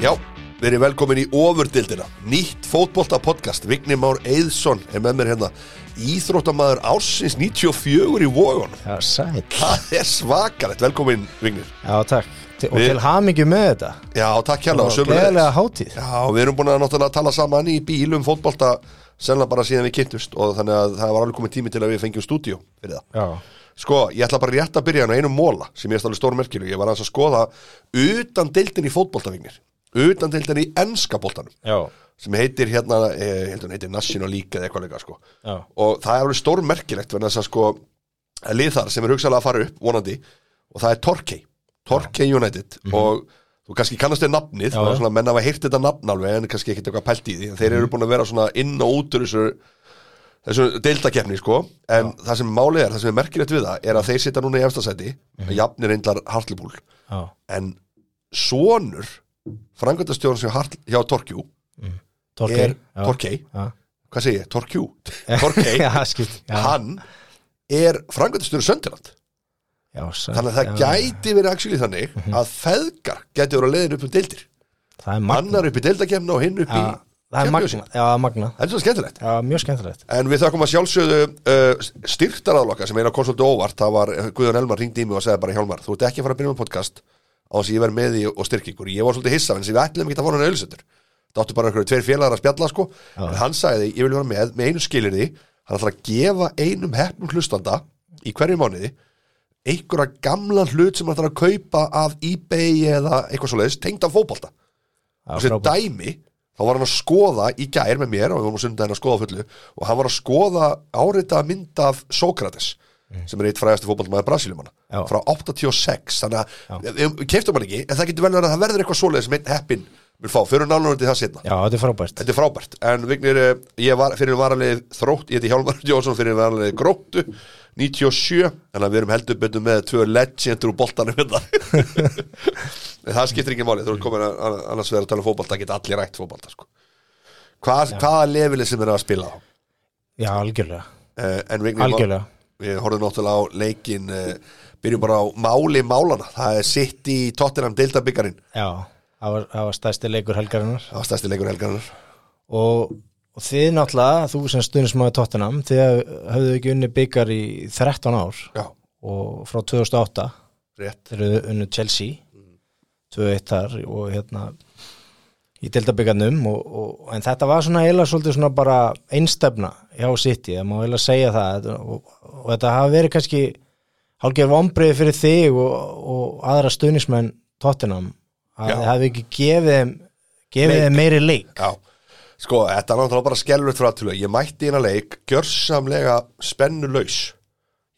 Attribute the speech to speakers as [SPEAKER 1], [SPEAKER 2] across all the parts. [SPEAKER 1] Já, verið velkomin í ofurdildina Nýtt fótbolta podcast Vigni Már Eiðsson er með mér hérna Íþróttamaður ársins 94 í vógun
[SPEAKER 2] Já, sæl.
[SPEAKER 1] Það er svakalegt, velkomin Vignir
[SPEAKER 2] Já, takk. Til- Og
[SPEAKER 1] Við-
[SPEAKER 2] til hamingju með þetta.
[SPEAKER 1] Já, takk hérna og
[SPEAKER 2] Og
[SPEAKER 1] sömuleiðis.
[SPEAKER 2] gleðilega hátíð.
[SPEAKER 1] Já, við erum búin að náttúrulega tala saman í bíl um fótbolta Sennilega bara síðan við kynntust Og þannig að það var alveg komið tími til að við fengjum stúdíó fyrir það
[SPEAKER 2] Já.
[SPEAKER 1] Sko, ég ætla bara rétt að byrja hann á einum móla sem ég er stálega stórmerkilu, ég var aðeins að skoða utan deildin í fótboltavignir utan deildin í enska boltanum
[SPEAKER 2] Já.
[SPEAKER 1] sem heitir hérna, eh, heldur hann heitir National League eða eitthvað leika sko
[SPEAKER 2] Já.
[SPEAKER 1] og það er alveg stórmerkilegt verðan þess að sko að lið þar sem er hugsalega að fara upp vonandi og það er Torkey, Torkey United og þú kannski kannast þér nafnið
[SPEAKER 2] Mhm. Já,
[SPEAKER 1] það er
[SPEAKER 2] já. Mhm.
[SPEAKER 1] svona, menn hafa heyrt þetta nafn alveg en kannski ekkert eitthvað pælt í því en þeir eru búin að vera svona inn og út úr þessu þessu deildakefni sko en það sem málið er, það sem er merkilegt við það er að þeir sitja núna í efstasæti mm
[SPEAKER 2] Mhm.
[SPEAKER 1] -hmm. jafnir eindlar Hartlepool
[SPEAKER 2] Já.
[SPEAKER 1] en sonur frangöndastjórn sem Hart, hjá Torkey
[SPEAKER 2] Torkey.
[SPEAKER 1] er
[SPEAKER 2] Já.
[SPEAKER 1] Torkey,
[SPEAKER 2] Já.
[SPEAKER 1] hvað segi ég, Torkjú Torkey,
[SPEAKER 2] Já, skipt. Já.
[SPEAKER 1] hann er frangöndastur Söndiland
[SPEAKER 2] Já, Mhm. sæl.
[SPEAKER 1] þannig að það gæti verið actually þannig að feðgar gæti verið að leiðin upp um deildir
[SPEAKER 2] Það er magna.
[SPEAKER 1] annar upp í deildakemna og hinn upp í
[SPEAKER 2] Já, það er
[SPEAKER 1] Championship.
[SPEAKER 2] magna. Já, það er magna.
[SPEAKER 1] það er svo skemmtilegt
[SPEAKER 2] Já, mjög skemmtilegt.
[SPEAKER 1] En við þökkum að sjálfsögðu uh, styrtaraðloka sem eina konsultu óvart, það var uh, Guðjón Elmar ringdi í mig og sagði bara Hjálmar, þú ert ekki að fara að byrja með podcast á þess að ég verð með því og styrk ykkur Ég var svolítið hissa, en sem við ætlum ekki að fá hann auðlisendur Það áttu bara einhverju tveir félagar að spjalla sko En hann sagði, ég vil vera með, með einu skilirði Hann ætlar að gefa einum hefnum hlustanda í hverju mánuði einhverja gamla hlut sem hann ætlar að kaupa af ebay eða eitthvað svoleiðis tengd af fótbolta
[SPEAKER 2] Já,
[SPEAKER 1] og sem
[SPEAKER 2] frábært.
[SPEAKER 1] dæmi þá var hann að skoða í gær með mér og við varum sundaginn að skoða fullu og hann var að skoða árita mynd af Sókrates sem er eitt fræðasti fótballmaður Brasiliumanna
[SPEAKER 2] Mm. Já.
[SPEAKER 1] frá 86 þannig að við- við keftum hann ekki en það getur vel verið að það verður eitthvað svoleiðis sem einn heppin vil fá, fyrir nálunar til það setna
[SPEAKER 2] Já, þetta er frábært.
[SPEAKER 1] Þetta er frábært, en Vignir, eh, ég var fyrir varalið þrótt, ég heiti Hjálmar Jónsson fyrir varalið gróttu, 97 en að við erum heldur betur með tvö legendur úr boltanum hérna en það skiptir ekki máli, þú erum komin að- að- annars vegar að tala um fótbolta, það geta allir rætt fótbolta sko. Hvað, hvaða lefilið sem er að spila á?
[SPEAKER 2] Já, algjörlega.
[SPEAKER 1] Eh, En Vignir,
[SPEAKER 2] Algjörlega.
[SPEAKER 1] við horfum náttúrulega á leikin, eh, byrjum bara á máli málana, það er sitt í Tottenham deildabyggarinn,
[SPEAKER 2] Já, það var, það var stæsti leikur helgarinnar.
[SPEAKER 1] það var stærsti leikur helgarinnar
[SPEAKER 2] Og, og þið náttúrulega, þú sem stundismæði Tottenham, þið höfðu ekki unni byggar í 13 ár
[SPEAKER 1] Já,
[SPEAKER 2] og frá 2008.
[SPEAKER 1] rétt,
[SPEAKER 2] þeir eru unnu Chelsea 2-1 þar og hérna í deltabyggarnum og, og, en þetta var svona eiginlega svolítið svona bara einstefna hjá City, það má eiginlega segja það Þetta- og, og þetta hafi verið kannski hálfgerð vombriði fyrir þig og, og aðra stuðnismenn Tottenham að
[SPEAKER 1] Já.
[SPEAKER 2] þið hafi ekki gefið þeim gefið
[SPEAKER 1] Leik.
[SPEAKER 2] þeim meiri leik
[SPEAKER 1] Já, sko, þetta er náttúrulega bara skellur frá til ég mætti hérna leik gjörsamlega spennulaus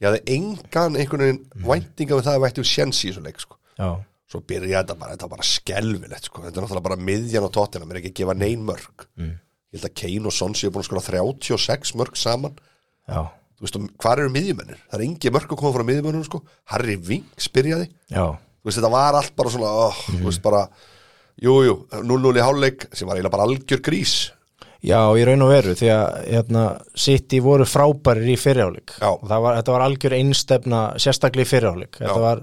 [SPEAKER 1] ég hafði engan einhvern veginn væntinga við það að vættum sjensi í þessu leik sko.
[SPEAKER 2] Já,
[SPEAKER 1] svo byrjaði þetta bara, þetta var bara skelvilegt sko. þetta er náttúrulega bara miðjan á tóttina mér er ekki að gefa nein mörg mm. ég held að Kane og Sonsi er búin að skora 36 mörg saman
[SPEAKER 2] já,
[SPEAKER 1] þú veist, hvað eru miðjumennir? það er engi mörg að koma frá miðjumennum sko. Harry Winks byrjaði
[SPEAKER 2] já
[SPEAKER 1] þú veist, þetta var allt bara svona oh, þú veist, bara, jú, jú, 0-0 í hálfleik sem var eiginlega bara algjör grís
[SPEAKER 2] Já, í raun og veru, því að hérna, City voru frábærir í fyrirháleik
[SPEAKER 1] Já.
[SPEAKER 2] og það var, þetta var algjör einstefna sérstaklega í fyrirháleik
[SPEAKER 1] Já.
[SPEAKER 2] þetta var,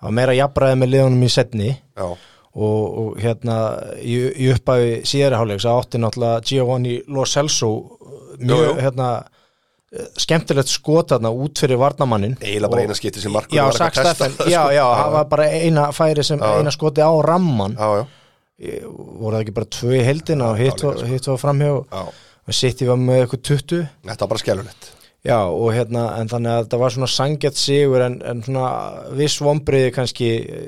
[SPEAKER 2] það var meira jafnræði með liðunum í setni
[SPEAKER 1] Já.
[SPEAKER 2] og, og hérna í, í uppæfi síðari háleik það átti náttúrulega Giovanni Lo Celso
[SPEAKER 1] Jú,
[SPEAKER 2] mjög
[SPEAKER 1] jú.
[SPEAKER 2] hérna eh, skemmtilegt skotarna út fyrir varnamannin
[SPEAKER 1] Eiginlega bara
[SPEAKER 2] Og-
[SPEAKER 1] eina skipti sem markvörður
[SPEAKER 2] Já,
[SPEAKER 1] var eitthvað
[SPEAKER 2] Zack
[SPEAKER 1] að testa
[SPEAKER 2] Steffen,
[SPEAKER 1] það,
[SPEAKER 2] já,
[SPEAKER 1] sko.
[SPEAKER 2] já, það var bara eina færi sem eina skoti á ramman
[SPEAKER 1] Já, já,
[SPEAKER 2] voru það ekki bara tvö í heldina og hitt
[SPEAKER 1] sko.
[SPEAKER 2] var- hitt var framhjá
[SPEAKER 1] já,
[SPEAKER 2] og City var með eitthvað 20
[SPEAKER 1] þetta var bara skellulegt
[SPEAKER 2] já og hérna en þannig að þetta var svona sangjart sigur en, en svona viss vombriði kannski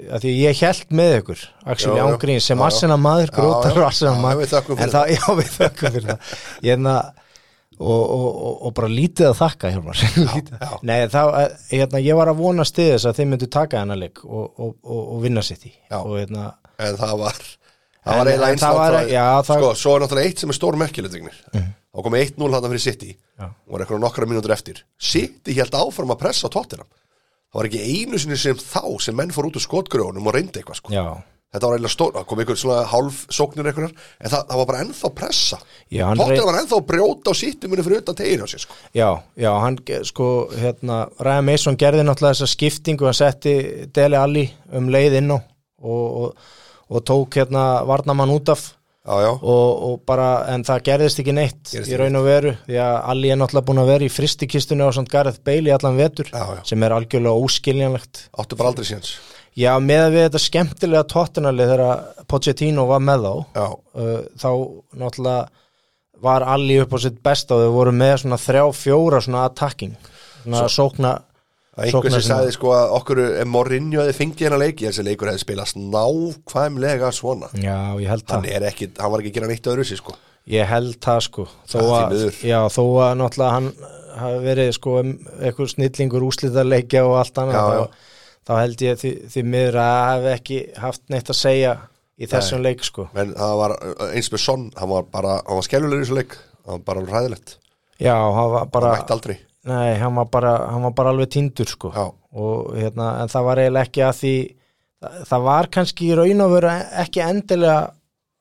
[SPEAKER 2] að því ég held með ykkur actually
[SPEAKER 1] Já, já.
[SPEAKER 2] ángrín sem
[SPEAKER 1] Já, já.
[SPEAKER 2] Arsena maður
[SPEAKER 1] Já, já.
[SPEAKER 2] grótar og Arsena
[SPEAKER 1] Já,
[SPEAKER 2] maður
[SPEAKER 1] við þökkum fyrir
[SPEAKER 2] en það, já við þökkum fyrir það hérna og, og, og, og bara lítið að þakka Hjálmar Lítið.
[SPEAKER 1] já.
[SPEAKER 2] Nei, þá, eh, hérna, ég var að vonast til þess að þeim myndu taka hennar leik og, og, og, og vinna sitt í
[SPEAKER 1] Já.
[SPEAKER 2] og hérna
[SPEAKER 1] En það var,
[SPEAKER 2] En-
[SPEAKER 1] það var eiginlega
[SPEAKER 2] en það var-
[SPEAKER 1] einslátt
[SPEAKER 2] já, það-
[SPEAKER 1] Sko, svo er náttúrulega eitt sem er stór merkilegt vignir Þá kom 1-0 þarna fyrir City
[SPEAKER 2] Mhm. Já.
[SPEAKER 1] og var eitthvað nokkra mínútur eftir City held áfram að pressa á tóttina Það var ekki einu sinni sem þá sem menn fór út úr skotgröfunum og reyndi eitthvað sko.
[SPEAKER 2] já,
[SPEAKER 1] Þetta var eiginlega stór, það kom einhver svona hálf sóknir einhverjar, en það, það var bara ennþá pressa
[SPEAKER 2] Já, hann
[SPEAKER 1] Tóttina
[SPEAKER 2] rey-
[SPEAKER 1] var ennþá að brjóta á City muni fyrir utan teginu á sér sko.
[SPEAKER 2] já, já hann ge- sko hérna Ryan Mason gerði náttúrulega þessa skiptingu hann setti Dele Alli um leið inn á og, og, og tók hérna varnamann út af
[SPEAKER 1] já, já,
[SPEAKER 2] og, og bara, en það gerðist ekki neitt
[SPEAKER 1] Gerðist
[SPEAKER 2] í raun og veru, því að Alli er náttúrulega búin að vera í fristikistunni á samt Gareth Bale í allan vetur,
[SPEAKER 1] Já, já.
[SPEAKER 2] sem er algjörlega óskiljanlegt
[SPEAKER 1] áttu bara aldrei síðans
[SPEAKER 2] Já, með að við þetta skemmtilega tóttinalið þegar Pochettino var með þá
[SPEAKER 1] Já,
[SPEAKER 2] uh, þá náttúrulega var Alli upp á sitt besta og þau voru með svona þrjá, fjóra svona attacking svona sókna
[SPEAKER 1] að einhver sem
[SPEAKER 2] sóknarsinna.
[SPEAKER 1] sagði sko að okkur er Morinju að þið fengi hennar leiki þessi leikur hefði spilast nákvæmlega svona
[SPEAKER 2] Já, ég held
[SPEAKER 1] hann,
[SPEAKER 2] það
[SPEAKER 1] er ekki, hann var ekki að gera neitt öðru sér sko
[SPEAKER 2] Ég held það sko Þó
[SPEAKER 1] Það er
[SPEAKER 2] að,
[SPEAKER 1] því miður.
[SPEAKER 2] já, þó að náttúrulega hann hafi verið sko eitthvað snillingur úslítarleikja og allt annað
[SPEAKER 1] Já, já.
[SPEAKER 2] þá, þá held ég því, því miður að það hafi ekki haft neitt að segja í þessum leik sko
[SPEAKER 1] en það var uh, eins með Son hann var bara, hann var skellulegur í þessu leik hann var bara alveg ræðilegt,
[SPEAKER 2] Já, hann var bara
[SPEAKER 1] hann mætti aldrei
[SPEAKER 2] Nei, hann var bara, hann var bara alveg tindur sko
[SPEAKER 1] Já,
[SPEAKER 2] og hérna, en það var eiginlega ekki að því það, það var kannski í raun og veru ekki endilega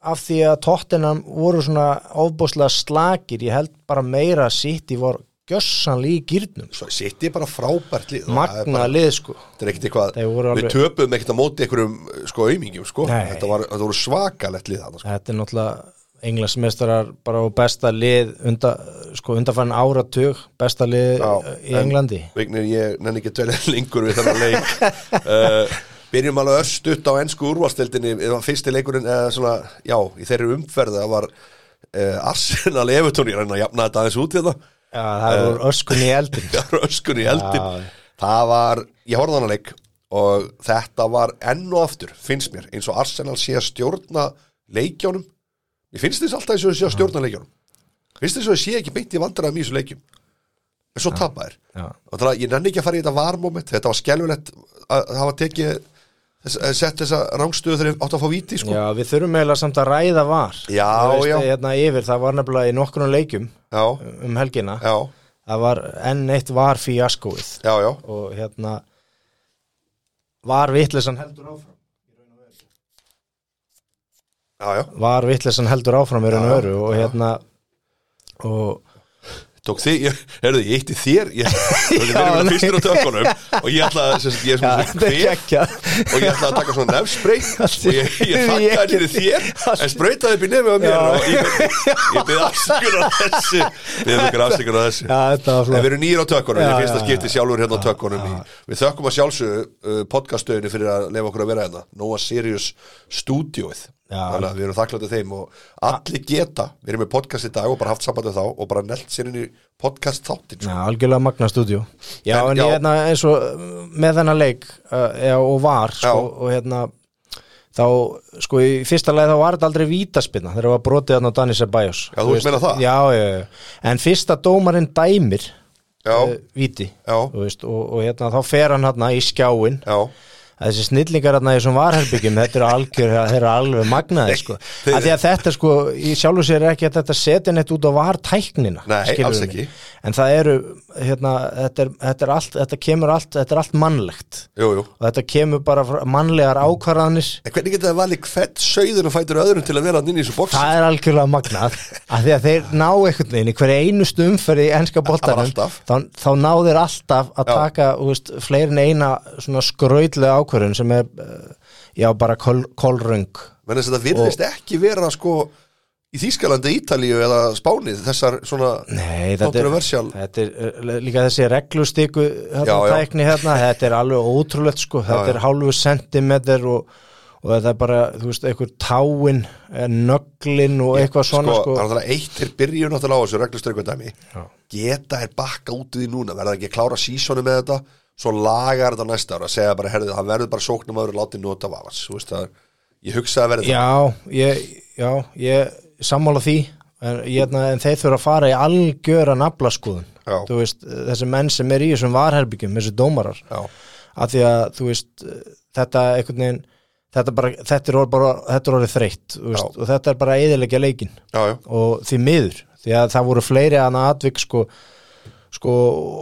[SPEAKER 2] af því að tóttinam voru svona ofbúslega slakir, ég held bara meira að sitt í voru gjössanlega í gýrnum
[SPEAKER 1] svo sitt ég bara frábært lið Það er
[SPEAKER 2] magna
[SPEAKER 1] bara-
[SPEAKER 2] lið sko
[SPEAKER 1] Þetta er ekkert eitthvað,
[SPEAKER 2] Þeir voru
[SPEAKER 1] við
[SPEAKER 2] alveg-
[SPEAKER 1] töpum ekkert að móti einhverjum uh, sko aumingjum sko
[SPEAKER 2] Nei.
[SPEAKER 1] þetta, var, þetta voru svakalett lið þarna sko.
[SPEAKER 2] þetta er náttúrulega englansmestrar bara og besta lið unda, sko, undarfærin áratug besta lið
[SPEAKER 1] Já,
[SPEAKER 2] Já, í
[SPEAKER 1] en-
[SPEAKER 2] Englandi
[SPEAKER 1] Vignir, ég nenni ekki að tölja lengur við þennan leik uh, Byrjum alveg östutt á ennsku úrvalstildinni eða fyrsti leikurinn, eða svona, já, í þeirri umferð það var uh, Arsenal Evertón, ég reyna að jafna þetta aðeins út við það
[SPEAKER 2] Já, það
[SPEAKER 1] eh,
[SPEAKER 2] er uh, öskunni í eldin
[SPEAKER 1] Það var öskun í eldin
[SPEAKER 2] Já.
[SPEAKER 1] Það var, ég horfði á þennan leik og þetta var enn og aftur finnst mér, eins og Arsenal sé að stjórna leikjónum Mér finnst þess alltaf eins og þau sé að stjórna leikjónum Finnst þess að þau sé ekki beint í vandræðum í þessu leikjum En svo tapa þær
[SPEAKER 2] Já.
[SPEAKER 1] og þannig að ég nenni ekki að fara í þetta varmoment þetta var skelfulegt að að hafa tekið þess, að sett þessa rangstöðu þegar ég átti að fá víti sko.
[SPEAKER 2] Já, við þurfum eiginlega samt að ræða var
[SPEAKER 1] Já,
[SPEAKER 2] Þú veist,
[SPEAKER 1] já.
[SPEAKER 2] Hérna yfir, það var nefnilega í nokkurnu leikjum
[SPEAKER 1] já,
[SPEAKER 2] um helgina
[SPEAKER 1] já,
[SPEAKER 2] það var enn eitt var fíaskóið
[SPEAKER 1] já, já,
[SPEAKER 2] og hérna var vitleysan heldur áfram
[SPEAKER 1] já, já.
[SPEAKER 2] var vitleysan heldur áfram í raun og öru og hérna og
[SPEAKER 1] Tók þið, ég, herðu, ég eitti þér ég, já, ég
[SPEAKER 2] nei.
[SPEAKER 1] verið fyrstur á tökunum og ég ætla að, sem sagt, ég er svona svona kvef og ég ætla að taka svona nefnsbreyt og ég, ég
[SPEAKER 2] Ég-
[SPEAKER 1] þakka henni þér en spreytaði upp í nefnum á mér
[SPEAKER 2] Já.
[SPEAKER 1] og ég, ég byrði afsökunar á þessu byrði okkur afsökunar á þessu
[SPEAKER 2] Já, þetta var
[SPEAKER 1] En
[SPEAKER 2] flott
[SPEAKER 1] við erum nýjir á tökkunum,
[SPEAKER 2] Já,
[SPEAKER 1] ég finnst að
[SPEAKER 2] já,
[SPEAKER 1] skipti sjálfur hérna á tökkunum í, Við þökkum að sjálfsögðu uh, podcaststöðinu fyrir að lefa okkur að vera hérna Nóa Sirius Studioið
[SPEAKER 2] Já.
[SPEAKER 1] Þannig að við erum þakklætið þeim og allir geta Við erum með podcast í dag og bara haft samband við þá og bara nelt sér inn í podcast sko. þáttin
[SPEAKER 2] Já, algjörlega magna stúdíu Já,
[SPEAKER 1] En-
[SPEAKER 2] en,
[SPEAKER 1] já.
[SPEAKER 2] ég hérna eins og uh, með þennan leik uh, já, og var sko,
[SPEAKER 1] Já.
[SPEAKER 2] og hérna þá, sko, í fyrsta leið þá var þetta aldrei vítaspinna þegar það var brotið þarna á Dani Sebajos
[SPEAKER 1] Já, þú veist meina það?
[SPEAKER 2] Já, já, já, en fyrsta dómarinn dæmir
[SPEAKER 1] Já,
[SPEAKER 2] uh, víti
[SPEAKER 1] já,
[SPEAKER 2] þú veist, og, og hérna, þá fer hann hérna í skjáin
[SPEAKER 1] já
[SPEAKER 2] þessi snillingar hérna í þessum varherbyggjum þetta eru algjör, þeir eru alveg magnaði sko.
[SPEAKER 1] þeir-
[SPEAKER 2] að því að þetta sko í sjálfu sér er ekki að þetta setja neitt út á vartæknina
[SPEAKER 1] Nei,
[SPEAKER 2] skilurðu
[SPEAKER 1] alls
[SPEAKER 2] mig.
[SPEAKER 1] ekki.
[SPEAKER 2] en það eru, hérna, þetta, er, þetta, er allt, þetta kemur allt, þetta er allt mannlegt
[SPEAKER 1] Jú, jú
[SPEAKER 2] og þetta kemur bara frá- mannlegar ákvarðanir
[SPEAKER 1] En hvernig geta það valið hvert sögðun og fætur öðrum til að vera hann inn í þessu bóks?
[SPEAKER 2] það er algjörlega magnað að því að þeir ná einhvern veginn í hverja einustu umferði í ennska boltanum
[SPEAKER 1] alltaf.
[SPEAKER 2] þá, þá ná þeir alltaf að
[SPEAKER 1] Já.
[SPEAKER 2] taka þú veist, fleirin eina svona skrautlega ákvörðun sem er eh, já bara kol, kolröng
[SPEAKER 1] Menni þess að þetta virðist ekki vera sko í Þýskalandi, Ítalíu eða Spánið þessar svona
[SPEAKER 2] Nei, þetta er,
[SPEAKER 1] kontroversial
[SPEAKER 2] þetta er eh, líka þessi reglustiku hérna,
[SPEAKER 1] Já, já.
[SPEAKER 2] tækni hérna, þetta er alveg ótrúlegt sko, þetta
[SPEAKER 1] já.
[SPEAKER 2] er hálfu sentimeter og, og þetta er bara, þú veist, einhver táin, eh, nöglin og eitthvað svona
[SPEAKER 1] sko, það
[SPEAKER 2] sko,
[SPEAKER 1] er náttúrulega eitt til byrjun náttúrulega á þessu reglustrykvendæmi
[SPEAKER 2] Já.
[SPEAKER 1] geta er bakka út úr því núna verða ekki að klára sísonu með þetta svo lagar þetta næsta ára, segja bara herðið það verður bara sóknum að vera látið nota vafans þú veist, það, er- ég hugsa að verði það
[SPEAKER 2] Já, ég, já, ég sammála því en, hérna, en þeir þurfa að fara í algjöra naflaskoðun
[SPEAKER 1] Já.
[SPEAKER 2] þú veist, þessi menn sem er í þessum varherbyggjum, þessi dómarar
[SPEAKER 1] Já.
[SPEAKER 2] af því að þú veist þetta einhvern veginn þetta, bara, þetta, er, orð- bara, þetta er orðið þreytt þú veist,
[SPEAKER 1] Já.
[SPEAKER 2] og þetta er bara eðilegja leikinn
[SPEAKER 1] Já, já,
[SPEAKER 2] og því miður því að það voru fleiri annað atvik sko, sko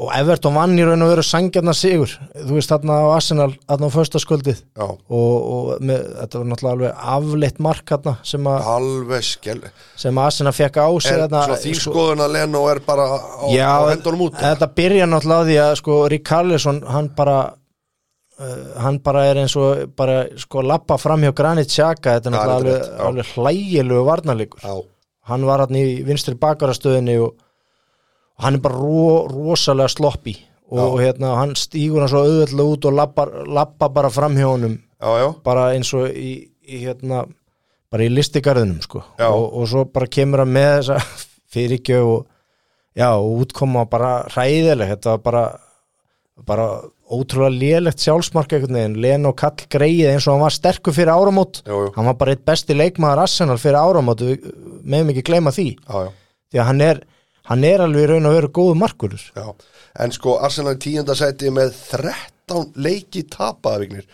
[SPEAKER 2] og Everton vann í raun og veru sangjarnar sigur þú veist þarna á Arsenal þarna á föstaskvöldið
[SPEAKER 1] já,
[SPEAKER 2] og, og með, þetta var náttúrulega alveg afleitt mark hérna sem, a,
[SPEAKER 1] alveg skell er
[SPEAKER 2] sem að Arsenal fekk á sig þarna, sko-
[SPEAKER 1] svona þín skoðun að Leno er bara á,
[SPEAKER 2] já,
[SPEAKER 1] á hendunum út
[SPEAKER 2] þetta byrja náttúrulega á því að sko Rík Karlsson hann bara uh, hann bara er eins og bara sko lappa fram hjá Granit Xhaka þetta er
[SPEAKER 1] Já,
[SPEAKER 2] náttúrulega
[SPEAKER 1] þetta er rétt,
[SPEAKER 2] alveg,
[SPEAKER 1] já.
[SPEAKER 2] alveg hlægilegu varnarleikur
[SPEAKER 1] Já,
[SPEAKER 2] hann var hann í vinstri bakarastöðinni og og hann er bara ro, rosalega sloppy og hérna, hann stígur hann svo auðvöldlega út og lappar, lappa bara fram hjá honum
[SPEAKER 1] já, já,
[SPEAKER 2] bara eins og í, í hérna, bara í listigarðinum sko.
[SPEAKER 1] Já.
[SPEAKER 2] og, og svo bara kemur hann með þessa fyrirgjöf og, já, og útkoma bara hræðileg þetta var bara, bara ótrúlega lélegt sjálfsmark einhvern veginn, len og kall greið eins og hann var sterkur fyrir áramót
[SPEAKER 1] Jú, jú.
[SPEAKER 2] hann var bara eitt besti leikmaður Arsenal fyrir áramót, við meðum ekki gleyma því
[SPEAKER 1] já, já.
[SPEAKER 2] því að hann er, hann er alveg í raun að vera góðu markurur
[SPEAKER 1] Já, en sko Arsenal í tíunda sæti með 13 leiki tapaðvignir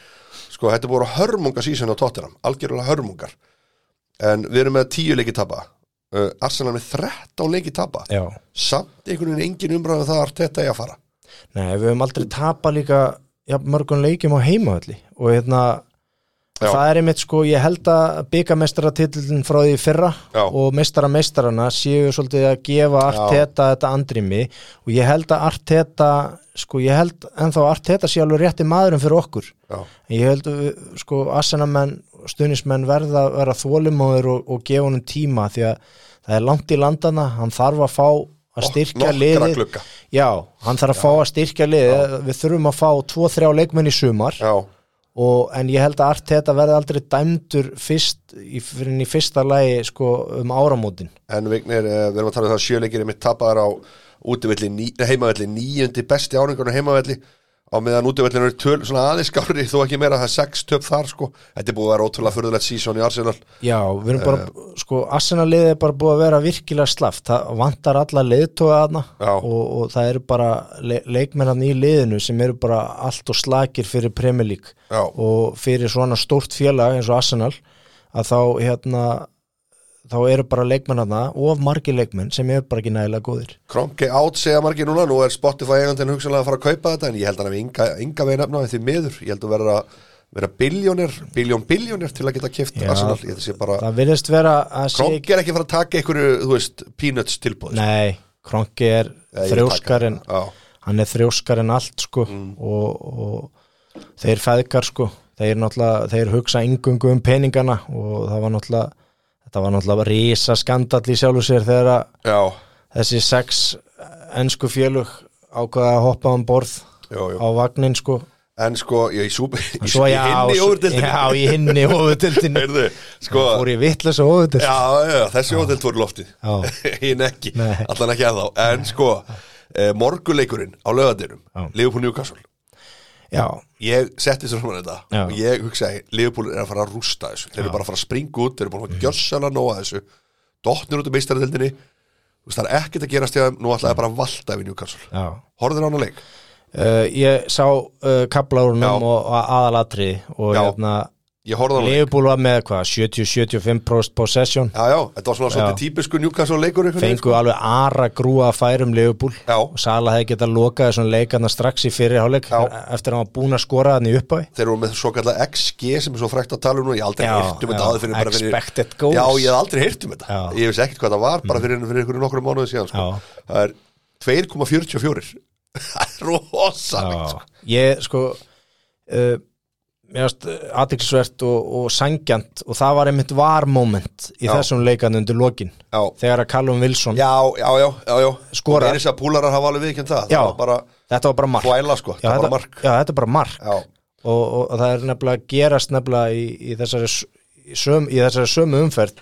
[SPEAKER 1] sko þetta voru hörmunga sísun á Tottenham algjörlega hörmungar en við erum með 10 leiki tapa uh, Arsenal með 13 leiki tapa
[SPEAKER 2] já,
[SPEAKER 1] samt einhvern veginn engin umræðum það að þetta er að fara
[SPEAKER 2] nei, við höfum aldrei tapa líka ja, mörgum leikjum á heimavalli og hérna
[SPEAKER 1] Já.
[SPEAKER 2] það er einmitt sko, ég held að byggamestaratitillin frá því í fyrra
[SPEAKER 1] Já.
[SPEAKER 2] og meistara meistarana séu svolítið að gefa Arteta þetta andrými og ég held að Arteta sko, ég held ennþá að Arteta sé alveg rétti maðurinn fyrir okkur
[SPEAKER 1] Já,
[SPEAKER 2] En Ég held að við, sko assenamenn, stuðnismenn verða að vera þólimóður og, og gefa honum tíma því að það er langt í landana, hann þarf að fá að styrkja
[SPEAKER 1] nokkra
[SPEAKER 2] liðið.
[SPEAKER 1] glugga.
[SPEAKER 2] Já, hann þarf að fá að styrkja liðið, við þurfum að fá 2-3 leikmenn í sumar
[SPEAKER 1] já,
[SPEAKER 2] og, en ég held að Arteta verði aldrei dæmdur fyrst, í, fyrir í fyrsta lagi sko um áramótin.
[SPEAKER 1] en vignir uh, við erum að tala um það að sjö leikir er mitt tapaðar á útivilli, ní, heimavilli, níundi besti áringarinn á heimavilli á meðan útivillin eru töl, svona aðeins skári þó ekki meira, það er 6 töp þar sko þetta er búið að vera ótrúlega furðulegt sísón í Arsenal
[SPEAKER 2] Já, við
[SPEAKER 1] eh,
[SPEAKER 2] erum bara, sko, Arsenal-liðið er bara búið að vera virkilega slaft, það vantar alla leiðtóga þarna
[SPEAKER 1] Já.
[SPEAKER 2] og, og það eru bara le leikmennan í liðinu sem eru bara allt og slakir fyrir Premier League
[SPEAKER 1] Já.
[SPEAKER 2] og fyrir svona stórt félag eins og Arsenal að þá, hérna, þá eru bara leikmennarna of margir leikmenn sem eru bara ekki nægilega góðir.
[SPEAKER 1] Kronke átt segja margir núna, nú er Spotify eigandinn hugsanlega að fara að kaupa þetta en ég held að hann hafi enga, enga veginn efnaði því miður ég held að vera, vera biljónir biljón biljónir til að geta kift
[SPEAKER 2] Já.
[SPEAKER 1] Arsenal, ég held að sé bara,
[SPEAKER 2] Það virðist vera að sé ekki,
[SPEAKER 1] Kronke er ekki að fara að taka einhverju, þú veist, peanuts sko. tilbúð
[SPEAKER 2] nei, Kronki er þrjóskarinn
[SPEAKER 1] Já,
[SPEAKER 2] hann er þrjóskar en allt sko
[SPEAKER 1] Mm.
[SPEAKER 2] og, og þeir feðgar sko þeir, náttúrulega- þeir hugsa yngungu um peningana og það var náttúrulega þetta var náttúrulega risa skandall í sjálfu sér þegar að
[SPEAKER 1] já,
[SPEAKER 2] þessi sex ennsku fjölug ákvaða að hoppa um borð
[SPEAKER 1] já, já.
[SPEAKER 2] á vagnin sko
[SPEAKER 1] en sko, já, í súpi í,
[SPEAKER 2] Svo
[SPEAKER 1] í
[SPEAKER 2] já,
[SPEAKER 1] hinni
[SPEAKER 2] svo-
[SPEAKER 1] úrdildinni
[SPEAKER 2] já, í hinni óvutildinu
[SPEAKER 1] Heyrðu, sko,
[SPEAKER 2] fór ég vitlega svo óvutild
[SPEAKER 1] já, já, þessi úrdild voru loftið
[SPEAKER 2] Já.
[SPEAKER 1] hinn ekki,
[SPEAKER 2] Nei.
[SPEAKER 1] allan ekki að þá en sko, eh, morguleikurinn á lögadinum,
[SPEAKER 2] Já.
[SPEAKER 1] Liverpool Newcastle
[SPEAKER 2] já,
[SPEAKER 1] ég setti svo saman þetta
[SPEAKER 2] Já.
[SPEAKER 1] og ég hugsaði, Liverpool er að fara að rústa þessu þeir eru bara að fara að springa út, þeir eru búin að mm. gjörsala nóa þessu, dottnir út um meistaradeldinni þú veist, það er ekkert að gerast hjá þeim nú ætlaði bara að valta yfir Newcastle
[SPEAKER 2] já.
[SPEAKER 1] horfður á hana leik,
[SPEAKER 2] Uh, ég sá uh, kaplárunum
[SPEAKER 1] Já.
[SPEAKER 2] og aðalatri og
[SPEAKER 1] Já.
[SPEAKER 2] hérna
[SPEAKER 1] ég horfði á hana leik
[SPEAKER 2] Leifbúl var með hvað, 70-75% possession,
[SPEAKER 1] já, já, þetta var svona svolítið típisku Newcastle leikur einhvern veginn, sko.
[SPEAKER 2] fengu alveg ara grúa að færum Leifbúl
[SPEAKER 1] Já.
[SPEAKER 2] og Sala hefði getað lokað þessum leikarna strax í fyrir hálfleik
[SPEAKER 1] Já.
[SPEAKER 2] eftir að hann var búin að skora hann í upphavi
[SPEAKER 1] þeir eru með svo kallar XG sem er svo frækt að tala um nú, ég hef aldrei
[SPEAKER 2] Já,
[SPEAKER 1] heyrt um þetta
[SPEAKER 2] já,
[SPEAKER 1] aðeins fyrir bara fyrir
[SPEAKER 2] expected goals.
[SPEAKER 1] já, ég hef aldrei heyrt um þetta,
[SPEAKER 2] Já. Mm.
[SPEAKER 1] ég veist ekkert hvað það var bara fyrir, fyrir einhverjum nokkrum mánuði síðan sko. það er 2,44 það er rosalegt sko.
[SPEAKER 2] Ég sko uh, mér varst aðeinsvert og, og sangjant og það var einmitt var moment í
[SPEAKER 1] Já.
[SPEAKER 2] þessum leikarna undir lokin
[SPEAKER 1] Já.
[SPEAKER 2] þegar að Callum Wilson
[SPEAKER 1] Já, já, já, já, já.
[SPEAKER 2] Skorar.
[SPEAKER 1] Það er þess að púlarar hafa alveg viðkjönd það
[SPEAKER 2] Já.
[SPEAKER 1] Það var bara
[SPEAKER 2] þetta var bara mark
[SPEAKER 1] hvæla sko,
[SPEAKER 2] já,
[SPEAKER 1] það var bara
[SPEAKER 2] þetta,
[SPEAKER 1] mark
[SPEAKER 2] já, þetta er bara mark
[SPEAKER 1] Já,
[SPEAKER 2] og, og, og það er nefnilega gerast nefnilega í, í, þessari, s- í, söm, í þessari sömu umferð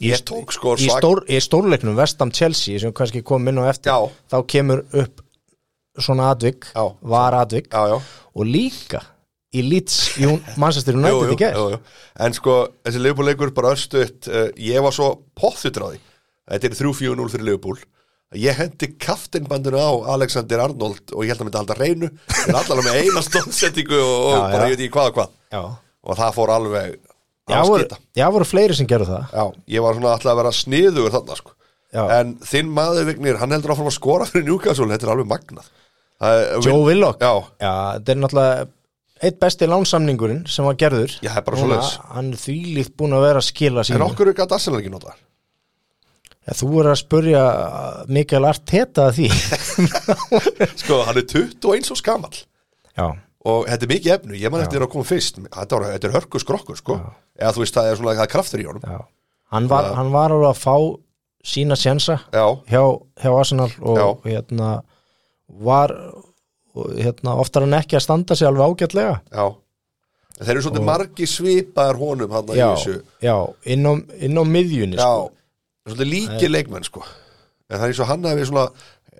[SPEAKER 2] í,
[SPEAKER 1] Ég tók sko
[SPEAKER 2] í,
[SPEAKER 1] svak-
[SPEAKER 2] stór, í stórleiknum Vestam Chelsea sem kannski kom inn á eftir
[SPEAKER 1] Já.
[SPEAKER 2] þá kemur upp svona atvik,
[SPEAKER 1] Já.
[SPEAKER 2] var atvik
[SPEAKER 1] já, já
[SPEAKER 2] og líka í Leeds Jún, Manchester
[SPEAKER 1] jú,
[SPEAKER 2] United
[SPEAKER 1] jú,
[SPEAKER 2] í gær
[SPEAKER 1] jú, jú. En sko, þessi Leifbúleikur bara östuðt uh, Ég var svo pothutur á því Þetta er 3-4-0 fyrir Leifbúl Ég hendi kaftinbandinu á Alexander Arnold og ég held að myndi halda reynu en allar með eina stóðsettingu og, og
[SPEAKER 2] Já,
[SPEAKER 1] bara
[SPEAKER 2] já.
[SPEAKER 1] ég veit ekki hvað og hvað
[SPEAKER 2] já,
[SPEAKER 1] og það fór alveg
[SPEAKER 2] já,
[SPEAKER 1] að
[SPEAKER 2] voru,
[SPEAKER 1] skita
[SPEAKER 2] já voru fleiri sem gerðu það
[SPEAKER 1] Já, ég var svona alltaf að vera sniðugur þarna sko.
[SPEAKER 2] Já.
[SPEAKER 1] En þinn maður vignir, hann heldur áfram að skora fyrir Newcastle, þetta er alveg magnað Það er-
[SPEAKER 2] Joe Willock
[SPEAKER 1] Já,
[SPEAKER 2] já, þetta er náttúrulega eitt besti lánsamningurinn sem var gerður
[SPEAKER 1] Já, það er bara
[SPEAKER 2] Núna,
[SPEAKER 1] svoleiðis.
[SPEAKER 2] hann er þvílíkt búin að vera að skila
[SPEAKER 1] en
[SPEAKER 2] sínu
[SPEAKER 1] okkur er gætt Arsenal ekki nota
[SPEAKER 2] Já, þú er að spurja Mikael Arteta að því
[SPEAKER 1] Sko, hann er 21 og skamall
[SPEAKER 2] Já,
[SPEAKER 1] og þetta er mikið efnu, ég man eftir að koma fyrst þetta, var, þetta er hörku skrokkur sko eða þú veist það er svona það er kraftur í honum
[SPEAKER 2] Já. Hann var, hann var alveg að fá sína sjensa
[SPEAKER 1] já,
[SPEAKER 2] hjá, hjá Arsenal og hérna var og, hérna, oftar en ekki að standa sig alveg ágætlega
[SPEAKER 1] já En þeir eru svolítið margi svipaðar honum hann í
[SPEAKER 2] já,
[SPEAKER 1] þessu
[SPEAKER 2] já, inn á, inn á miðjunni
[SPEAKER 1] já,
[SPEAKER 2] sko.
[SPEAKER 1] svolítið líki leikmenn sko en það er eins og hann hefði svona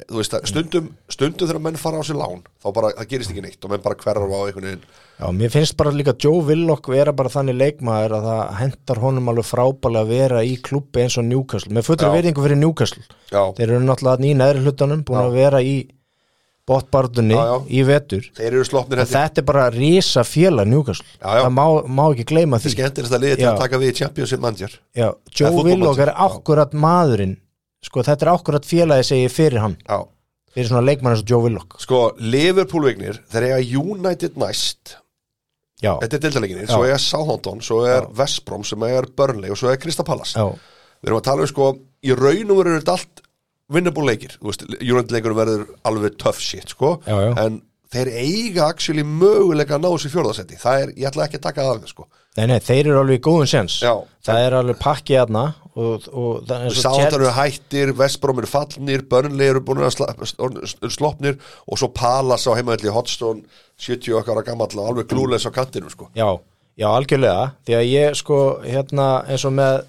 [SPEAKER 1] þú veist að stundum, stundum þegar menn fara á sér lán þá bara, það gerist ekki neitt og menn bara hverfa á einhvern veginn
[SPEAKER 2] já, mér finnst bara líka Joe Willock vera bara þannig leikmaður að það hentar honum alveg frábælega að vera í klubbi eins og Newcastle, með fullri
[SPEAKER 1] Já.
[SPEAKER 2] veringu fyrir Newcastle
[SPEAKER 1] já,
[SPEAKER 2] þeir eru náttúrulega þarna í neðri hlutanum búin að vera í bóttbardunni
[SPEAKER 1] Já, já.
[SPEAKER 2] í vetur
[SPEAKER 1] þeir eru slopnir
[SPEAKER 2] En þetta er bara risa fjöla Newcastle
[SPEAKER 1] Já, já.
[SPEAKER 2] það má, má ekki gleyma því
[SPEAKER 1] skemmtilegsta liði til
[SPEAKER 2] Já.
[SPEAKER 1] að taka við í Champions League manager
[SPEAKER 2] já,
[SPEAKER 1] er
[SPEAKER 2] Joe
[SPEAKER 1] fótbolti.
[SPEAKER 2] Willock er
[SPEAKER 1] Já.
[SPEAKER 2] akkurat maðurinn sko þetta er akkurat félagi segi ég fyrir hann
[SPEAKER 1] Já,
[SPEAKER 2] fyrir svona leikmann eins og Joe Willock
[SPEAKER 1] sko, Liverpool-vignir þeir eiga United næst
[SPEAKER 2] já,
[SPEAKER 1] þetta er deildaleginir, svo
[SPEAKER 2] Já.
[SPEAKER 1] er Southampton svo er Vestbrom, sem er Burnley og svo er Krista Pallas
[SPEAKER 2] já,
[SPEAKER 1] við erum að tala um sko, í raun og veru er þetta allt vinnable leikir, þú veist, United-leikunum verður alveg tough shit, sko
[SPEAKER 2] Já, já.
[SPEAKER 1] en þeir eiga actually möguleika að ná þessu fjórðasetti, það er, ég ætla ekki að taka það af þeim, sko,
[SPEAKER 2] nei, nei, þeir eru alveg í góðum sens
[SPEAKER 1] Já.
[SPEAKER 2] það er alveg pakkið aðna og, og það er eins og
[SPEAKER 1] Southampton
[SPEAKER 2] Chelsea-
[SPEAKER 1] eru hættir Vestbrom eru fallnir, Burnley eru búin að sla, orðnir s- slopnir og svo Pallas á heimaðalli Hotstone 70 okkar að gamalla, alveg glúleis á kantinum, sko
[SPEAKER 2] já, já, algjörlega því að ég sko hérna eins og með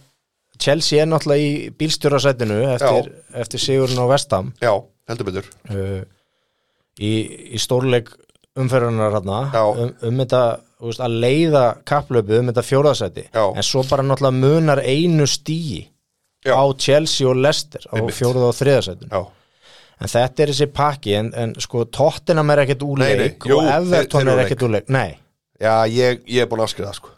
[SPEAKER 2] Chelsea er náttúrulega í bílstjórasætinu eftir, eftir sigurinn á Vestam
[SPEAKER 1] Já, heldur betur
[SPEAKER 2] uh, í, í stórleik umferðunar hérna
[SPEAKER 1] Já.
[SPEAKER 2] um, um þetta þú veist, að leiða kapplöpu um þetta fjóraðsæti
[SPEAKER 1] Já.
[SPEAKER 2] en svo bara náttúrulega munar einu stíi
[SPEAKER 1] Já.
[SPEAKER 2] á Chelsea og Leicester á
[SPEAKER 1] Einmitt.
[SPEAKER 2] fjóruða og þriðasætinu
[SPEAKER 1] Já
[SPEAKER 2] en þetta er þessi pakki en, en sko Tottenham er ekkert
[SPEAKER 1] Nei, nei,
[SPEAKER 2] úleik
[SPEAKER 1] jú,
[SPEAKER 2] og
[SPEAKER 1] þeir-
[SPEAKER 2] Everton
[SPEAKER 1] þeir
[SPEAKER 2] er
[SPEAKER 1] eru
[SPEAKER 2] ekkert úleik nei,
[SPEAKER 1] Já, ég, ég er búin að afskriða það sko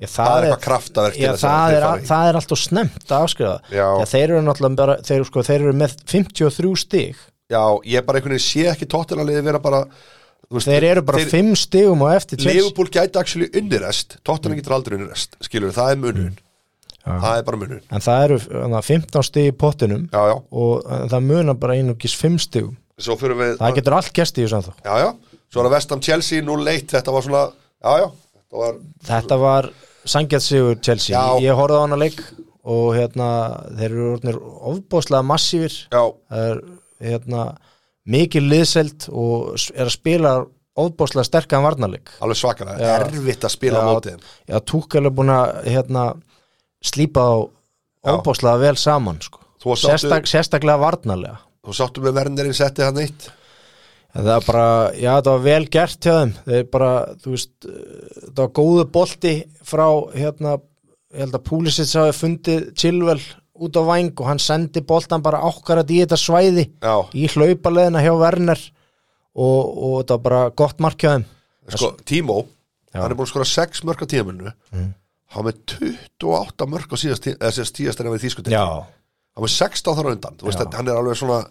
[SPEAKER 2] ég,
[SPEAKER 1] Það er eitthvað kraftaverk til
[SPEAKER 2] Já,
[SPEAKER 1] þess að
[SPEAKER 2] það,
[SPEAKER 1] þeir
[SPEAKER 2] er,
[SPEAKER 1] fari í.
[SPEAKER 2] það er alltaf snemmt að afskrifa það.
[SPEAKER 1] Já.
[SPEAKER 2] Þegar þeir eru náttúrulega bara, þeir, sko, þeir eru með 53 stig
[SPEAKER 1] Já, ég bara einhvern veginn sé ekki tóttinaliði vera bara þú veist,
[SPEAKER 2] þeir eru bara 5 stigum og eftir Chelsea
[SPEAKER 1] Liverpool gæti actually unnirest Tóttinan
[SPEAKER 2] Mm.
[SPEAKER 1] getur aldrei unnirest, skilur við, það er munun Það er bara munun
[SPEAKER 2] en það eru hana, 15 stig í pottinum
[SPEAKER 1] Já, já,
[SPEAKER 2] og eh, það munar bara einugis 5 stigum
[SPEAKER 1] svo fyrir við
[SPEAKER 2] það getur allt gæst í þessu ennþá
[SPEAKER 1] Já, já, svo er að vestam Chelsea 0-1 Þetta var svona, já, já Þetta var,
[SPEAKER 2] þetta var sangjart sigur Chelsea
[SPEAKER 1] Já.
[SPEAKER 2] ég horfði á hana leik og hérna, þeir eru orðnir ofbóðslega massífir
[SPEAKER 1] já,
[SPEAKER 2] það er hérna, mikil liðselt og s- er að spila ofbóðslega sterkan varnarleik
[SPEAKER 1] alveg svakana
[SPEAKER 2] Já.
[SPEAKER 1] Erfitt að spila á
[SPEAKER 2] Já.
[SPEAKER 1] mótið
[SPEAKER 2] já, Túkel er búin að hérna, slípa á
[SPEAKER 1] Já.
[SPEAKER 2] ofbóðslega vel saman sko.
[SPEAKER 1] Þú varst
[SPEAKER 2] Sérstak, sérstaklega varnarlega
[SPEAKER 1] Þú sáttu með verðnirinn setti hann eitt
[SPEAKER 2] En það er bara, já þetta var vel gert hjá þeim, þeir bara, þú veist, eh, þetta var góðu bolti frá, hérna, ég held að Púlisits hafi fundið Chilwell út á væng og hann sendi boltan bara ákkarat í þetta svæði
[SPEAKER 1] Já,
[SPEAKER 2] í hlaupaleðina hjá Werner og, og þetta var bara gott mark hjá þeim.
[SPEAKER 1] sko, Tímó Hann er búin að skora 6 mörg á tíðamilinu mm. Hann er með 28 mörg á síðast tíðast en að við þýskutin hann var 16 þar á undan þú veist
[SPEAKER 2] Já.
[SPEAKER 1] að hann er alveg svona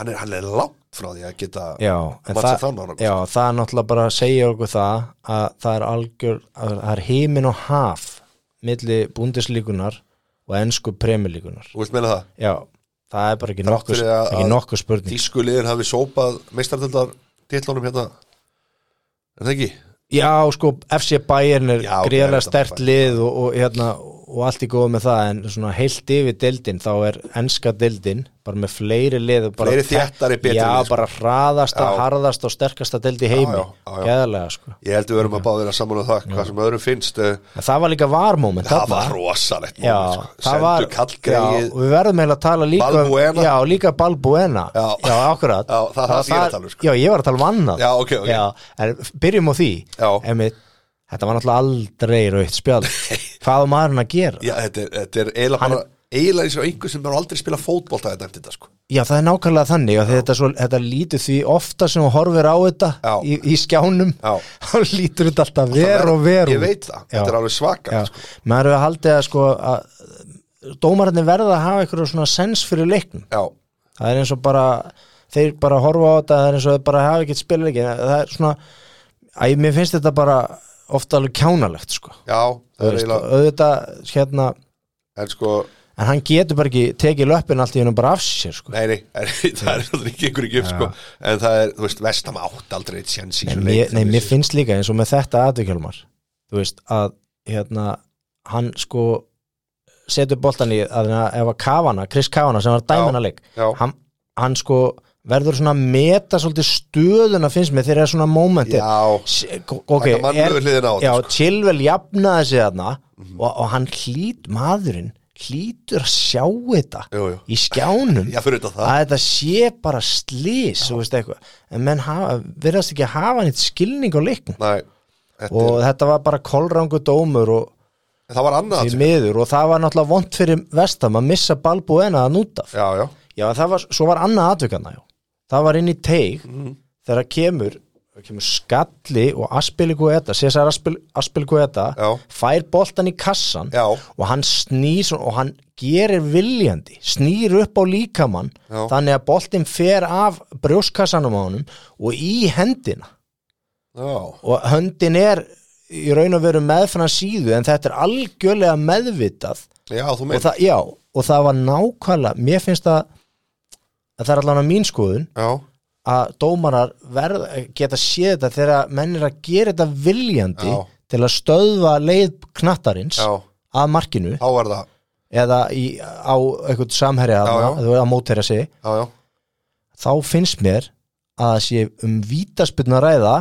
[SPEAKER 1] hann er, hann er langt frá því að geta
[SPEAKER 2] já, en
[SPEAKER 1] Matsa
[SPEAKER 2] það,
[SPEAKER 1] þann ára
[SPEAKER 2] já, það er náttúrulega bara að segja okkur það að það er algjör, að það er heimin og haf milli búndislíkunar og ensku premjulíkunar.
[SPEAKER 1] þú veist meina það,
[SPEAKER 2] Já, það er bara ekki
[SPEAKER 1] Þrátt
[SPEAKER 2] nokkuð,
[SPEAKER 1] fyrir að-
[SPEAKER 2] ekki
[SPEAKER 1] að-
[SPEAKER 2] nokkuð spurning
[SPEAKER 1] þýsku liðin hafi sópað meistartöldar titlunum hérna er það ekki?
[SPEAKER 2] Já, sko, FC Bayern er
[SPEAKER 1] Já, ok,
[SPEAKER 2] greiðlega
[SPEAKER 1] þetta var
[SPEAKER 2] stert lið og, og, hérna, og allt í góð með það en svona heilt yfir deildin þá er enska deildin bara með fleiri lið og bara
[SPEAKER 1] Fleiri þéttari betri
[SPEAKER 2] Já,
[SPEAKER 1] lið, sko.
[SPEAKER 2] bara hraðasta,
[SPEAKER 1] Já.
[SPEAKER 2] harðasta og sterkasta deild í heimi
[SPEAKER 1] Já, já, já, já.
[SPEAKER 2] Geðalega, sko
[SPEAKER 1] ég held við verum að báða vera saman á það hvað sem öðrum finnst eh,
[SPEAKER 2] en Það var líka varmóment
[SPEAKER 1] það var rosalegt
[SPEAKER 2] Já,
[SPEAKER 1] moment, sko.
[SPEAKER 2] það var
[SPEAKER 1] sendu kallgreið
[SPEAKER 2] já, og Við verðum eiginlega að tala líka um-
[SPEAKER 1] Balbuena.
[SPEAKER 2] Já, líka Balbuena
[SPEAKER 1] Já.
[SPEAKER 2] já akkurat
[SPEAKER 1] Já, það- það sem ég er að tala um, sko.
[SPEAKER 2] Já, ég var að tala um annað
[SPEAKER 1] Já, ok, ok.
[SPEAKER 2] Já, en byrjum á því
[SPEAKER 1] Já.
[SPEAKER 2] Einmitt, Þetta var náttúrulega aldrei rauðt spjald Hvað var maðurinn að gera?
[SPEAKER 1] já, þetta, er- þetta er eiginlega bara eiginlega eins og einhver sem er aldrei spila fótbolta þetta eftir þetta sko
[SPEAKER 2] Já, það er nákvæmlega þannig og þetta, svo, þetta lítur því ofta sem hún horfir á þetta
[SPEAKER 1] Já.
[SPEAKER 2] í, í skjánum
[SPEAKER 1] Já.
[SPEAKER 2] þá lítur þetta alltaf
[SPEAKER 1] Það
[SPEAKER 2] ver
[SPEAKER 1] er-
[SPEAKER 2] og ver
[SPEAKER 1] ég
[SPEAKER 2] út.
[SPEAKER 1] veit það, sko.
[SPEAKER 2] Já.
[SPEAKER 1] þetta er alveg svaka
[SPEAKER 2] Já, maður hefur haldið að sko að dómararnir verða að hafa eitthvað svona sens fyrir leiknum
[SPEAKER 1] já,
[SPEAKER 2] það er eins og bara þeir bara horfa á þetta, það er eins og þeir bara hafa ekkert spilað ekki, það er svona æ, mér finnst þetta bara ofta alveg kjánalegt sko,
[SPEAKER 1] já, það
[SPEAKER 2] Þú
[SPEAKER 1] er
[SPEAKER 2] veist,
[SPEAKER 1] eiginlega
[SPEAKER 2] auðvitað hérna,
[SPEAKER 1] en sko,
[SPEAKER 2] en hann getur bara ekki tekið löppin allt í hennu bara af sér sko.
[SPEAKER 1] Nei, nei, er, það er það ekki ykkur ekki upp sko. En það er, þú veist, vestam átt aldrei eitt sjens í
[SPEAKER 2] Nei,
[SPEAKER 1] þessum
[SPEAKER 2] mér,
[SPEAKER 1] leik,
[SPEAKER 2] nei,
[SPEAKER 1] þú
[SPEAKER 2] mér
[SPEAKER 1] veist.
[SPEAKER 2] finnst líka eins og með þetta aðvikjálmar þú veist að hérna, hann sko setur boltan í að hérna, ef að Kavana, Chris Kavana sem var dæmina leik
[SPEAKER 1] Já.
[SPEAKER 2] hann, hann sko verður svona að meta svolítið stöðuna finnst mér þegar er svona momenti
[SPEAKER 1] Já,
[SPEAKER 2] ok,
[SPEAKER 1] Taka mannlegu hliðina á þetta,
[SPEAKER 2] já,
[SPEAKER 1] sko.
[SPEAKER 2] Chilwell jafnaði sig þarna og, og hann hlýt, maðurinn hlýtur að sjá þetta
[SPEAKER 1] sko. jú, jú
[SPEAKER 2] í skjánum
[SPEAKER 1] Já, fyrir þetta það
[SPEAKER 2] að þetta sé bara slís þú veist eitthvað, en menn hafa, virðast ekki að hafa nýtt skilning á leiknum
[SPEAKER 1] Nei, þetta
[SPEAKER 2] og þetta var bara kolrangu dómur og
[SPEAKER 1] er Það var annað
[SPEAKER 2] í
[SPEAKER 1] atvik.
[SPEAKER 2] miður og það var náttúrulega vond fyrir vestam að missa balbú ena að núta
[SPEAKER 1] Já, já,
[SPEAKER 2] já, það var, svo var annað atvökanna já. það var inn í teig
[SPEAKER 1] Mhm.
[SPEAKER 2] þegar kemur, kemur skalli og aspiliku þetta, César Aspil, aspiliku þetta,
[SPEAKER 1] Já.
[SPEAKER 2] fær boltan í kassan
[SPEAKER 1] já
[SPEAKER 2] og hann snýr svona- og hann gerir viljandi snýr upp á líkamann
[SPEAKER 1] Já.
[SPEAKER 2] þannig að boltinn fer af brjóskassanum á honum og í hendina
[SPEAKER 1] Já,
[SPEAKER 2] og höndin er í raun og veru meðfram síðu en þetta er algjörlega meðvitað
[SPEAKER 1] já þú
[SPEAKER 2] og
[SPEAKER 1] meint
[SPEAKER 2] það, já, og það var nákvæmlega mér finnst það að það er allan að mín skoðun
[SPEAKER 1] Já,
[SPEAKER 2] að dómarar verð, geta séð þetta þegar menn er að gera þetta viljandi
[SPEAKER 1] Já.
[SPEAKER 2] til að stöðva leið knattarins
[SPEAKER 1] já,
[SPEAKER 2] að markinu
[SPEAKER 1] þá var það
[SPEAKER 2] eða í, á eitthvað samherja
[SPEAKER 1] Já,
[SPEAKER 2] þarna,
[SPEAKER 1] já.
[SPEAKER 2] þú veist, að mótherja sig
[SPEAKER 1] Já, já
[SPEAKER 2] þá finnst mér að það sé um vítaspyrna að ræða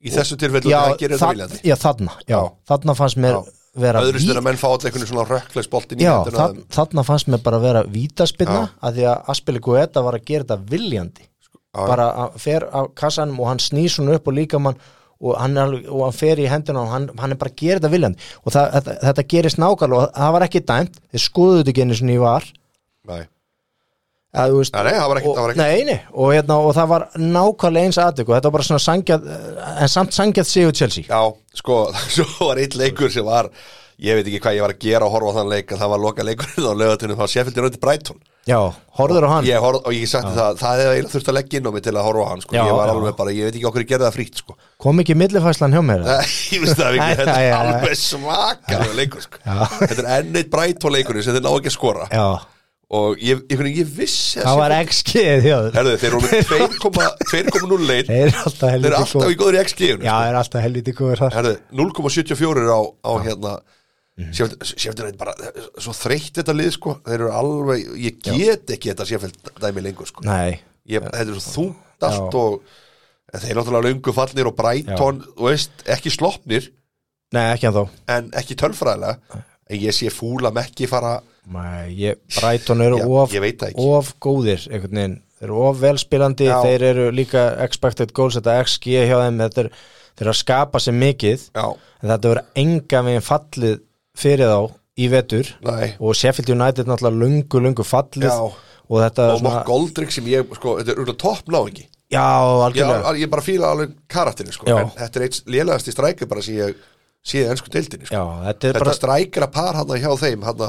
[SPEAKER 1] Í þessu tilfellu
[SPEAKER 2] já,
[SPEAKER 1] það gerir þetta
[SPEAKER 2] þa-
[SPEAKER 1] viljandi
[SPEAKER 2] já, þarna já,
[SPEAKER 1] Já.
[SPEAKER 2] þarna fannst mér
[SPEAKER 1] Já.
[SPEAKER 2] vera
[SPEAKER 1] Öðru
[SPEAKER 2] ví-
[SPEAKER 1] stundar menn fá allir einhvern svona rökklegs boltin í
[SPEAKER 2] já,
[SPEAKER 1] hendina
[SPEAKER 2] þa- þarna fannst mér bara vera vítaspyrna
[SPEAKER 1] Já.
[SPEAKER 2] að því að Aspili Guetta var að gera þetta viljandi
[SPEAKER 1] já.
[SPEAKER 2] bara að fer á kassanum og hann snýr svona upp og líka mann og hann, er alveg, og hann fer í hendina og hann, hann er bara að gera þetta viljandi og það, þetta, þetta gerist nákvæmlega og það var ekki dæmt, þeir skoðuðu þetta ekki einu sinni í var
[SPEAKER 1] Nei,
[SPEAKER 2] að, þú veist,
[SPEAKER 1] Nei, nei, það var ekkert-
[SPEAKER 2] og-
[SPEAKER 1] það var ekkert.
[SPEAKER 2] Nei, nei, og, hérna, og það var nákvæmlega eins aðtök og þetta var bara svona sangjað en samt sangjað sigur Chelsea
[SPEAKER 1] Já, sko, svo var einn leikur sem var, ég veit ekki hvað ég var að gera að horfa á þann leik, en það var loka leikurinn á lögatunum, það var Sheffield United Brighton
[SPEAKER 2] Já, horfður á hann
[SPEAKER 1] ég horf, og ég sagði það, það hefði eiginlega þurft að leggja inn á mig til að horfa á hann, sko,
[SPEAKER 2] Já,
[SPEAKER 1] ég var
[SPEAKER 2] já.
[SPEAKER 1] alveg bara, ég veit ekki okkur ég gerði það frítt, sko
[SPEAKER 2] kom ekki millifæslan hjá mér
[SPEAKER 1] ég veist það ekki, þetta
[SPEAKER 2] Æ,
[SPEAKER 1] er
[SPEAKER 2] æ, æ, æ.
[SPEAKER 1] alveg svakar leikur, sko, þetta er enn eitt Brighton leikurinn sem þeir ná ekki að skora
[SPEAKER 2] Já,
[SPEAKER 1] og ég, ég, ég, ég vissi
[SPEAKER 2] það var
[SPEAKER 1] Sheffield-
[SPEAKER 2] XG hjá þér.
[SPEAKER 1] Herðu, þeir eru með 2,0 leit,
[SPEAKER 2] Þeir eru alltaf
[SPEAKER 1] þeir eru
[SPEAKER 2] helviti
[SPEAKER 1] alltaf í góður í XG-unu,
[SPEAKER 2] Já, þeir eru alltaf helviti góður þar
[SPEAKER 1] Herðu, 0,74 er á, á hérna
[SPEAKER 2] Mhm.
[SPEAKER 1] Sjöfnir er bara svo þreytt þetta lið sko, þeir eru alveg ég get ekki þetta Sjöfnir dæmi lengur sko.
[SPEAKER 2] Nei,
[SPEAKER 1] ég, þetta er svo þungt allt og en þeir eru náttúrulega löngu fallnir og Brighton, þú veist, ekki sloppnir
[SPEAKER 2] nei, ekki en þó
[SPEAKER 1] en ekki tölfræðilega en ég sé fúla mekki fara
[SPEAKER 2] Nei, ég, Brighton eru
[SPEAKER 1] Já,
[SPEAKER 2] of,
[SPEAKER 1] ég veit það ekki.
[SPEAKER 2] of góðir einhvern veginn, þeir eru of velspilandi
[SPEAKER 1] Já.
[SPEAKER 2] þeir eru líka expected goals þetta XG hjá þeim, þetta er þeir eru að skapa sér mikið
[SPEAKER 1] já,
[SPEAKER 2] en þetta verður enga veginn fallið fyrir þá í vetur
[SPEAKER 1] nei
[SPEAKER 2] og Sheffield United náttúrulega lungu, lungu fallið
[SPEAKER 1] Já.
[SPEAKER 2] og þetta er
[SPEAKER 1] og Mokk Goldrick sem ég, sko, þetta er úrlega toppnáingi
[SPEAKER 2] já,
[SPEAKER 1] ég,
[SPEAKER 2] algjörlega
[SPEAKER 1] al- ég bara fíla alveg karakterinu sko,
[SPEAKER 2] Já.
[SPEAKER 1] en þetta er eitt lélegasti strækir bara sem ég sé ennsku deildinni sko.
[SPEAKER 2] já, þetta er
[SPEAKER 1] þetta
[SPEAKER 2] bara
[SPEAKER 1] bara... strækra par hann hjá þeim hann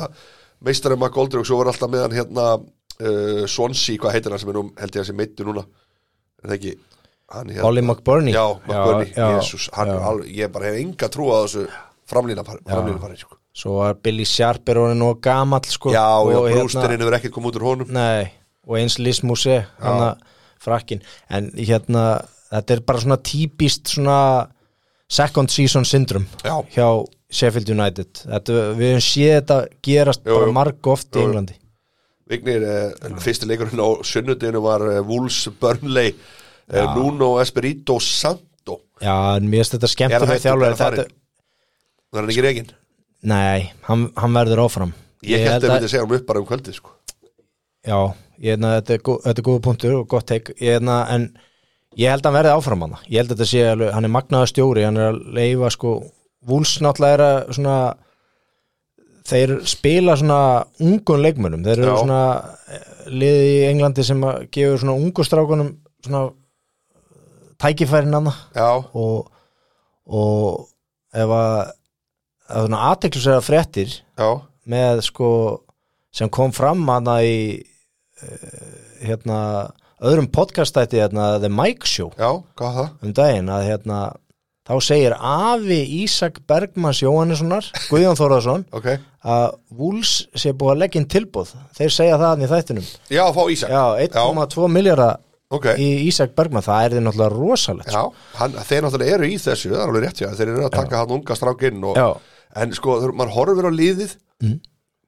[SPEAKER 1] meistarum að Goldrick svo var alltaf með hann hérna uh, Swansea, hvað heitir hann sem er nú held ég að sem meittu núna er það ekki hann hérna
[SPEAKER 2] Ollie McBurney
[SPEAKER 1] já, McBurney,
[SPEAKER 2] já,
[SPEAKER 1] Jesus hann, er alveg, ég bara hef enga trú á þessu framlýna par, framlýna par sko.
[SPEAKER 2] svo var Billy Sharp er honum og gamall sko,
[SPEAKER 1] já, já,
[SPEAKER 2] og hérna-
[SPEAKER 1] brústerinn hefur ekkert komið út úr honum
[SPEAKER 2] Nei, og eins Liz Mousse hann að frakkin en hérna, þetta er bara svona típist svona second season syndrom
[SPEAKER 1] já,
[SPEAKER 2] hjá Sheffield United þetta, við höfum séð þetta gerast
[SPEAKER 1] Jú, jú.
[SPEAKER 2] bara marg oft í
[SPEAKER 1] jú.
[SPEAKER 2] Englandi
[SPEAKER 1] Vignir, uh, fyrsti leikurinn á sunnudinu var uh, Wolves Burnley uh, Nuno Espirito Santo
[SPEAKER 2] Já, en mér finnst þetta
[SPEAKER 1] Er hann
[SPEAKER 2] skemmtilega
[SPEAKER 1] hættur? Er
[SPEAKER 2] þjálfur
[SPEAKER 1] hann
[SPEAKER 2] þetta,
[SPEAKER 1] farinn? það er hann ekki reygin
[SPEAKER 2] Nei, hann, hann verður áfram
[SPEAKER 1] ég hætti að
[SPEAKER 2] held
[SPEAKER 1] myndi segja hann upp bara um kvöldið sko.
[SPEAKER 2] Já, ég held að þetta er, gó, þetta er góð punktur og gott teik ég held að, en ég held að hann verði áfram hann ég held að þetta sé alveg, hann er magnaða stjóri hann er að leifa sko Vúls náttúrulega er að svona þeir spila svona ungun leikmönnum, þeir eru
[SPEAKER 1] Já.
[SPEAKER 2] svona eh, liði í Englandi sem að gefur svona ungustrákunum svona eh, tækifærin hann
[SPEAKER 1] já,
[SPEAKER 2] og, og ef að, að svona aðteklisera fréttir
[SPEAKER 1] já,
[SPEAKER 2] með sko sem kom fram hana í eh, hérna öðrum podcastætti hérna The Mike Show
[SPEAKER 1] já, hvað var það
[SPEAKER 2] um daginn að hérna þá þá segir afi Ísak Bergmanns Jóhannessonar, Guðjón Þóraðsson
[SPEAKER 1] ok
[SPEAKER 2] að Wools sé búið að leggja inn tilbúð þeir segja það þarna í þættinum
[SPEAKER 1] Já, fá Ísak
[SPEAKER 2] já, 1,2 miljardar
[SPEAKER 1] ok
[SPEAKER 2] í Ísak Bergmann, það er þið náttúrulega rosalegt sko.
[SPEAKER 1] Já, hann, þeir náttúrulega eru í þessu, það er alveg rétt hjá þér, þeir eru að taka hann unga strákinn og,
[SPEAKER 2] Já. Mhm.
[SPEAKER 1] en sko, þegar maður horfir á liðið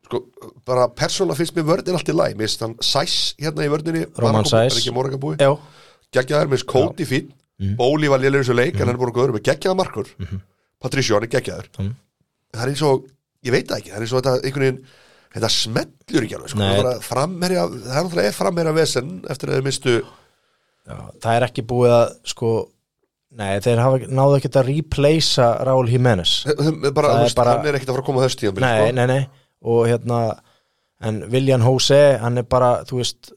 [SPEAKER 1] sko, bara persónulega finnst mér vörðin allt í læg, mér finnst hann Sæs hérna í vörðinni,
[SPEAKER 2] Roman Sæs.
[SPEAKER 1] ekki morgabúi
[SPEAKER 2] já, Mhm.
[SPEAKER 1] geggjaðar, mér finnst Kóti fín Bóli var lélegur í þessu leik, en hann er búin að góður með geggjaðar markur, Patricio, hann er geggjaðar
[SPEAKER 2] Mhm.
[SPEAKER 1] það er eins og, ég veit það ekki það er eins og þetta einhvern veginn þetta smellur ekki alveg, sko,
[SPEAKER 2] Nei.
[SPEAKER 1] það er framherja það er náttúrulega framherja vesen eftir að þeir mistu
[SPEAKER 2] já, það er ekki búið að sko, nei, þeir hafa náðu ekkert að replacea Raúl Jiménez
[SPEAKER 1] Þe- þe- bara,
[SPEAKER 2] Það
[SPEAKER 1] þú
[SPEAKER 2] er
[SPEAKER 1] veist,
[SPEAKER 2] bara-
[SPEAKER 1] hann er ekkert að fara að koma á sko. þessu tíðan
[SPEAKER 2] nei, nei, nei, og hérna en Viljan Hose, hann er bara þú veist,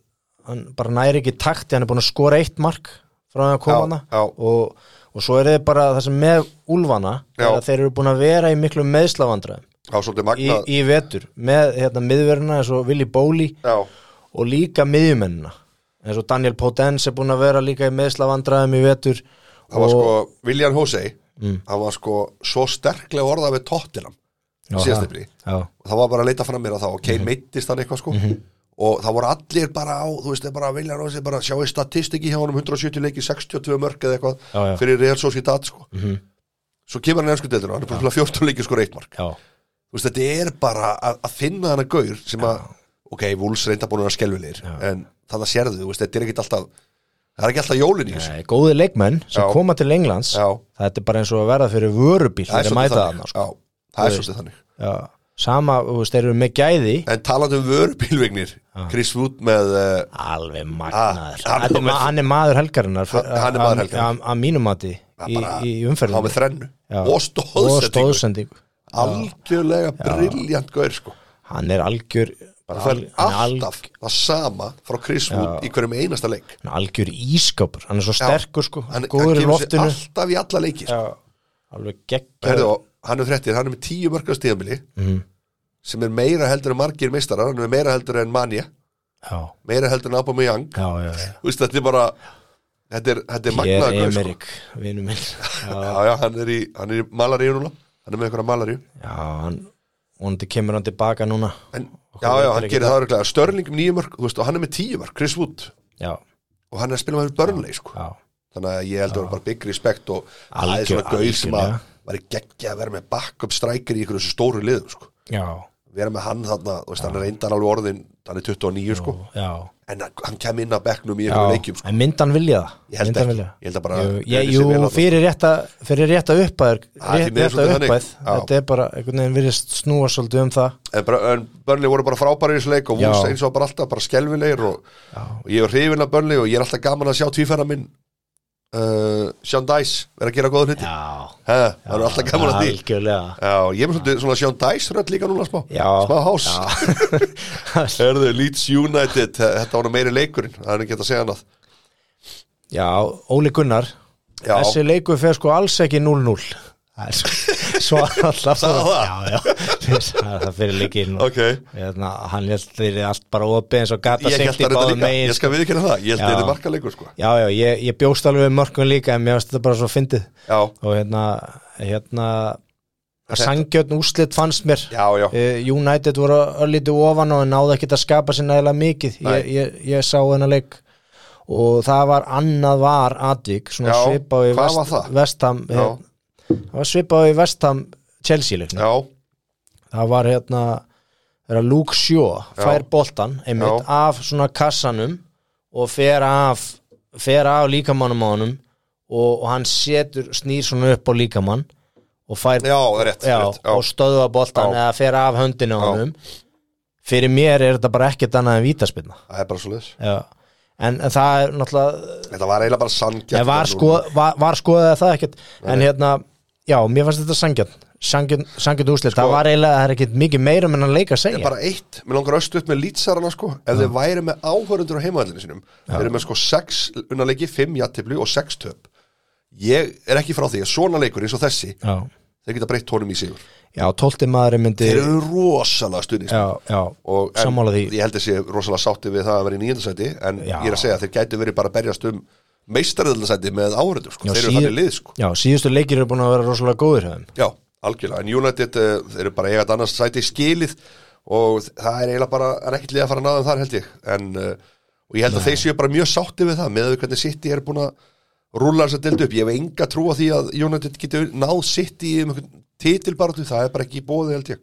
[SPEAKER 2] hann bara næri ekki í takti, hann er búin að skora eitt mark frá því að koma hana
[SPEAKER 1] já.
[SPEAKER 2] og, og svo er þið bara það sem með Úlfana er
[SPEAKER 1] Já.
[SPEAKER 2] að þeir eru búin að vera í miklu meðslavandræðum
[SPEAKER 1] Það var svolítið
[SPEAKER 2] í,
[SPEAKER 1] magna
[SPEAKER 2] í vetur með hérna, miðverðina eins og Willi Bóli
[SPEAKER 1] Já,
[SPEAKER 2] og líka miðjumennina eins og Daniel Potens er búin að vera líka í meðslavandræðum í vetur
[SPEAKER 1] það var sko William Hosey
[SPEAKER 2] Mm.
[SPEAKER 1] hann var sko svo sterklega orðað við tóttinam
[SPEAKER 2] Já,
[SPEAKER 1] síðast
[SPEAKER 2] það-
[SPEAKER 1] yfir
[SPEAKER 2] já,
[SPEAKER 1] og það var bara að leita fram mér að þá og
[SPEAKER 2] Mhm.
[SPEAKER 1] Kane meittist hann eitthvað sko og það voru allir bara á þú veist, þeir bara William Hosey bara sjáu statistiki hjá honum 170 leiki, 62 mörg eða eitthvað
[SPEAKER 2] Já, já. Mhm.
[SPEAKER 1] fyrir Real Sociedad sko svo kemur hann í ennsku deildinu, hann er búin að spila 14 leiki sko reitmark
[SPEAKER 2] já,
[SPEAKER 1] þú veist, þetta er bara að, að finna hana gaur sem að, ok, Wolves reynda búin að skelvilegir, en það sérðu, þú veist, þetta er ekki alltaf það er ekki alltaf jólin í þessu
[SPEAKER 2] Nei, góði leikmenn sem
[SPEAKER 1] Já.
[SPEAKER 2] koma til Englands
[SPEAKER 1] Já.
[SPEAKER 2] þetta er bara eins og að verða fyrir vörubíl
[SPEAKER 1] það er
[SPEAKER 2] þegar
[SPEAKER 1] svolítið
[SPEAKER 2] þeir mæta
[SPEAKER 1] þannig,
[SPEAKER 2] þarna sko.
[SPEAKER 1] sko. það er
[SPEAKER 2] Þú veist.
[SPEAKER 1] svolítið þannig
[SPEAKER 2] Já. sama, þú veist, þeir eru með gæði
[SPEAKER 1] en talandi um vörubílvegnir Chris Wood með uh,
[SPEAKER 2] alveg
[SPEAKER 1] Ah,
[SPEAKER 2] magnaður
[SPEAKER 1] hann er
[SPEAKER 2] hann, er ma-
[SPEAKER 1] með-
[SPEAKER 2] hann er maður helgarinnar
[SPEAKER 1] Hann- hann er maður helgarinnar.
[SPEAKER 2] að mínu mati í,
[SPEAKER 1] bara-
[SPEAKER 2] í
[SPEAKER 1] hann
[SPEAKER 2] umferðinu
[SPEAKER 1] með þrennu
[SPEAKER 2] Já.
[SPEAKER 1] og stóðsettingu
[SPEAKER 2] stóðsendingu
[SPEAKER 1] algjörlega brilljant gaur sko.
[SPEAKER 2] hann er algjör bara
[SPEAKER 1] það er
[SPEAKER 2] al- hann er
[SPEAKER 1] alltaf það sama frá Chris Wood í hverjum einasta leik
[SPEAKER 2] hann er algjör ískápur, hann er svo sterkur sko,
[SPEAKER 1] hann, hann
[SPEAKER 2] góður
[SPEAKER 1] kemur
[SPEAKER 2] í
[SPEAKER 1] sér
[SPEAKER 2] loftinu
[SPEAKER 1] alltaf í alla leiki sko.
[SPEAKER 2] Já, alveg geggjör
[SPEAKER 1] Herðu, hann er þrettir, hann er með tíu mörgast tíðamili
[SPEAKER 2] Mhm.
[SPEAKER 1] sem er meira heldur en margir meistarar hann er meira heldur en Manja
[SPEAKER 2] já,
[SPEAKER 1] meira heldur en Aubameyang
[SPEAKER 2] já, já, já.
[SPEAKER 1] Þú veist, þetta er bara þetta er, þetta er
[SPEAKER 2] ég er
[SPEAKER 1] magnaður gaur, sko.
[SPEAKER 2] Emerik, vinnu minn já,
[SPEAKER 1] já, já, hann er í, hann er í malaríu núna hann er með einhverja malaríu
[SPEAKER 2] já, hann vonandi kemur hann tilbaka núna
[SPEAKER 1] en,
[SPEAKER 2] Og
[SPEAKER 1] já,
[SPEAKER 2] hvað
[SPEAKER 1] já,
[SPEAKER 2] veitir
[SPEAKER 1] hann
[SPEAKER 2] ekki
[SPEAKER 1] gerir það örglega Störling um nýjum mörg, þú veist, og hann er með tíu mörg Chris Wood,
[SPEAKER 2] já,
[SPEAKER 1] og hann er að spila með börnleik, sko,
[SPEAKER 2] já,
[SPEAKER 1] þannig að ég heldur hann bara big respect og það er
[SPEAKER 2] Algjör-
[SPEAKER 1] svona gauð sem að
[SPEAKER 2] algjörlega.
[SPEAKER 1] væri geggja að vera með backup striker í ykkur þessu stóru liðum, sko
[SPEAKER 2] já
[SPEAKER 1] vera með hann þarna, þú veist, hann er reyndar alveg orðin hann er 29, sko,
[SPEAKER 2] já,
[SPEAKER 1] en hann- hann kem inn að bekknum í
[SPEAKER 2] já,
[SPEAKER 1] ykkur leikjum, sko,
[SPEAKER 2] en myndan vilja það
[SPEAKER 1] ég held
[SPEAKER 2] Myndi hann
[SPEAKER 1] ekki
[SPEAKER 2] vilja það?
[SPEAKER 1] ég held að bara,
[SPEAKER 2] Jú, ég, jú fyrir rétta, fyrir rétta
[SPEAKER 1] Það er
[SPEAKER 2] uppæður
[SPEAKER 1] sko. Ah, því
[SPEAKER 2] rétt,
[SPEAKER 1] miður
[SPEAKER 2] rétta
[SPEAKER 1] svolítið þannig.
[SPEAKER 2] uppæð,
[SPEAKER 1] Já.
[SPEAKER 2] þetta er bara einhvern veginn virðist snúa svolítið um það
[SPEAKER 1] en, bara- en Burnley voru bara frábæri í þessu leik og
[SPEAKER 2] Já.
[SPEAKER 1] Wolves eins og bara alltaf bara skelfilegir og, og ég er hrifin af Burnley og ég er alltaf gaman að sjá tvífæra minn uh, Sean Dice vera að gera góða hluti
[SPEAKER 2] já,
[SPEAKER 1] He, það er alltaf gaman að því
[SPEAKER 2] algjörlega
[SPEAKER 1] Já, ég er með svolítið svona Sean Dice rödd líka núna smá
[SPEAKER 2] Já.
[SPEAKER 1] smá hás
[SPEAKER 2] já.
[SPEAKER 1] Herðu, Leeds United, þetta var nú meiri leikurinn það er ekki hægt að segja annað
[SPEAKER 2] Já, Óli Gunnar
[SPEAKER 1] Já.
[SPEAKER 2] Þessi leikur fer sko alls ekki 0-0 Það er svo- Svo alltaf
[SPEAKER 1] Sagði það?
[SPEAKER 2] Já, já, það er það fyrir leikinn og
[SPEAKER 1] Ok,
[SPEAKER 2] hérna, Hann held þeirri allt bara opið eins og gata
[SPEAKER 1] ég held
[SPEAKER 2] sigti
[SPEAKER 1] að þetta
[SPEAKER 2] báðum
[SPEAKER 1] líka
[SPEAKER 2] megin
[SPEAKER 1] Ég skal viðkynna það, ég held
[SPEAKER 2] Já.
[SPEAKER 1] að þetta er markaleikur sko
[SPEAKER 2] Já, já, ég, ég bjóst alveg við mörgum líka en mér varst þetta bara svo fyndið
[SPEAKER 1] Já,
[SPEAKER 2] og hérna, hérna
[SPEAKER 1] Þetta-
[SPEAKER 2] Sangjötn úrslit fannst mér
[SPEAKER 1] já, já
[SPEAKER 2] Eh, United voru örlítið ofan og náðu ekkert að skapa sér nægilega mikið
[SPEAKER 1] Nei.
[SPEAKER 2] ég, ég, ég sá þennan leik og það var annað var atvík svona
[SPEAKER 1] Já,
[SPEAKER 2] svipað í
[SPEAKER 1] hvað var það?
[SPEAKER 2] vestam
[SPEAKER 1] Já,
[SPEAKER 2] eh, það var svipað í vestam Chelsea leiknum
[SPEAKER 1] já,
[SPEAKER 2] það var hérna þegar Luke Shaw fær boltan einmitt af svona kassanum og fer af fer af líkamannum á honum og, og hann setur, snýr svona upp á líkamann og fær
[SPEAKER 1] já, rétt,
[SPEAKER 2] já,
[SPEAKER 1] rétt
[SPEAKER 2] og stöðva boltan
[SPEAKER 1] Já.
[SPEAKER 2] eða fer af höndinu á honum fyrir mér er þetta bara ekkert annað en vítaspilna
[SPEAKER 1] Það er bara svo leiðis
[SPEAKER 2] já. en en það er náttúrulega
[SPEAKER 1] Þetta var eiginlega bara sangjart
[SPEAKER 2] ég var, sko, var, var skoðið að það ekkert en hérna, já, mér fannst þetta sangjarn sangjarn, sangjarn úslit, það var eiginlega það er ekkert mikið meira um menn að leika að segja
[SPEAKER 1] Sko- Bara eitt, mér langar östuð með lýtsarana sko Ef þeir væri með áhörundur á heimavallinu sinum Þeir eru með sko 6 unnarleiki, 5 jattiflu og 6 töp Ég er ekki frá því að svona leikur eins og þessi
[SPEAKER 2] já,
[SPEAKER 1] Þeir geta breytt honum í sigur
[SPEAKER 2] já tólti maður myndi
[SPEAKER 1] Þeir eru rosalega stuðnist
[SPEAKER 2] já, já,
[SPEAKER 1] og en,
[SPEAKER 2] sammála því
[SPEAKER 1] ég held að sé rosalega sátti við það að vera í nýjöndasæti en
[SPEAKER 2] Já.
[SPEAKER 1] ég er að segja að þeir gætu verið bara að berjast um meistariðalasæti með áhörðu sko.
[SPEAKER 2] Já,
[SPEAKER 1] þeir eru
[SPEAKER 2] síð-
[SPEAKER 1] þannig lið sko.
[SPEAKER 2] Já, síðustu leikir eru búin að vera rosalega góðir höfum
[SPEAKER 1] já, algjörlega, en United uh, þeir eru bara eigað annars sæti skilið og það er eiginlega bara það er ekkert lið að fara að náðum þar held ég en, uh, og ég held að þeir séu bara mjög sátti við það með að við hvernig City er búin að rúla þess að deldu upp, ég hef enga trú á því að United getur náð City um einhvern titilbaratu, það er bara ekki í bóði held ég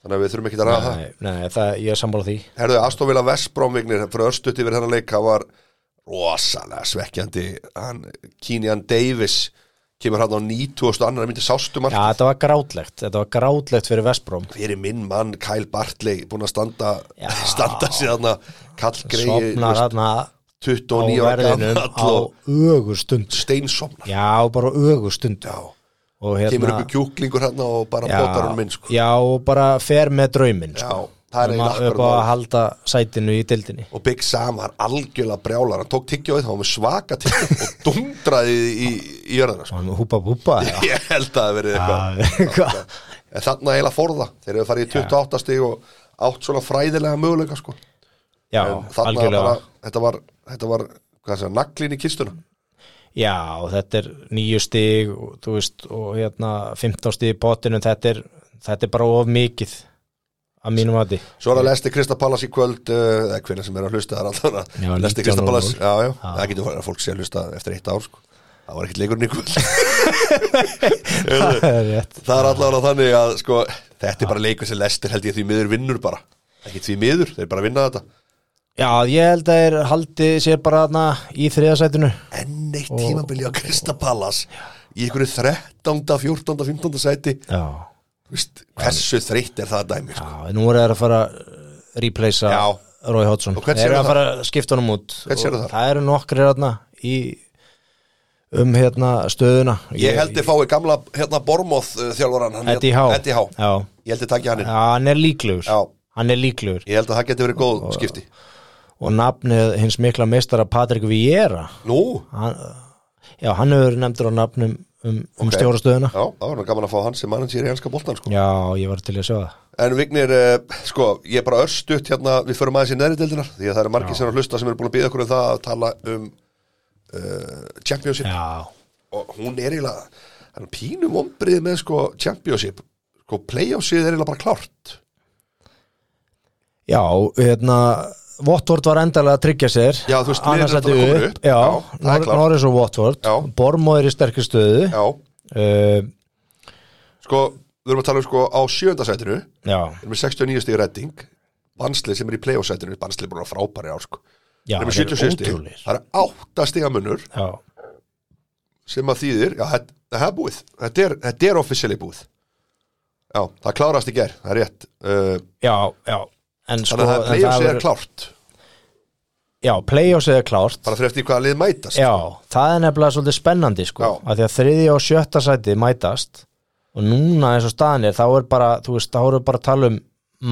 [SPEAKER 1] þannig að við þurfum ekki að ræða það
[SPEAKER 2] Nei, nei, það, ég er sammála því
[SPEAKER 1] Herðu, Aston Villa Vestbrómvignir fyrir örstutt yfir hennar leik, hann var rosalega svekkjandi hann, Kínian Davis kemur hann á 90 og annar myndi um sástum
[SPEAKER 2] Já, þetta var grátlegt, þetta var grátlegt fyrir Vestbróm
[SPEAKER 1] fyrir minn mann Kyle Bartley búin að standa, standa síðan að Kall Grey
[SPEAKER 2] Sopnar þarna á
[SPEAKER 1] 29 ára
[SPEAKER 2] verðinum á
[SPEAKER 1] gammal og
[SPEAKER 2] ögustund
[SPEAKER 1] steinsomnar
[SPEAKER 2] Já, bara ögustund
[SPEAKER 1] Já.
[SPEAKER 2] og hérna
[SPEAKER 1] kemur upp í kjúklingur hann og bara
[SPEAKER 2] já,
[SPEAKER 1] botar hann minn sko.
[SPEAKER 2] Já, og bara fer með drauminn sko.
[SPEAKER 1] Já, það er
[SPEAKER 2] Um
[SPEAKER 1] eiginlega
[SPEAKER 2] að- upp á
[SPEAKER 1] akkurat
[SPEAKER 2] að
[SPEAKER 1] málið.
[SPEAKER 2] halda sætinu í dildinni
[SPEAKER 1] og Big Sam var algjörlega brjálar hann tók tyggjóið, hann var með svaka tyggjóið og dundraði í, í jörðina sko.
[SPEAKER 2] og hann húpa búpa
[SPEAKER 1] ég held að það hafi verið eitthvað En þannig að heila forða, þeir eru farið í 28 stig og átt svona fræðilega möguleika sko.
[SPEAKER 2] Já,
[SPEAKER 1] En þarna
[SPEAKER 2] algjörlega
[SPEAKER 1] bara, þetta var, þetta var hvað segja, naglin í kistuna
[SPEAKER 2] Já, og þetta er nýju stig og, þú veist, og hérna 15 stig í potinu, þetta er, þetta er bara of mikið að mínum aði
[SPEAKER 1] Svo er að lesti Krista Pallas í kvöld uh, eða hvernig sem er að hlusta þar alltaf
[SPEAKER 2] Já,
[SPEAKER 1] lesti
[SPEAKER 2] 19
[SPEAKER 1] Krista Pallas,
[SPEAKER 2] núll.
[SPEAKER 1] já, já, það getur farið að fólk sé að hlusta eftir eitt ár sko. það var ekkert leikurinn í kvöld
[SPEAKER 2] Það er rétt
[SPEAKER 1] það er allavega þannig að sko, þetta er bara leikur sem lestir held ég því miður vinnur bara ekki því miður, þeir bara vinna þetta
[SPEAKER 2] Já, ég held að er haldið sér bara hana, í þriðasætinu
[SPEAKER 1] enn eitt tímabili á Krista Pallas í einhverju 13. 14. 15. sæti
[SPEAKER 2] Já,
[SPEAKER 1] Vist, hversu þreytt er það dæmi sko?
[SPEAKER 2] já en nú er það að fara að replacea
[SPEAKER 1] Já.
[SPEAKER 2] Rói Hotsson
[SPEAKER 1] Og hvern
[SPEAKER 2] Þeir
[SPEAKER 1] sérðu
[SPEAKER 2] eru að
[SPEAKER 1] þar?
[SPEAKER 2] fara að skipta honum út
[SPEAKER 1] Hvern sérðu
[SPEAKER 2] Og
[SPEAKER 1] þar?
[SPEAKER 2] Það eru nokkrir hana, í, um hérna, stöðuna
[SPEAKER 1] ég held ég fái gamla hérna Bormóð uh, þjálfaran hann,
[SPEAKER 2] Eddie Há
[SPEAKER 1] Eddie Há.
[SPEAKER 2] Já,
[SPEAKER 1] ég held ég takja hann
[SPEAKER 2] Já,
[SPEAKER 1] inn
[SPEAKER 2] hann er líklegur
[SPEAKER 1] Já.
[SPEAKER 2] Hann er líklegur
[SPEAKER 1] ég held að það geti verið góð skipti
[SPEAKER 2] og nafnið hins mikla meistara Patrik Vieira
[SPEAKER 1] nú,
[SPEAKER 2] hann, já, hann hefur verið nefndur á nafnum um, um
[SPEAKER 1] Ok.
[SPEAKER 2] stjórastöðuna
[SPEAKER 1] já, það var nú gaman að fá hann sem mann sér í hanska boltan sko.
[SPEAKER 2] já, ég var til að sjá það
[SPEAKER 1] en Vignir, uh, sko, ég er bara örstutt hérna, við förum aðeins í neðri deildinar því að það eru margir sem eru að hlusta sem eru búin að býða okkur um það að tala um uh, Championship
[SPEAKER 2] já,
[SPEAKER 1] og hún er eiginlega hann er pínum ombrið með sko Championship sko, playoffsið er eiginlega bara klárt
[SPEAKER 2] já hérna Votvort var endalega að tryggja sér
[SPEAKER 1] Já, þú veist, liðin
[SPEAKER 2] annars
[SPEAKER 1] eru
[SPEAKER 2] að
[SPEAKER 1] bara komin
[SPEAKER 2] upp,
[SPEAKER 1] upp.
[SPEAKER 2] já,
[SPEAKER 1] Já, það er
[SPEAKER 2] Nor-
[SPEAKER 1] klárt.
[SPEAKER 2] Norris og Votvort
[SPEAKER 1] Já.
[SPEAKER 2] Bormóður í sterkri stöðu já,
[SPEAKER 1] já,
[SPEAKER 2] uh,
[SPEAKER 1] sko, við erum að tala um sko á sjöndasætinu
[SPEAKER 2] já,
[SPEAKER 1] Þeir eru með 69 stíð redding Banslið sem er í playoff-sætinu Banslið búin að vera frábæri ár sko
[SPEAKER 2] já
[SPEAKER 1] Þeir eru með
[SPEAKER 2] þeir eru
[SPEAKER 1] 76 stíð
[SPEAKER 2] ótrúlegir.
[SPEAKER 1] Það eru 8 stíða munur
[SPEAKER 2] já,
[SPEAKER 1] sem að þýðir Já, þetta- það er búið Þetta er, þetta er officially búið Já, það klárast í ger, það er rétt uh,
[SPEAKER 2] já, já en sko,
[SPEAKER 1] Þannig að það er
[SPEAKER 2] en
[SPEAKER 1] playoff-sið er
[SPEAKER 2] verður-
[SPEAKER 1] klárt
[SPEAKER 2] já, playoffsið er klárt
[SPEAKER 1] Bara fyrir eftir hvaða lið mætast
[SPEAKER 2] Já, það er nefnilega svolítið spennandi sko,
[SPEAKER 1] sko. Já.
[SPEAKER 2] að því að þriðja og sjötta sæti mætast og núna eins og staðan er þá er bara, þú veist, þá erum við bara að tala um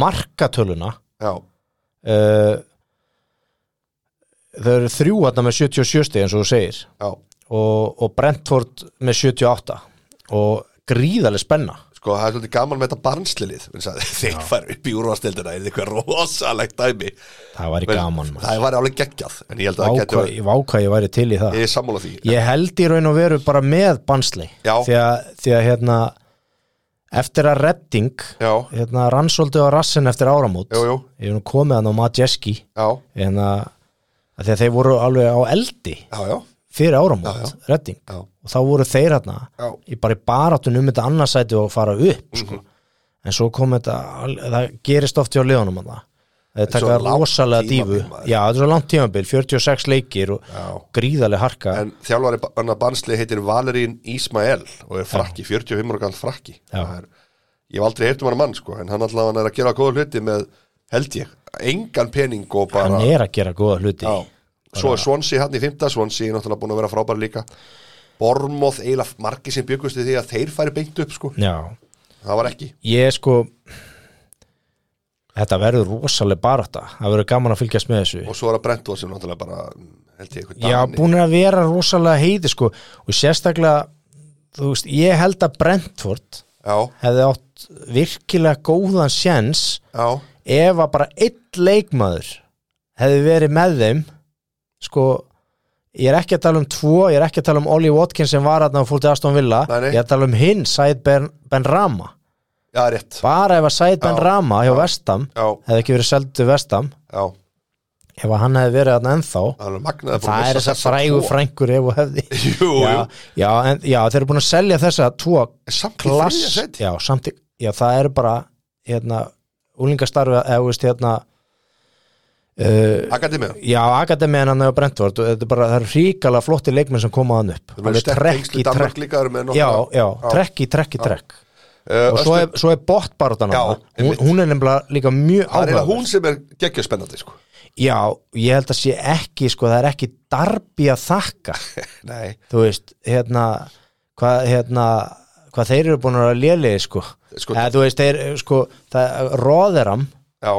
[SPEAKER 2] markatöluna
[SPEAKER 1] Já,
[SPEAKER 2] uh, þau eru þrjú þarna með 77 stig eins og þú segir
[SPEAKER 1] já.
[SPEAKER 2] og, og Brentford með 78 og gríðarlega spenna
[SPEAKER 1] Sko, það er svolítið gaman með þetta barnsliðið vegna þess að Þeir fara upp í úrvastildina Er eitthvað rosalegt dæmi
[SPEAKER 2] það væri gaman maður.
[SPEAKER 1] Það var alveg geggjað En ég held að það geti
[SPEAKER 2] Vákvæ,
[SPEAKER 1] verið-
[SPEAKER 2] vákvæ ég væri til í það
[SPEAKER 1] Ég er sammála því
[SPEAKER 2] Ég held í raun og veru bara með bansli
[SPEAKER 1] Já.
[SPEAKER 2] því að, því að hérna eftir að redding
[SPEAKER 1] Já,
[SPEAKER 2] hérna, rannsóldu á rassin eftir áramót
[SPEAKER 1] jú, jú,
[SPEAKER 2] ég hef nú komið hann á Majeski
[SPEAKER 1] já,
[SPEAKER 2] hérna, að því að þeir voru alveg á eldi
[SPEAKER 1] já, já,
[SPEAKER 2] fyrir áramót,
[SPEAKER 1] Já,
[SPEAKER 2] redding
[SPEAKER 1] já.
[SPEAKER 2] og þá voru þeir hérna
[SPEAKER 1] Já. Mhm.
[SPEAKER 2] í bara í barátun um þetta annarsæti og fara upp sko. en svo kom þetta al- það gerist oft hjá liðanum hann það
[SPEAKER 1] er svo
[SPEAKER 2] taka
[SPEAKER 1] langt
[SPEAKER 2] rosalega dífu
[SPEAKER 1] tímabil, maður.
[SPEAKER 2] já, þetta er svo langt tímabil, 46 leikir og
[SPEAKER 1] Já.
[SPEAKER 2] gríðarlega harka
[SPEAKER 1] En þjálfari annar bansli heitir Valerín Ismael og er frakki, 45 ára galt frakki
[SPEAKER 2] Já.
[SPEAKER 1] Það er, Ég hef aldrei heyrt um hann mann sko, en hann allavega er að gera góða hluti með, held ég, engan pening og bara
[SPEAKER 2] hann er að gera góða hluti
[SPEAKER 1] já, Svo er Swansea hann í fymta, Swansea er náttúrulega búin að vera frábæri líka Bormóð eiginlega margir sem bjögust við því að þeir færi beint upp sko,
[SPEAKER 2] já.
[SPEAKER 1] það var ekki
[SPEAKER 2] ég sko þetta verður rosalega barata það verður gaman að fylgjast með þessu
[SPEAKER 1] Og svo er að Brentford sem náttúrulega bara, mm, held ég, einhvern
[SPEAKER 2] já, búin að vera rosalega heiti sko og sérstaklega þú veist, ég held að Brentford
[SPEAKER 1] Já,
[SPEAKER 2] hefði átt virkilega góðan sjens
[SPEAKER 1] já,
[SPEAKER 2] ef að bara einn leikmaður hefði verið með þeim sko ég er ekki að tala um tvo, ég er ekki að tala um Ollie Watkins sem var aðna og fór til Aston Villa
[SPEAKER 1] Nei, nei.
[SPEAKER 2] ég er að tala um hinn, Said Ben, ben Rama
[SPEAKER 1] Já, rétt
[SPEAKER 2] bara ef að Said Ben
[SPEAKER 1] Já,
[SPEAKER 2] Rama hjá
[SPEAKER 1] já.
[SPEAKER 2] Vestam
[SPEAKER 1] Já,
[SPEAKER 2] hefði ekki verið seldu Vestam
[SPEAKER 1] já,
[SPEAKER 2] ef að hann hefði verið aðna ennþá
[SPEAKER 1] hann er magnað að búin
[SPEAKER 2] það
[SPEAKER 1] missa
[SPEAKER 2] er þess að
[SPEAKER 1] þessa
[SPEAKER 2] frægu
[SPEAKER 1] tvo.
[SPEAKER 2] frængur ef og hefði
[SPEAKER 1] Jú,
[SPEAKER 2] já,
[SPEAKER 1] jú,
[SPEAKER 2] já, en, já, þeir eru búin að selja þessa tvo
[SPEAKER 1] samt í
[SPEAKER 2] klass
[SPEAKER 1] þriðja seti
[SPEAKER 2] já, samt, í- já, það eru bara hérna, úlingastarfi eða, veist, hérna uh,
[SPEAKER 1] Akademíu
[SPEAKER 2] Já, Akademiðan hann og Brentford og þetta er bara, það eru ríkala flotti leikmenn sem koma hann upp
[SPEAKER 1] Þeir
[SPEAKER 2] Það
[SPEAKER 1] eru
[SPEAKER 2] er
[SPEAKER 1] sterk
[SPEAKER 2] trekk
[SPEAKER 1] tengsl
[SPEAKER 2] í
[SPEAKER 1] í Danmark
[SPEAKER 2] trekk
[SPEAKER 1] líka þeir eru með
[SPEAKER 2] Já,
[SPEAKER 1] nokkra-
[SPEAKER 2] já, trekk í trekk í trekk
[SPEAKER 1] Eh,
[SPEAKER 2] og svo
[SPEAKER 1] Östur-
[SPEAKER 2] er, svo er bottbaratan
[SPEAKER 1] Já,
[SPEAKER 2] hann hún,
[SPEAKER 1] einmitt.
[SPEAKER 2] hún er nefnilega líka
[SPEAKER 1] Það er
[SPEAKER 2] mjög
[SPEAKER 1] eiginlega
[SPEAKER 2] áhugaverð
[SPEAKER 1] hún sem er geggjöspennandi sko.
[SPEAKER 2] Já, ég held að sé ekki sko, það er ekki darbi að þakka
[SPEAKER 1] Nei,
[SPEAKER 2] þú veist, hérna hvað, hérna, hvað þeir eru búin að lélega sko,
[SPEAKER 1] Sko-
[SPEAKER 2] Eða, þú veist, þeir, sko það, Róðeram,
[SPEAKER 1] já,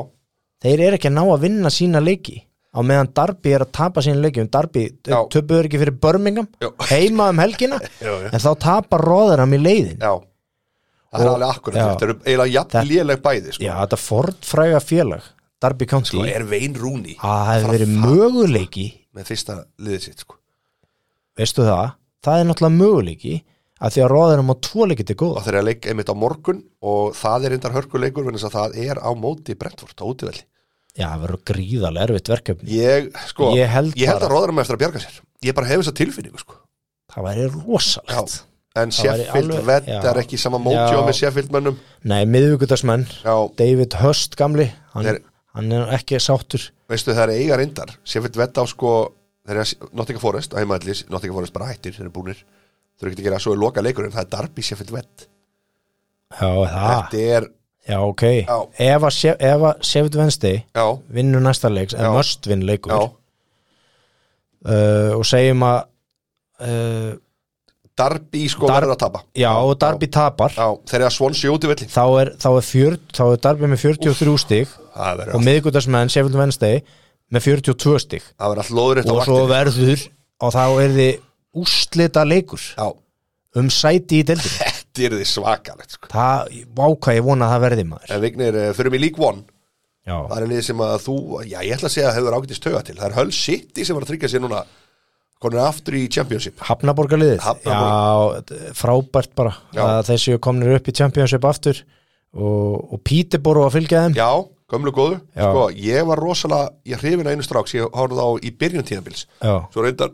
[SPEAKER 2] þeir eru ekki að ná að vinna sína leiki á meðan Darby er að tapa sína leiki um Darby
[SPEAKER 1] Já.
[SPEAKER 2] töpuður ekki fyrir Birmingham
[SPEAKER 1] Já.
[SPEAKER 2] heima um helgina
[SPEAKER 1] Já, já.
[SPEAKER 2] en þá tapar Róðuram í leiðin já.
[SPEAKER 1] já Það er
[SPEAKER 2] Og-
[SPEAKER 1] alveg akkurat
[SPEAKER 2] já.
[SPEAKER 1] Þetta eru eiginlega jafn léleg bæði sko.
[SPEAKER 2] þetta fordfræga félag Darby County
[SPEAKER 1] sko,
[SPEAKER 2] að
[SPEAKER 1] er Vein Rúni
[SPEAKER 2] það hefur verið möguleiki
[SPEAKER 1] með fyrsta liðið sitt sko.
[SPEAKER 2] veistu það, það er náttúrulega möguleiki að því að Róðuram á tvo leiki til
[SPEAKER 1] og
[SPEAKER 2] góða
[SPEAKER 1] þeir eru að leik einmitt á morgun og það er reyndar hörkuleikur vegna þess að það er á móti Brentford á útivelli
[SPEAKER 2] já, það verður gríðarlega erfitt verkefni
[SPEAKER 1] ég, sko,
[SPEAKER 2] Ég held bara-
[SPEAKER 1] að Róðarum eftir að bjarga sér ég bara hef þess að tilfinningu sko.
[SPEAKER 2] það væri rosalegt
[SPEAKER 1] Já. en
[SPEAKER 2] Það væri
[SPEAKER 1] Sheffield
[SPEAKER 2] alveg-
[SPEAKER 1] vettar
[SPEAKER 2] já.
[SPEAKER 1] ekki í sama
[SPEAKER 2] Já.
[SPEAKER 1] móti og með Sheffield mönnum
[SPEAKER 2] nei, miðvíkudagsmenn,
[SPEAKER 1] já,
[SPEAKER 2] David Hurst gamli hann,
[SPEAKER 1] Þeir-
[SPEAKER 2] hann er ekki sáttur
[SPEAKER 1] veistu það er eiga reyndar Sheffield vettar á sko þeir eru að Nottingham Forest á heimaðlis Nottingham Forest bara hættir, þeir eru búnir þeir eru ekki að gera svo í loka leikurinn það er Darby Sheffield vett
[SPEAKER 2] já, það
[SPEAKER 1] þetta er,
[SPEAKER 2] Já, ok.
[SPEAKER 1] Já.
[SPEAKER 2] Ef að Shef- ef að Sheffield Wednesday
[SPEAKER 1] já,
[SPEAKER 2] vinnur næsta leiks,
[SPEAKER 1] Já.
[SPEAKER 2] en must vinn leikur
[SPEAKER 1] já
[SPEAKER 2] uh, og segjum að uh,
[SPEAKER 1] Darby sko
[SPEAKER 2] Dar-
[SPEAKER 1] verður að tapa
[SPEAKER 2] já, og Darby tapar
[SPEAKER 1] já, þeir eru að Swansea útivelli
[SPEAKER 2] þá er, þá, er fjör, þá er Darby með 43 stig
[SPEAKER 1] það verður
[SPEAKER 2] og miðgudagsmenn Sheffield Wednesday með 42 stig
[SPEAKER 1] Það verður alltaf loður eftir
[SPEAKER 2] og svo verður og þá er þið úslita leikur
[SPEAKER 1] Já,
[SPEAKER 2] um sæti í deildin
[SPEAKER 1] þetta er því svakalegt sko.
[SPEAKER 2] það, váka ég vona að það verði maður
[SPEAKER 1] En Vignir, eh, förum í League One
[SPEAKER 2] já,
[SPEAKER 1] Það er niður sem að þú, já ég ætla að segja að hefur ágætist tauga til Það er Hull City sem var að tryggja sér núna Konur aftur í Championship
[SPEAKER 2] Hafnaborgarliðið já, frábært bara
[SPEAKER 1] Já.
[SPEAKER 2] að þeir séu komnir upp í Championship aftur og, og Peterborough að fylgja þeim
[SPEAKER 1] Já, gömlu góðu
[SPEAKER 2] Já.
[SPEAKER 1] Sko, ég var rosalega, ég hrifin að einu stráks Ég horfði á í byrjun tíðanbils
[SPEAKER 2] já,
[SPEAKER 1] Svo reyndar,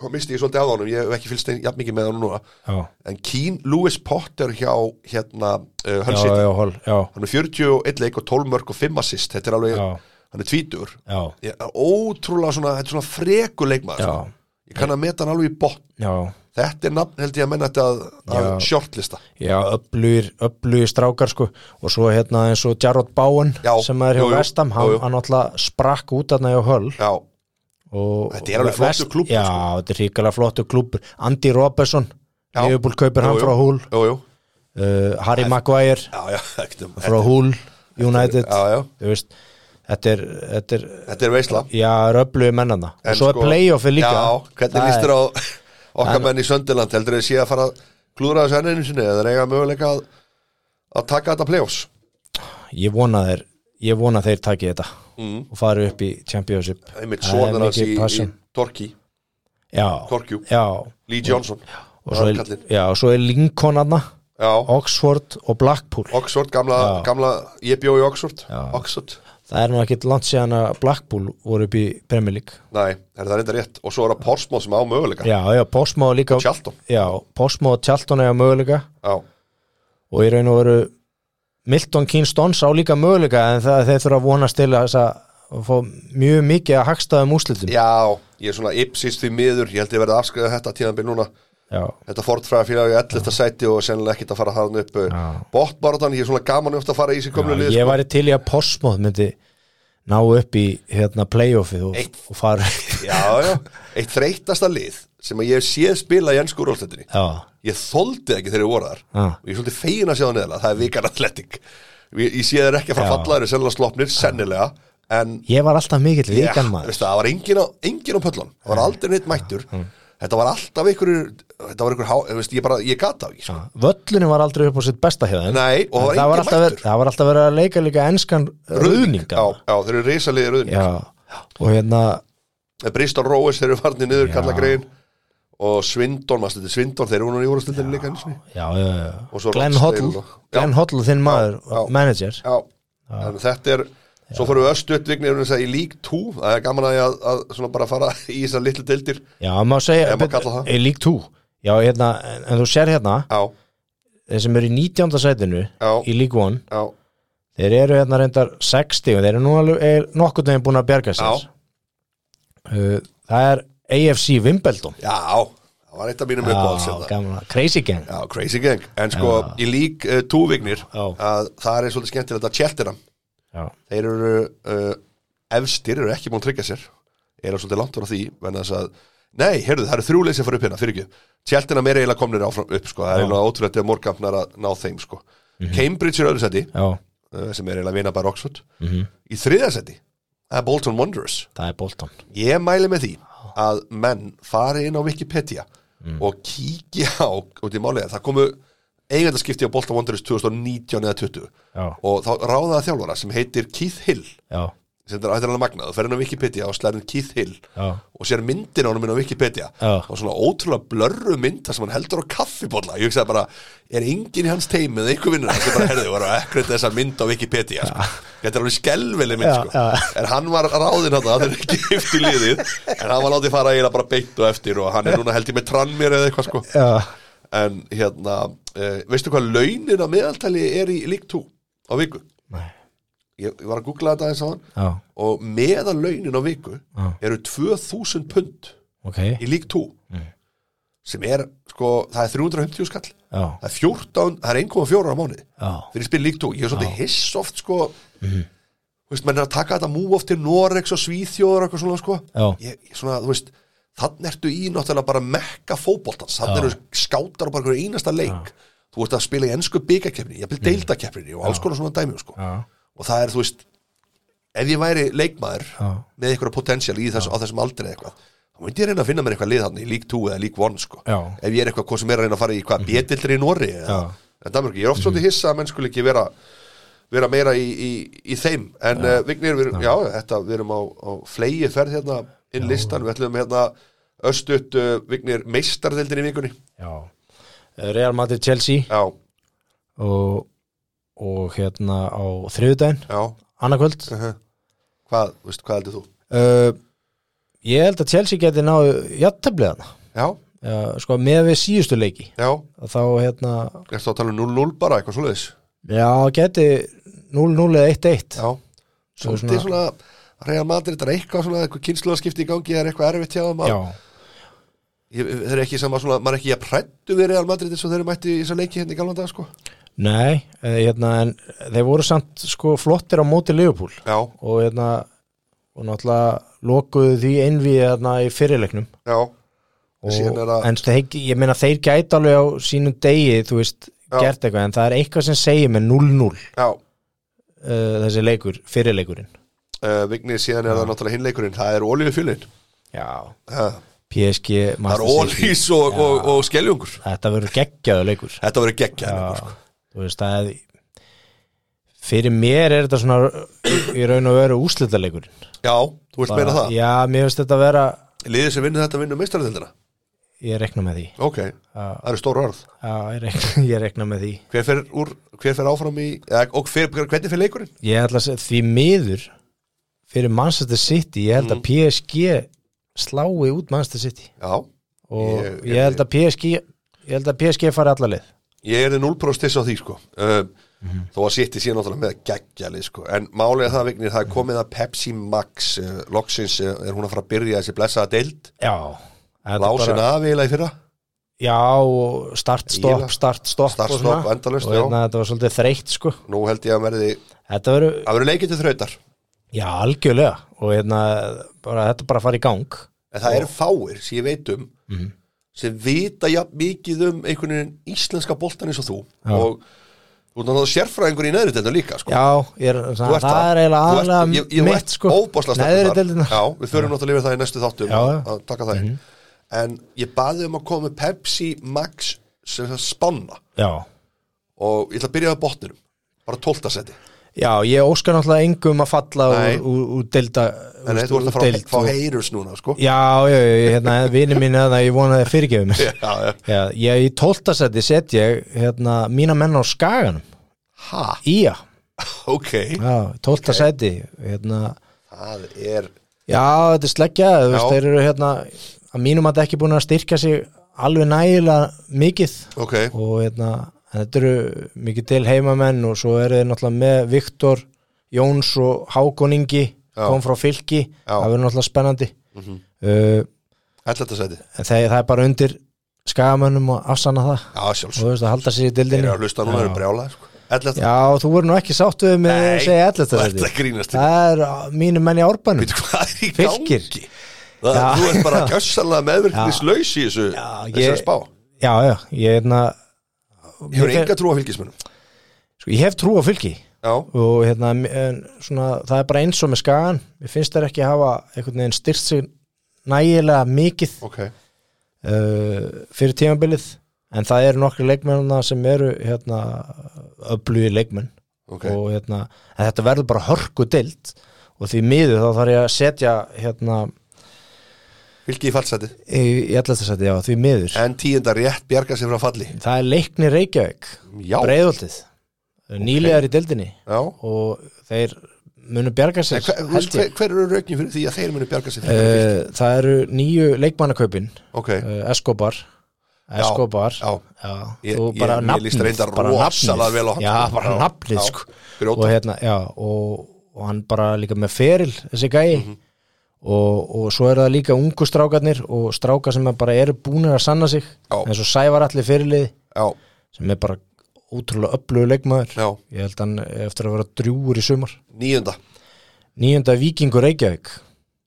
[SPEAKER 1] þá misti ég svolítið af honum Ég hef ekki fylgst einn jafn mikið með hann núna
[SPEAKER 2] já,
[SPEAKER 1] En Keen Lewis Potter hjá hérna uh, Hull
[SPEAKER 2] já,
[SPEAKER 1] City
[SPEAKER 2] já, hol, já,
[SPEAKER 1] Hann er 41 leik og 12 mörg og 5 assist Þetta er alveg,
[SPEAKER 2] já,
[SPEAKER 1] hann er tvítur
[SPEAKER 2] já,
[SPEAKER 1] Ég- ótrúlega svona, þetta er svona frekuleikmaður
[SPEAKER 2] já,
[SPEAKER 1] sko. ég kann að meta hann alveg í botn
[SPEAKER 2] já,
[SPEAKER 1] þetta er nafn held ég að menna þetta að, að
[SPEAKER 2] Já.
[SPEAKER 1] shortlista
[SPEAKER 2] já, öflugir, öflugir strákar sko og svo hérna eins og Jarrod Bowen
[SPEAKER 1] Já,
[SPEAKER 2] sem er hjá
[SPEAKER 1] jú, jú,
[SPEAKER 2] Vestam,
[SPEAKER 1] jú,
[SPEAKER 2] hann,
[SPEAKER 1] jú.
[SPEAKER 2] hann alltaf sprakk út aðna hjá höll
[SPEAKER 1] já,
[SPEAKER 2] og,
[SPEAKER 1] Þetta er alveg
[SPEAKER 2] og
[SPEAKER 1] flottur
[SPEAKER 2] Vest-
[SPEAKER 1] klúbbur, sko.
[SPEAKER 2] Já, þetta er ríkilega flottu klúbur Andy Robertson,
[SPEAKER 1] Já.
[SPEAKER 2] Liverpool kaupir hann
[SPEAKER 1] Jú, jú.
[SPEAKER 2] frá húl
[SPEAKER 1] jú, jú,
[SPEAKER 2] uh, Harry Maguire
[SPEAKER 1] já, já þetta,
[SPEAKER 2] frá
[SPEAKER 1] þetta,
[SPEAKER 2] Hull United
[SPEAKER 1] já, já,
[SPEAKER 2] þú veist, þetta er, þetta er
[SPEAKER 1] þetta er veisla
[SPEAKER 2] já, röflu í mennana
[SPEAKER 1] En
[SPEAKER 2] og svo
[SPEAKER 1] sko-
[SPEAKER 2] er playoffið líka
[SPEAKER 1] já, hvernig
[SPEAKER 2] Það
[SPEAKER 1] líst
[SPEAKER 2] er-
[SPEAKER 1] þér á okkar menn í Söndiland heldur þið sé að fara að klúðra þessu enn einu sinni eða þeir eiga möguleika að, að taka þetta play-offs
[SPEAKER 2] ég vona þeir ég vona þeir taki þetta
[SPEAKER 1] mm.
[SPEAKER 2] og fari upp í Championship
[SPEAKER 1] einmitt
[SPEAKER 2] Það er
[SPEAKER 1] sonar hans í,
[SPEAKER 2] mikið
[SPEAKER 1] í
[SPEAKER 2] passion.
[SPEAKER 1] Torki,
[SPEAKER 2] já,
[SPEAKER 1] Torkjú,
[SPEAKER 2] já
[SPEAKER 1] Lee Johnson
[SPEAKER 2] og svo
[SPEAKER 1] Það er
[SPEAKER 2] er,
[SPEAKER 1] kallinn.
[SPEAKER 2] já, og svo er Lincoln aðna
[SPEAKER 1] já,
[SPEAKER 2] Oxford og Blackpool
[SPEAKER 1] Oxford, gamla,
[SPEAKER 2] Já.
[SPEAKER 1] gamla ég bjó í Oxford
[SPEAKER 2] Já.
[SPEAKER 1] Oxford
[SPEAKER 2] það er nú ekkit langt síðan að Blackpool voru upp í Premier League
[SPEAKER 1] Nei, er það reynda rétt Og svo er það Portsmouth sem á möguleika
[SPEAKER 2] já, já, Posmo líka
[SPEAKER 1] Charlton
[SPEAKER 2] já, Posmo og Charlton eiga möguleika
[SPEAKER 1] Já,
[SPEAKER 2] og í raun og veru Milton Keynes Dons á líka möguleika en það þeir þurfa að vonast til að, þess að fá mjög mikið að hagstaðum úslitum
[SPEAKER 1] já ég er svona ipsist því miður Ég held ég verið að afskriða þetta tíðanbyrð núna
[SPEAKER 2] já,
[SPEAKER 1] Þetta fortfræða félag í 11. sæti og sennilega ekkert að fara þarna upp
[SPEAKER 2] Já.
[SPEAKER 1] Bóttbáratan, ég er svona gaman um að fara í sér komlu lið
[SPEAKER 2] ég væri til í að Postmóð myndi ná upp í hérna playoffið og,
[SPEAKER 1] Eitt.
[SPEAKER 2] og fara
[SPEAKER 1] Já, já, eitt þreytasta lið sem að ég hef séð spila í ennsku úrvalstættinni
[SPEAKER 2] já,
[SPEAKER 1] Ég þoldi ekki þegar ég voru þar
[SPEAKER 2] Já.
[SPEAKER 1] og ég er svolítið fegin að sjá það neðalega, það er vikar atletik Ég, ég sé þeir ekki að fara
[SPEAKER 2] Já.
[SPEAKER 1] að falla, þeir eru sennilega slopnir, sennilega en
[SPEAKER 2] ég var alltaf mikill vikan
[SPEAKER 1] Já,
[SPEAKER 2] maður
[SPEAKER 1] veistu, það var engin á, engin á pöllun það var aldrei neitt mættur þetta var alltaf ykkur þetta var ykkur, há, veistu, ég bara, ég gata á því sko.
[SPEAKER 2] Já, völlunum var aldrei upp á sitt besta hérna
[SPEAKER 1] nei, og það
[SPEAKER 2] það
[SPEAKER 1] var engin
[SPEAKER 2] var, alltaf verið,
[SPEAKER 1] mættur
[SPEAKER 2] það var alltaf verið að leika líka enskan ruðninga
[SPEAKER 1] já, já, þeir eru risaliði ruðning
[SPEAKER 2] já, og hérna
[SPEAKER 1] Eh, Bristol Róes þeir eru farnir niður
[SPEAKER 2] Já.
[SPEAKER 1] kalla grein og Svindon, maður stundið Svindon þeir eru núna í úrstundinni líka einu sinni.
[SPEAKER 2] já, já,
[SPEAKER 1] Og
[SPEAKER 2] já.
[SPEAKER 1] svo
[SPEAKER 2] Glenn
[SPEAKER 1] Ramsdale
[SPEAKER 2] Hoddle
[SPEAKER 1] og- Já.
[SPEAKER 2] Glenn Hoddle, þinn maður,
[SPEAKER 1] já.
[SPEAKER 2] manager
[SPEAKER 1] Já, en þetta er svo fórum við östuutvignir í lík 2, það er gaman að, ég að, að svona bara fara í þessar litlu deildir
[SPEAKER 2] já, maður segja,
[SPEAKER 1] Ef maður kallar það.
[SPEAKER 2] er lík tú já, hérna, en, en þú sér hérna
[SPEAKER 1] Já,
[SPEAKER 2] þeir sem eru í 19. sætinu
[SPEAKER 1] Já.
[SPEAKER 2] í lík 1,
[SPEAKER 1] já,
[SPEAKER 2] þeir eru hérna reyndar 60 og þeir eru nú alveg er nokkurn veginn búin að bjarga sér
[SPEAKER 1] Já.
[SPEAKER 2] Uh, það er AFC Wimbledon
[SPEAKER 1] já það var eitt af mínum uppáhalds
[SPEAKER 2] já,
[SPEAKER 1] hérna.
[SPEAKER 2] gaman, að- crazy gang
[SPEAKER 1] Já, crazy gang, en sko í lík uh, túvignir
[SPEAKER 2] Já.
[SPEAKER 1] að það er svolítið skemmtilegt að hérna. tjeltina
[SPEAKER 2] já,
[SPEAKER 1] þeir eru uh, efstir, eru ekki búin að tryggja sér eru svolítið langt frá því vegna þess að, nei, heyrðu, það eru þrjúleysi að fara upp hérna, fyrir ekki, tjeltina meira eiginlega komnir áfram upp, sko, það er
[SPEAKER 2] Já. Mhm.
[SPEAKER 1] eiginlega ótrúlega að morgafnar að ná þeim, sko Cambridge er öðru seti,
[SPEAKER 2] já,
[SPEAKER 1] uh, sem er eiginlega vinabær Oxford
[SPEAKER 2] mhm,
[SPEAKER 1] í þriða seti, það er Bolton Wanderers
[SPEAKER 2] það er Bolton
[SPEAKER 1] ég mæli með því að menn fari inn á Wikipedia
[SPEAKER 2] Mm.
[SPEAKER 1] og kíkja á út í málega, það komu eigandaskipti á Bolton Wanderers 2019 eða 20
[SPEAKER 2] já,
[SPEAKER 1] og þá ráðaða þjálfara sem heitir Keith Hill
[SPEAKER 2] já,
[SPEAKER 1] sem þetta er aðeins magnað, þú fer inn á Wikipedia og slæðin Keith Hill
[SPEAKER 2] já
[SPEAKER 1] og sér myndin á honum inn á Wikipedia
[SPEAKER 2] Já.
[SPEAKER 1] og svona ótrúlega blörru mynd þar sem hann heldur á kaffibolla ég hugsaði bara, er enginn í hans teimi eða einhver vinnur hans, ég bara herði, var að ekkert þessa mynd á Wikipedia, sko. þetta er alveg skelveli mynd,
[SPEAKER 2] Já,
[SPEAKER 1] sko,
[SPEAKER 2] já.
[SPEAKER 1] en hann var ráðinn hann, það er ekki eftir liðið en hann var látið fara eiginlega bara beint og eftir og hann er núna held ég með trann mér eða eitthvað, sko
[SPEAKER 2] já,
[SPEAKER 1] en hérna, uh, veistu hvað launin á meðaltali er í lík 2 á viku?
[SPEAKER 2] nei,
[SPEAKER 1] Ég, ég var að googla þetta aðeins á hann
[SPEAKER 2] já,
[SPEAKER 1] og meðalaunin á viku
[SPEAKER 2] Já.
[SPEAKER 1] eru 2000 pund
[SPEAKER 2] ok
[SPEAKER 1] í lík 2 sem er, sko, það er 350 skall
[SPEAKER 2] já,
[SPEAKER 1] það er 14, það er 1,4 á mánuði
[SPEAKER 2] já,
[SPEAKER 1] þegar ég spil lík 2, ég er svolítið hiss oft sko,
[SPEAKER 2] Mhm.
[SPEAKER 1] þú veist, menn er að taka þetta move oft til Norex og Svíþjóður og eitthvað svona, sko
[SPEAKER 2] já,
[SPEAKER 1] ég, ég svona, þú veist þannig ertu í náttúrulega bara mekka fótboltans þannig
[SPEAKER 2] Já.
[SPEAKER 1] eru skátar og bara einhverju einasta leik þú ert að spila í ennsku byggakefni ég vil deildakefni og alls konar svona dæmi sko.
[SPEAKER 2] Mhm. já,
[SPEAKER 1] og það er, þú veist ef ég væri leikmaður
[SPEAKER 2] Já.
[SPEAKER 1] með einhverja potential í þess, á þessum aldrei eitthvað þá myndi ég reyna að finna mér eitthvað lið hann í lík 2 eða lík 1 sko.
[SPEAKER 2] Já. Mhm.
[SPEAKER 1] ef ég er eitthvað hvað sem er að reyna að fara í hvað betildri í Nóri eða,
[SPEAKER 2] Já. Mhm.
[SPEAKER 1] en Danmark, ég er oft svolítið hissa að menn skuli ekki vera vera meira í, í, í þeim en uh, Vignir, við, já, þetta, við erum á, á flegi ferð hérna inn listan, við ætlum hérna östut uh, Vignir meistardildin í vikunni
[SPEAKER 2] já Real Madrid Chelsea
[SPEAKER 1] já,
[SPEAKER 2] og, og hérna á þriðudaginn,
[SPEAKER 1] já,
[SPEAKER 2] annarkvöld
[SPEAKER 1] uh hvað, veist, hvað heldur þú?
[SPEAKER 2] uh, ég held að Chelsea geti náðu játtöfliðan
[SPEAKER 1] Já,
[SPEAKER 2] uh, sko með við síðustu leiki
[SPEAKER 1] já,
[SPEAKER 2] að þá hérna,
[SPEAKER 1] ertu að tala um 0-0 bara, eitthvað svoleiðis
[SPEAKER 2] já geti 0-0 eða 1-1
[SPEAKER 1] Já,
[SPEAKER 2] Svo
[SPEAKER 1] svolítið svona Real Madrid er eitthvað svona eitthvað kynsluðarskipti í gangi það er eitthvað erfitt hjá þeim að-
[SPEAKER 2] já,
[SPEAKER 1] Ég- þeir eru ekki sama svona, maður er ekki að prættu við Real Madrid eins og þeir eru mætti í þessa leiki hérna í galvan dag sko.
[SPEAKER 2] nei uh, hérna, en þeir voru samt sko flottir á móti Leopold
[SPEAKER 1] Já,
[SPEAKER 2] og hérna og náttúrulega lokuðu því innvíð hérna í fyrirleiknum
[SPEAKER 1] já,
[SPEAKER 2] og,
[SPEAKER 1] Síðan er það-
[SPEAKER 2] en þeir, ég meina þeir gæti alveg á sínum degi, þú veist,
[SPEAKER 1] Já.
[SPEAKER 2] gert eitthvað en það er eitthvað sem segir með 0-0 uh,
[SPEAKER 1] já
[SPEAKER 2] þessi leikur, fyrirleikurinn
[SPEAKER 1] uh, Vignir síðan er það náttúrulega hinleikurinn það er oljufjölinn
[SPEAKER 2] já,
[SPEAKER 1] það
[SPEAKER 2] PSG
[SPEAKER 1] er
[SPEAKER 2] Master City.
[SPEAKER 1] oljís og, og, og, skeljungur
[SPEAKER 2] þetta verður geggjaðu leikur
[SPEAKER 1] þetta verður geggjað leikur, sko.
[SPEAKER 2] já, þú veist að fyrir mér er þetta svona í raun og veru úslitaleikurinn
[SPEAKER 1] sko. já, þú vilt meina það
[SPEAKER 2] já, mér finnst þetta vera
[SPEAKER 1] liðið sem vinnur þetta vinnur meistarðildina
[SPEAKER 2] ég rekna með því
[SPEAKER 1] ok, það eru stór orð
[SPEAKER 2] já, ég rekna, ég rekna með því
[SPEAKER 1] hver fer, úr, hver fer áfram í eða, og hver, hvernig fer leikurinn?
[SPEAKER 2] Ég ætla að segja því miður fyrir Manchester City, ég held
[SPEAKER 1] Mhm.
[SPEAKER 2] að PSG slái út Manchester City
[SPEAKER 1] já,
[SPEAKER 2] og ég,
[SPEAKER 1] Ég-
[SPEAKER 2] held að PSG ég held að PSG fari alla leið
[SPEAKER 1] ég er 0% tiss á því sko uh, þó að sitti síðan náttúrulega með geggjali sko, en málega það vignir það er komið að Pepsi Max uh, loksins uh, er hún að fara að byrja þessi blessaða deild
[SPEAKER 2] Já, þetta er
[SPEAKER 1] lásin
[SPEAKER 2] bara,
[SPEAKER 1] af eiginlega í fyrra
[SPEAKER 2] já og start, stopp,
[SPEAKER 1] Eiginlega.
[SPEAKER 2] start, stopp
[SPEAKER 1] Start,
[SPEAKER 2] og svona.
[SPEAKER 1] stopp, endalaust,
[SPEAKER 2] og
[SPEAKER 1] já.
[SPEAKER 2] hérna, þetta var svolítið þreytt sko
[SPEAKER 1] nú held ég að verði,
[SPEAKER 2] Þetta verður,
[SPEAKER 1] að verður leikið til þrautar
[SPEAKER 2] já algjörlega og hérna, bara, þetta bara fari í gang
[SPEAKER 1] en það eru fáir sem ég veit um
[SPEAKER 2] Mhm.
[SPEAKER 1] sem vita jafn mikið um einhvern veginn íslenska boltan eins og þú
[SPEAKER 2] Já.
[SPEAKER 1] og þú er náttúrulega sérfræðingur í neðri deltum líka sko.
[SPEAKER 2] Já, ég er, það,
[SPEAKER 1] þú
[SPEAKER 2] það er
[SPEAKER 1] ert það.
[SPEAKER 2] eiginlega
[SPEAKER 1] Ég-
[SPEAKER 2] aðlega
[SPEAKER 1] ég- þú
[SPEAKER 2] mitt
[SPEAKER 1] ert
[SPEAKER 2] sko
[SPEAKER 1] óbáslega sterkur
[SPEAKER 2] Neðri
[SPEAKER 1] þar.
[SPEAKER 2] deildina.
[SPEAKER 1] Já, við förum náttúrulega yfir það í næstu þáttum
[SPEAKER 2] Já, já. Mhm.
[SPEAKER 1] að- að taka það mm en ég baði um að koma með Pepsi Max sem það spanna
[SPEAKER 2] Já,
[SPEAKER 1] og ég ætla að byrja á botninum bara 12. seti
[SPEAKER 2] Já, ég óskar náttúrulega engum að falla
[SPEAKER 1] Nei.
[SPEAKER 2] úr, úr, úr delda
[SPEAKER 1] en þú ert að fara að fá heyrus núna sko.
[SPEAKER 2] Já, já, já, hérna, vini mín að ég vona að það fyrirgefið mér
[SPEAKER 1] já, já.
[SPEAKER 2] Já, ég í tóltasætti set ég hérna, mína menn á skaganum
[SPEAKER 1] ha,
[SPEAKER 2] Ía,
[SPEAKER 1] ok
[SPEAKER 2] já, tóltasætti hérna,
[SPEAKER 1] það er
[SPEAKER 2] Já, þetta er sleggjað, þú veist,
[SPEAKER 1] Já.
[SPEAKER 2] þeir eru hérna að mínum að ekki búin að styrka sig alveg nægilega mikið
[SPEAKER 1] ok,
[SPEAKER 2] og hérna, en þetta eru mikið til heimamenn og svo eru þeir náttúrulega með Viktor, Jóns og Hákon Ingi,
[SPEAKER 1] Já.
[SPEAKER 2] kom frá Fylki
[SPEAKER 1] Já.
[SPEAKER 2] það verður náttúrulega spennandi uh,
[SPEAKER 1] ætla þetta sæti
[SPEAKER 2] en þegar það er bara undir skagamönnum og afsanna það
[SPEAKER 1] já,
[SPEAKER 2] og
[SPEAKER 1] sjálfsög,
[SPEAKER 2] þú veist að halda sér í
[SPEAKER 1] þeir
[SPEAKER 2] dildinu
[SPEAKER 1] eru að hlusta núna, þeir eru
[SPEAKER 2] Já.
[SPEAKER 1] brjála sko. ætla þetta,
[SPEAKER 2] Já, þú verður nú ekki sátt við með að
[SPEAKER 1] Nei,
[SPEAKER 2] segja 11.
[SPEAKER 1] þú ert
[SPEAKER 2] sæti.
[SPEAKER 1] að grínast
[SPEAKER 2] Það er á- mínum menn í árbænum
[SPEAKER 1] veitu hvað er í gangi
[SPEAKER 2] Fylkir.
[SPEAKER 1] það,
[SPEAKER 2] Já.
[SPEAKER 1] þú ert bara gjössalega meðvirknislaus í þessu,
[SPEAKER 2] Já, ég-
[SPEAKER 1] þessu spá
[SPEAKER 2] Já, já, ég er hérna
[SPEAKER 1] ég hefur enga trú á fylgismunum
[SPEAKER 2] Sko, ég hef trú á fylki
[SPEAKER 1] já,
[SPEAKER 2] og hérna, en, svona, það er bara eins og með skagan, ég finnst þær ekki hafa einhvern veginn styrst sig nægilega mikið
[SPEAKER 1] ok
[SPEAKER 2] uh, fyrir tímabilið en það eru nokkri leikmennuna sem eru hérna, öflugi leikmenn
[SPEAKER 1] ok,
[SPEAKER 2] og hérna, en þetta verður bara hörku deilt og því miður þá þarf ég að setja hérna,
[SPEAKER 1] fylgi í fallsæti
[SPEAKER 2] í, í allastasæti, já, því miður
[SPEAKER 1] en tíundar rétt bjarga sér frá falli
[SPEAKER 2] það er leikni Reykjavík,
[SPEAKER 1] já,
[SPEAKER 2] breiðoltið nýlegar í deildinni
[SPEAKER 1] já
[SPEAKER 2] og þeir munu bjarga
[SPEAKER 1] En
[SPEAKER 2] sér
[SPEAKER 1] hver, þú veist,
[SPEAKER 2] held
[SPEAKER 1] hver,
[SPEAKER 2] ég.
[SPEAKER 1] hver eru raukin fyrir því að þeir munu bjarga sér frá falli?
[SPEAKER 2] Eh, Það eru nýju leikmannakaupin
[SPEAKER 1] ok,
[SPEAKER 2] uh, Escobar Escobar
[SPEAKER 1] já
[SPEAKER 2] já,
[SPEAKER 1] Ég-
[SPEAKER 2] þú
[SPEAKER 1] ég-
[SPEAKER 2] bara
[SPEAKER 1] mér líst
[SPEAKER 2] nafnið
[SPEAKER 1] reyndar
[SPEAKER 2] bara
[SPEAKER 1] rosalega vel á hann,
[SPEAKER 2] nafnið já,
[SPEAKER 1] sko.
[SPEAKER 2] bara
[SPEAKER 1] Já,
[SPEAKER 2] nafnið
[SPEAKER 1] já.
[SPEAKER 2] sko og
[SPEAKER 1] grjóta,
[SPEAKER 2] hérna, já og, og hann bara líka með feril þessi gæi
[SPEAKER 1] Mhm.
[SPEAKER 2] og, og svo eru það líka ungu strákarnir og strákar sem er bara eru búnir að sanna sig
[SPEAKER 1] Já.
[SPEAKER 2] eins og Sævar allir fyrirlið
[SPEAKER 1] já,
[SPEAKER 2] sem er bara útrúlega öflugur leikmaður
[SPEAKER 1] já,
[SPEAKER 2] ég held hann eigi eftir að vera drjúur í sumar
[SPEAKER 1] níunda
[SPEAKER 2] nýjönda Víkingur Reykjavík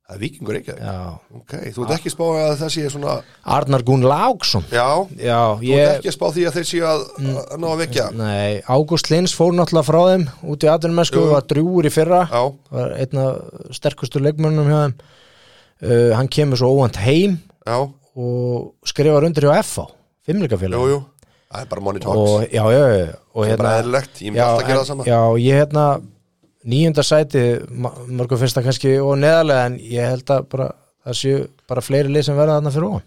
[SPEAKER 1] það er vikingur ekki,
[SPEAKER 2] já.
[SPEAKER 1] ok, þú ert ekki að spá að það sé svona,
[SPEAKER 2] Arnar Gún Láksson
[SPEAKER 1] já
[SPEAKER 2] já,
[SPEAKER 1] þú ert
[SPEAKER 2] ég Mm.
[SPEAKER 1] ekki að spá því að þeir séu að, að ná að vekja,
[SPEAKER 2] Nei, Ágúst Lins fór náttúrulega frá þeim út í atvinnumennsku,
[SPEAKER 1] Jú.
[SPEAKER 2] var drjúur í fyrra
[SPEAKER 1] já,
[SPEAKER 2] var einn af sterkustu leikmönnum hjá þeim uh, hann kemur svo óvænt heim
[SPEAKER 1] já,
[SPEAKER 2] og skrifar undir hjá FH
[SPEAKER 1] jú,
[SPEAKER 2] fimmleikafélag
[SPEAKER 1] jú það er bara money talks,
[SPEAKER 2] og, já, já, já, og
[SPEAKER 1] það er bara
[SPEAKER 2] hérna
[SPEAKER 1] eðlilegt ég myndi
[SPEAKER 2] já,
[SPEAKER 1] alltaf að
[SPEAKER 2] en-
[SPEAKER 1] gera það sama,
[SPEAKER 2] já, ég hérna nýjunda sæti, ma- mörgum finnst það kannski og neðarlega en ég held að bara, það séu bara fleiri lið sem verða þarna fyrir ofan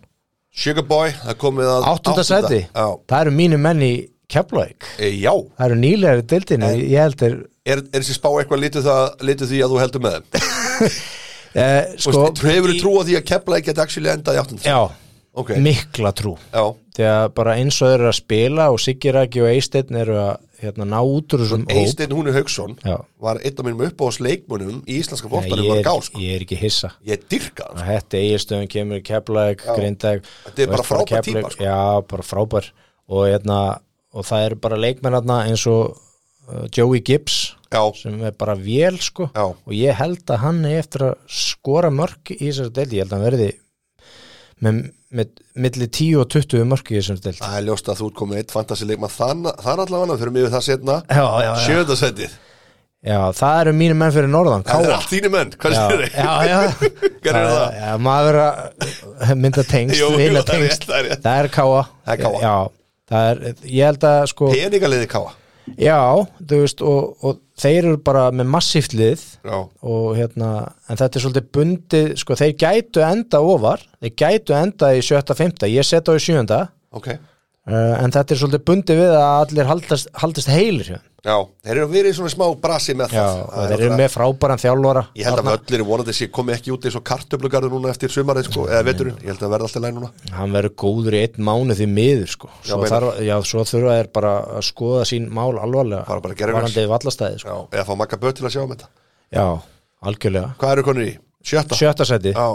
[SPEAKER 1] sugar boy, það er komið að
[SPEAKER 2] áttunda sæti,
[SPEAKER 1] já,
[SPEAKER 2] það eru mínu menn í Keflavík,
[SPEAKER 1] e, já,
[SPEAKER 2] það eru nýlegar í deildinu, ég held er
[SPEAKER 1] er, er þessi spá eitthvað litur, það, litur því að þú heldur með þeim
[SPEAKER 2] Eh,
[SPEAKER 1] Þú
[SPEAKER 2] sko,
[SPEAKER 1] veist, þú hefur trú á því að kepla ekki að actually enda í áttund
[SPEAKER 2] já,
[SPEAKER 1] ok,
[SPEAKER 2] mikla trú
[SPEAKER 1] já,
[SPEAKER 2] þegar bara eins og þeir eru að spila og Siggi Raki og Eisteinn eru að hérna, ná út úr þessum hóp
[SPEAKER 1] Eysteinn Húnu Hauksson
[SPEAKER 2] Já.
[SPEAKER 1] var einn af mínum uppáðs leikmunum í íslenska
[SPEAKER 2] Nei,
[SPEAKER 1] fólkmanum
[SPEAKER 2] ég,
[SPEAKER 1] var
[SPEAKER 2] er,
[SPEAKER 1] gás sko.
[SPEAKER 2] ég er ekki hissa
[SPEAKER 1] ég dyrka hann, sko.
[SPEAKER 2] Hætti Egilstöðum kemur í Keflæk,
[SPEAKER 1] Já.
[SPEAKER 2] Grindæk
[SPEAKER 1] Þetta er bara frábær típa, sko.
[SPEAKER 2] Já, bara frábær og, hérna, og það eru bara leikmennarna eins og uh, Joey Gibbs
[SPEAKER 1] já,
[SPEAKER 2] sem er bara vél sko
[SPEAKER 1] Já.
[SPEAKER 2] og ég held að hann er eftir að skora mörg í þessari deildi, ég held að hann verði með, með milli 10 og 20 mörg í þessari deildi
[SPEAKER 1] það er ljóst að þú ert komið eitt fantasi leikmann þann, þann allavega, þurfum við það setna
[SPEAKER 2] já, já, já.
[SPEAKER 1] sjöðasendið,
[SPEAKER 2] já, það eru mínu menn fyrir norðan
[SPEAKER 1] það er
[SPEAKER 2] Káa
[SPEAKER 1] allt þínu menn hvað
[SPEAKER 2] já,
[SPEAKER 1] sér
[SPEAKER 2] já,
[SPEAKER 1] þið,
[SPEAKER 2] já
[SPEAKER 1] hvað er það
[SPEAKER 2] Já, maður verður að mynda tengst,
[SPEAKER 1] Jú, jú,
[SPEAKER 2] vinna
[SPEAKER 1] það er rétt,
[SPEAKER 2] tengst
[SPEAKER 1] það er rétt.
[SPEAKER 2] Það er káa
[SPEAKER 1] Það er KA.
[SPEAKER 2] Já, það er, ég held að sko
[SPEAKER 1] peningaliði káa
[SPEAKER 2] Já, þú veist og, og þeir eru bara með massíft lið
[SPEAKER 1] já,
[SPEAKER 2] og hérna, en þetta er svolítið bundið sko, þeir gætu enda ofar þeir gætu enda í sjötta, femta ég set á í sjönda,
[SPEAKER 1] ok,
[SPEAKER 2] uh, en þetta er svolítið bundið við að allir haldast, haldast heilir hjá þeim.
[SPEAKER 1] já þeir eru verið í svona smá brasi með
[SPEAKER 2] Já,
[SPEAKER 1] það
[SPEAKER 2] og
[SPEAKER 1] Það er
[SPEAKER 2] þeir eru
[SPEAKER 1] náttúrulega-
[SPEAKER 2] með frábæran þjálfara
[SPEAKER 1] Ég held að
[SPEAKER 2] Arna-
[SPEAKER 1] völlir vonandi sé komið ekki út eins og kartöflugarður núna eftir sumarið sko, eða veturinn, ég held að verða alltaf læg núna
[SPEAKER 2] hann verður góður í einn mánu því miður sko.
[SPEAKER 1] Já,
[SPEAKER 2] svo,
[SPEAKER 1] meinar.
[SPEAKER 2] þarf, já, svo þurfa þeir bara að skoða sín mál alvarlega
[SPEAKER 1] Fara bara að gera
[SPEAKER 2] varandi vallastæði sko.
[SPEAKER 1] Já, eða fá makka böð til að sjá um þetta
[SPEAKER 2] já, algjörlega
[SPEAKER 1] Hvað eru konur í? Sjötta?
[SPEAKER 2] sjötta seti,
[SPEAKER 1] Já.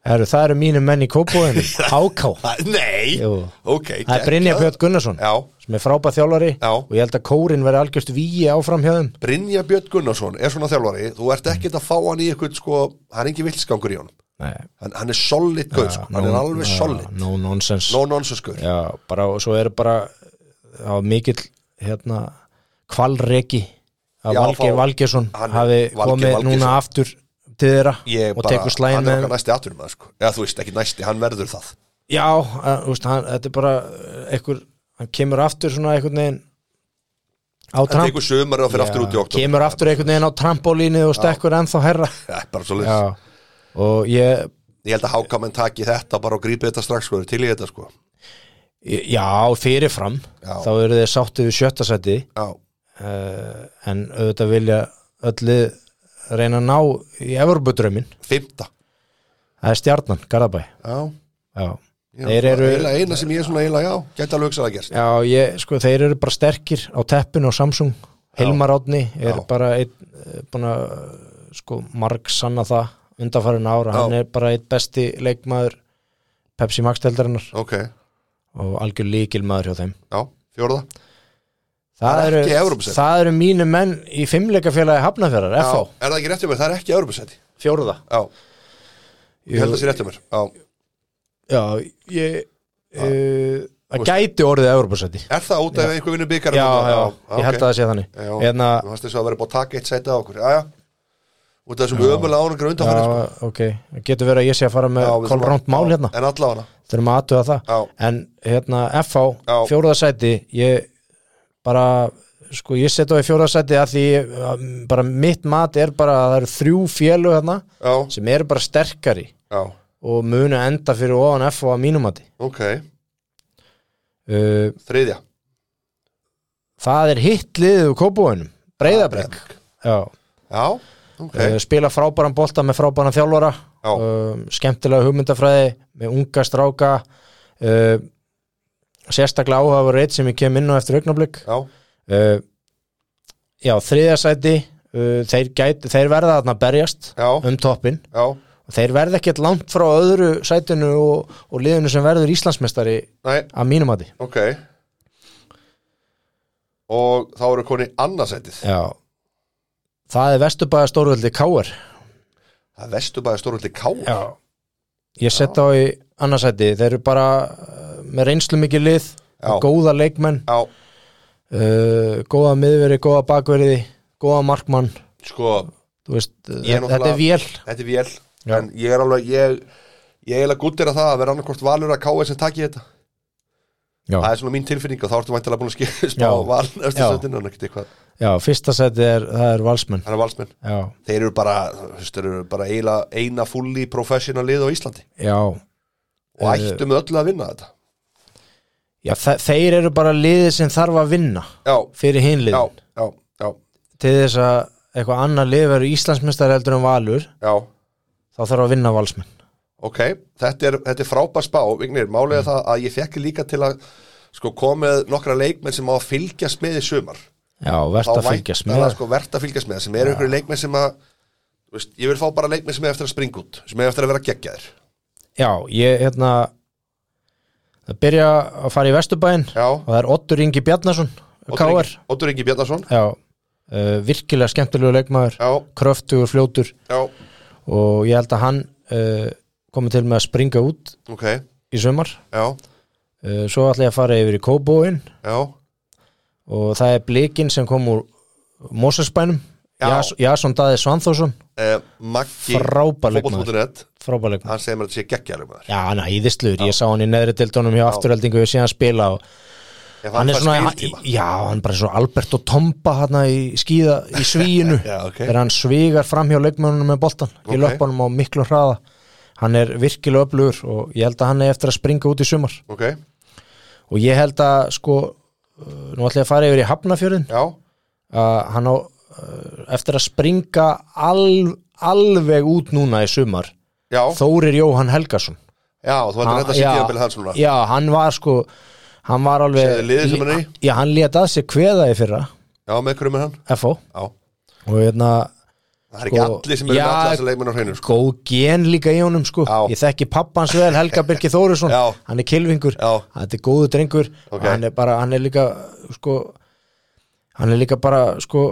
[SPEAKER 2] Heru, það eru mínu menn í kópóðinu háká,
[SPEAKER 1] Æ, Nei,
[SPEAKER 2] Jú.
[SPEAKER 1] ok
[SPEAKER 2] það er Brynja
[SPEAKER 1] geggjað.
[SPEAKER 2] Björn Gunnarsson
[SPEAKER 1] Já,
[SPEAKER 2] sem er frábæð þjálfari
[SPEAKER 1] Já.
[SPEAKER 2] og ég held að kórin verði algjörst víi áfram hjá þeim
[SPEAKER 1] Brynja Björn Gunnarsson er svona þjálfari Þú ert ekkert að fá hann í eitthvað sko Hann er ekki vilsgangur í honum
[SPEAKER 2] Nei,
[SPEAKER 1] Hann, hann er solid gauð sko, hann er alveg solid
[SPEAKER 2] no nonsense
[SPEAKER 1] No nonsense gauð
[SPEAKER 2] já, bara, og svo eru bara á mikill hérna, kvalreki að
[SPEAKER 1] Já,
[SPEAKER 2] Valgeir
[SPEAKER 1] fá-
[SPEAKER 2] Valgeirsson
[SPEAKER 1] hann-
[SPEAKER 2] hafi
[SPEAKER 1] Valgeir
[SPEAKER 2] komið
[SPEAKER 1] Valgeirsson.
[SPEAKER 2] núna aftur til þeirra
[SPEAKER 1] Ég
[SPEAKER 2] og
[SPEAKER 1] bara,
[SPEAKER 2] tekur slæðin
[SPEAKER 1] hann er
[SPEAKER 2] með
[SPEAKER 1] okkar næsti aðturum sko. Eða þú veist, ekki næsti, hann verður það
[SPEAKER 2] já, að, úst, hann, þetta er bara eh, einhver, hann kemur aftur svona einhvern veginn á
[SPEAKER 1] Það
[SPEAKER 2] tramp
[SPEAKER 1] tekur sömur og fyrir aftur út í oktober
[SPEAKER 2] kemur aftur einhvern veginn á trampolínu og stekkur ennþá herra
[SPEAKER 1] Það er bara svo
[SPEAKER 2] já. og ég
[SPEAKER 1] Ég held að hákamenn taki þetta bara og grípi þetta strax sko, eru til í þetta sko
[SPEAKER 2] já, fyrirfram
[SPEAKER 1] Já.
[SPEAKER 2] þá eru þeir sáttið við sjötta sæti
[SPEAKER 1] Já,
[SPEAKER 2] uh, en auðvitað vilja öllu reyna að ná í Evropudrömmin,
[SPEAKER 1] fymta
[SPEAKER 2] það er stjarnan Garðabæ,
[SPEAKER 1] Já,
[SPEAKER 2] já
[SPEAKER 1] já
[SPEAKER 2] Þeir eru-
[SPEAKER 1] Eila eina sem ég er svona eila, já, gæti alveg hugsað að gerst
[SPEAKER 2] já, ég, sko, þeir eru bara sterkir á teppinu á Samsung, Hilmar Átni er
[SPEAKER 1] Já.
[SPEAKER 2] bara einn eh, búin að eh, sko, marg sanna það undanfærin ára,
[SPEAKER 1] Já.
[SPEAKER 2] hann er bara einn besti leikmaður Pepsi Max teldarinnar
[SPEAKER 1] Ok, já,
[SPEAKER 2] og algjör líkilmaður hjá þeim
[SPEAKER 1] fjórða
[SPEAKER 2] það
[SPEAKER 1] Það er
[SPEAKER 2] eru,
[SPEAKER 1] ekki Evrópusæti.
[SPEAKER 2] það eru mínu menn í fimmleikafélagi Hafnafjörðar,
[SPEAKER 1] já,
[SPEAKER 2] FH,
[SPEAKER 1] Er það ekki rétt hjá mér, það er ekki Evropasæti
[SPEAKER 2] fjóruða
[SPEAKER 1] Já, ég held að það sé rétt hjá mér Já,
[SPEAKER 2] Já, ég
[SPEAKER 1] eh,
[SPEAKER 2] uh, Það gæti orðið Evropasæti
[SPEAKER 1] er það út af einhver vinnur byggar
[SPEAKER 2] Já, já, ég held að það sé þannig
[SPEAKER 1] Já,
[SPEAKER 2] Hérna,
[SPEAKER 1] þú varst þess að vera búið að taka eitt sæti á okkur Já, já Út af þessum ömulega ánungur
[SPEAKER 2] já,
[SPEAKER 1] undanfæri sko.
[SPEAKER 2] ok Það getur verið að ég sé að fara
[SPEAKER 1] Já,
[SPEAKER 2] með
[SPEAKER 1] við þurfum
[SPEAKER 2] kolránt
[SPEAKER 1] að-
[SPEAKER 2] mál
[SPEAKER 1] já,
[SPEAKER 2] hérna
[SPEAKER 1] En allavega
[SPEAKER 2] Þurfum að aðtuga það
[SPEAKER 1] Já,
[SPEAKER 2] En hérna, FH,
[SPEAKER 1] Já.
[SPEAKER 2] fjóruðasæti Ég bara Sko, ég set á í fjóruðasæti að því að, bara mitt mat er bara að það eru þrjú félög hérna
[SPEAKER 1] já,
[SPEAKER 2] sem eru bara sterkari
[SPEAKER 1] já,
[SPEAKER 2] og munu enda fyrir ofan FH að mínumati
[SPEAKER 1] ok
[SPEAKER 2] uh,
[SPEAKER 1] Þriðja
[SPEAKER 2] Það er hitt liðið úr kópúinum Breiðabrek Já
[SPEAKER 1] Já, ok
[SPEAKER 2] okay. Eh, spila frábæran bolta með frábæran þjálfara
[SPEAKER 1] Já.
[SPEAKER 2] um, skemmtilega hugmyndafræði með unga stráka uh, sérstaklega áhafur reitt sem ég kem inn á eftir augnablík
[SPEAKER 1] Já,
[SPEAKER 2] uh, já, þriðasæti uh, þeir, gæt, þeir verða þarna að berjast
[SPEAKER 1] já,
[SPEAKER 2] um toppin
[SPEAKER 1] já,
[SPEAKER 2] og þeir verða ekkert langt frá öðru sætinu og, og liðinu sem verður Íslandsmeistari
[SPEAKER 1] nei,
[SPEAKER 2] að mínum að því
[SPEAKER 1] ok Og þá eru koni annarsætið
[SPEAKER 2] já það er vesturbæða stórvöldi Káar
[SPEAKER 1] Það vestu bara stórulli ká
[SPEAKER 2] Já Ég set á í annarsæti Þeir eru bara uh, með reynslu mikið lið
[SPEAKER 1] Já.
[SPEAKER 2] Góða leikmenn
[SPEAKER 1] já,
[SPEAKER 2] uh, Góða miðveri, góða bakveriði Góða markmann
[SPEAKER 1] sko,
[SPEAKER 2] Þú veist, uh,
[SPEAKER 1] Ég er
[SPEAKER 2] Þetta er vél
[SPEAKER 1] þetta er vél
[SPEAKER 2] Já.
[SPEAKER 1] En ég er alveg, ég Ég er eiginlega guttir að það að vera annarkvort valur að káa sem taki þetta
[SPEAKER 2] Já.
[SPEAKER 1] Það er svona mín tilfinning og þá ertu væntalega búin að skilja spá
[SPEAKER 2] Já.
[SPEAKER 1] val eftir
[SPEAKER 2] Já.
[SPEAKER 1] sætinu en ekkert eitthvað
[SPEAKER 2] Já, fyrsta sæti er, það er valsmenn
[SPEAKER 1] Það er valsmenn
[SPEAKER 2] Já,
[SPEAKER 1] Þeir eru bara, þú veist, þeir eru bara eila, eina fulli professional lið á Íslandi
[SPEAKER 2] já,
[SPEAKER 1] og
[SPEAKER 2] Eh,
[SPEAKER 1] ættu með öllu að vinna þetta
[SPEAKER 2] já þe Þeir eru bara liðið sem þarf að vinna
[SPEAKER 1] Já,
[SPEAKER 2] Fyrir hinlið
[SPEAKER 1] já, já, já,
[SPEAKER 2] Til þess að eitthvað annað lið verður Íslandsmeistar heldur en valur
[SPEAKER 1] já
[SPEAKER 2] Þá þarf að vinna valsmenn
[SPEAKER 1] Ok, þetta er, þetta er frábær spá Vignir, málega mm. það að ég fekk líka til að sko komið nokkra leikmenn sem á að fylgjast með í sumar
[SPEAKER 2] Já, verðt að fylgjast með
[SPEAKER 1] það, sko, Vert að fylgjast með, sem eru ykkur leikmenn sem að þú veist, Ég vil fá bara leikmenn sem er eftir að springa út sem er eftir að vera geggjaðir
[SPEAKER 2] Já, ég hérna að byrja að fara í Vesturbæinn
[SPEAKER 1] Já,
[SPEAKER 2] og það er Ottur Ingi Bjarnason
[SPEAKER 1] Oddur
[SPEAKER 2] K.R.
[SPEAKER 1] Ingi- Oddur Ingi Bjarnason
[SPEAKER 2] Já, uh, virkilega skemmtilegu leikmaður
[SPEAKER 1] Já,
[SPEAKER 2] kröftugur fljótur
[SPEAKER 1] já,
[SPEAKER 2] og ég held að hann uh, komi til með að springa út
[SPEAKER 1] ok, já,
[SPEAKER 2] í sumar
[SPEAKER 1] já,
[SPEAKER 2] uh, svo ætla ég að fara yfir í Kóbóin og það er blikinn sem kom úr Mósesbænum
[SPEAKER 1] Já.
[SPEAKER 2] Jas- Jason Daði Svanþórsson
[SPEAKER 1] eh, Maggi
[SPEAKER 2] Frábær leikmaður.
[SPEAKER 1] fótbolti.net,
[SPEAKER 2] frábær leikmaður
[SPEAKER 1] Hann segir mér að þetta sé geggjaður leikmaður
[SPEAKER 2] Já, hann er íðisluður, ég sá hann í neðri dildónum hjá afturheldingu og sé hann spila og
[SPEAKER 1] Ef
[SPEAKER 2] hann er
[SPEAKER 1] fær
[SPEAKER 2] svona,
[SPEAKER 1] spiltíma.
[SPEAKER 2] hann, já, hann er bara svo Albert og Tomba hérna í skíða í svíinu
[SPEAKER 1] Já, ok.
[SPEAKER 2] þegar hann svigar fram hjá leikmönunum með boltan í
[SPEAKER 1] Ok.
[SPEAKER 2] löpunum á miklu hraða hann er virkilega öflugur og ég held að hann er eftir að springa út í sumar
[SPEAKER 1] Ok,
[SPEAKER 2] og ég held að sko uh, nú ætla ég að fara yfir í Hafnafjörðin
[SPEAKER 1] já,
[SPEAKER 2] að hann á uh, eftir að springa al, alveg út núna í sumar
[SPEAKER 1] já
[SPEAKER 2] Þórir Jóhann Helgason
[SPEAKER 1] Já, þú ætlar þetta að
[SPEAKER 2] já,
[SPEAKER 1] sitja að byrja hans núna
[SPEAKER 2] já, hann var sko hann var alveg
[SPEAKER 1] Sérðu liðið sem hann er í?
[SPEAKER 2] já, hann lét að sér kveða í fyrra
[SPEAKER 1] Já, með hverjum er hann?
[SPEAKER 2] FO
[SPEAKER 1] Já,
[SPEAKER 2] og hérna
[SPEAKER 1] það er ekki
[SPEAKER 2] Sko,
[SPEAKER 1] allir sem eru
[SPEAKER 2] já,
[SPEAKER 1] með alla þessa leikmenn á hreinu sko.
[SPEAKER 2] góð gen líka í honum sko
[SPEAKER 1] Já.
[SPEAKER 2] ég þekki pappans vel, Helga Birki Þórisson
[SPEAKER 1] Já.
[SPEAKER 2] hann er kilvingur,
[SPEAKER 1] Já.
[SPEAKER 2] þetta er góðu drengur
[SPEAKER 1] Ok.
[SPEAKER 2] hann er bara, hann er líka sko, hann er líka bara sko,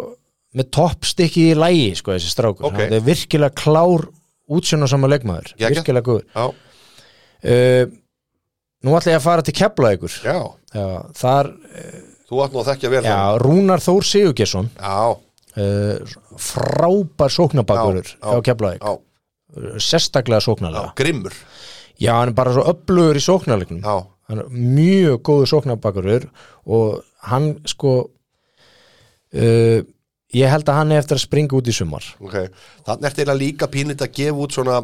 [SPEAKER 2] með toppstykki í lægi sko, þessi strákur,
[SPEAKER 1] Ok.
[SPEAKER 2] hann er virkilega klár útsjónarsama leikmaður,
[SPEAKER 1] Geggjað.
[SPEAKER 2] virkilega góður
[SPEAKER 1] Já,
[SPEAKER 2] uh, nú ætla ég að fara til kepla ykkur
[SPEAKER 1] já,
[SPEAKER 2] já, þar,
[SPEAKER 1] þú átt nú að þekkja vel
[SPEAKER 2] já,
[SPEAKER 1] hann.
[SPEAKER 2] Rúnar Þór Sigurgesson
[SPEAKER 1] já,
[SPEAKER 2] uh, frábær sóknabakurur
[SPEAKER 1] Já, já.
[SPEAKER 2] hjá kepla
[SPEAKER 1] já,
[SPEAKER 2] sérstaklega
[SPEAKER 1] já,
[SPEAKER 2] sóknarlega
[SPEAKER 1] grimmur
[SPEAKER 2] Já, hann er bara svo öflugur í sóknarleiknum
[SPEAKER 1] Já,
[SPEAKER 2] hann er mjög góður sóknarbakurur og hann sko uh, ég held að hann er eftir að springa út í sumar
[SPEAKER 1] okay. Þannig ertu eiginlega líka pínlít að gefa út svona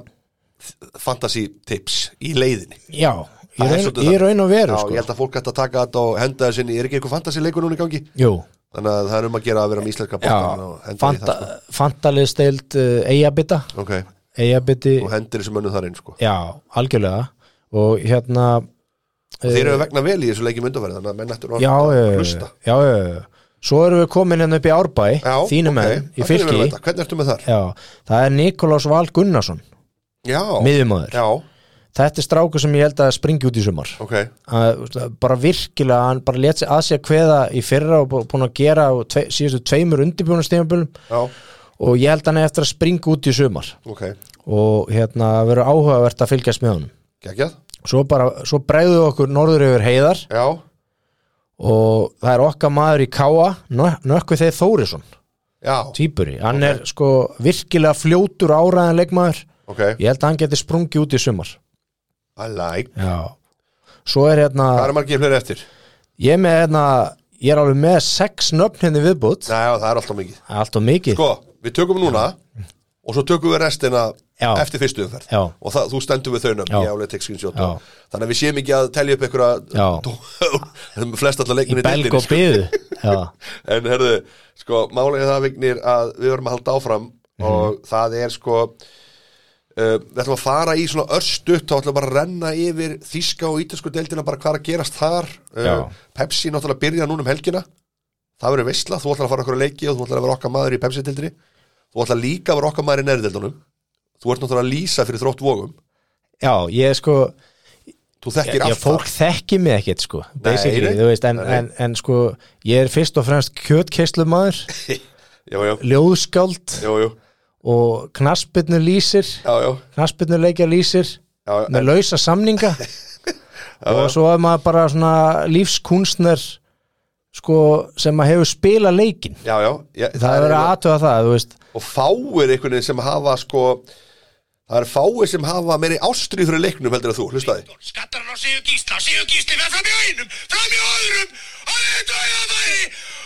[SPEAKER 1] fantasy tips í leiðinni
[SPEAKER 2] já, í
[SPEAKER 1] Það er
[SPEAKER 2] raun,
[SPEAKER 1] svolítið
[SPEAKER 2] í
[SPEAKER 1] það.
[SPEAKER 2] raun og veru
[SPEAKER 1] Já, ég
[SPEAKER 2] sko.
[SPEAKER 1] held að fólk ætti að taka þetta og henda þessi inn í, er ekki eitthvað fantasy leikur núna í gangi?
[SPEAKER 2] jú,
[SPEAKER 1] Þannig að það er um að gera að vera með íslenska
[SPEAKER 2] já
[SPEAKER 1] bóttan og henda í
[SPEAKER 2] fanta,
[SPEAKER 1] það
[SPEAKER 2] fantaliðsteild uh, eigabita
[SPEAKER 1] sko. Ok,
[SPEAKER 2] eigabiti,
[SPEAKER 1] og hendir þessu mönnu þar inn sko.
[SPEAKER 2] já, algjörlega og hérna
[SPEAKER 1] Og þeir eru vegna vel í þessu leikjum undanverð Þannig að menn ættu nú
[SPEAKER 2] já,
[SPEAKER 1] að
[SPEAKER 2] já,
[SPEAKER 1] hlusta
[SPEAKER 2] já, já, já. svo erum við komin hérna upp í Árbæ
[SPEAKER 1] Já,
[SPEAKER 2] þínum
[SPEAKER 1] ok.
[SPEAKER 2] menn, í
[SPEAKER 1] Það fyrir vel að
[SPEAKER 2] fylki
[SPEAKER 1] vita. Hvernig ertu með þar?
[SPEAKER 2] já, það er Nikolás Val Gunnarsson
[SPEAKER 1] Já,
[SPEAKER 2] miðjumöður,
[SPEAKER 1] já,
[SPEAKER 2] þetta er stráku sem ég held að springi út í sumar
[SPEAKER 1] ok
[SPEAKER 2] að, bara virkilega, hann bara let sig að sér kveða í fyrra og bú- búin að gera á tve, síðustu tveimur undirbjónastíðanbjölum
[SPEAKER 1] Já,
[SPEAKER 2] og ég held hann eigi eftir að springa út í sumar
[SPEAKER 1] ok,
[SPEAKER 2] og hérna verður áhugavert að fylgjast með honum
[SPEAKER 1] geggjað
[SPEAKER 2] svo bara, svo bregðu okkur norður yfir heiðar
[SPEAKER 1] Já,
[SPEAKER 2] og það er okkar maður í Káa nökkvi þeir Þórisson
[SPEAKER 1] já,
[SPEAKER 2] týpuri, hann er sko virkilega fljótur áraðan leikmaður
[SPEAKER 1] ok
[SPEAKER 2] ég held að hann geti sprungið út í sumar
[SPEAKER 1] I like
[SPEAKER 2] já svo er hérna,
[SPEAKER 1] Hvað er margir fleiri eftir?
[SPEAKER 2] ég er með hérna ég er alveg með sex nöfn henni viðbútt
[SPEAKER 1] Næ, já, það er alltaf mikið
[SPEAKER 2] allt og mikið,
[SPEAKER 1] Sko, við tökum núna og svo tökum við restina
[SPEAKER 2] Já.
[SPEAKER 1] eftir fyrstu umferð
[SPEAKER 2] Já.
[SPEAKER 1] og það, þú stendur við þaunum,
[SPEAKER 2] Já.
[SPEAKER 1] ég álega tek screenshot
[SPEAKER 2] Já.
[SPEAKER 1] og- þannig að við séum ekki að telja upp
[SPEAKER 2] Já.
[SPEAKER 1] einhverja flest allar leikminni
[SPEAKER 2] belg og byðu já,
[SPEAKER 1] En herðu, sko, málega það vignir að við verum að halda áfram
[SPEAKER 2] Mhm.
[SPEAKER 1] og það er sko uh, við ætlum að fara í svona örstutt þá ætlum við bara að renna yfir þíska og ítalsku deildina bara hvað er að gerast þar
[SPEAKER 2] Já.
[SPEAKER 1] uh, Pepsi náttúrulega byrja núna um helgina það verður veistla, þú ætlar að fara okkur að leiki og þú ætlar að vera okkar maður í Pepsi-deildinni þú ætlar líka að vera okkar maður í nærdeildunum þú ert náttúrulega að lýsa fyrir þrótt vógum
[SPEAKER 2] já ég sko
[SPEAKER 1] þú þekkir
[SPEAKER 2] já,
[SPEAKER 1] allt
[SPEAKER 2] fólk þekki mig ekkit sko basically,
[SPEAKER 1] nei.
[SPEAKER 2] þú veist, en,
[SPEAKER 1] Nei.
[SPEAKER 2] en, en sko ég er fyrst og fremst kjötkeislumaður
[SPEAKER 1] það já, já,
[SPEAKER 2] ljóðskáld
[SPEAKER 1] já, já,
[SPEAKER 2] og knaspirnu lýsir
[SPEAKER 1] já, já,
[SPEAKER 2] knaspirnu leikja lýsir
[SPEAKER 1] já, já.
[SPEAKER 2] með lausa samninga og svo er maður bara svona lífskunstner sko sem að hefur spila leikin
[SPEAKER 1] Já, já, já,
[SPEAKER 2] það er verið að aðtöða það, þú veist
[SPEAKER 1] og fáir einhvern veginn sem hafa sko það er fáir sem hafa meiri ástrið fyrir leiknum heldur að þú, hlustaði
[SPEAKER 3] Skattarinn á Sigur Gísla, Sigur Gísli verð fram í einum, fram í öðrum og þetta er að væri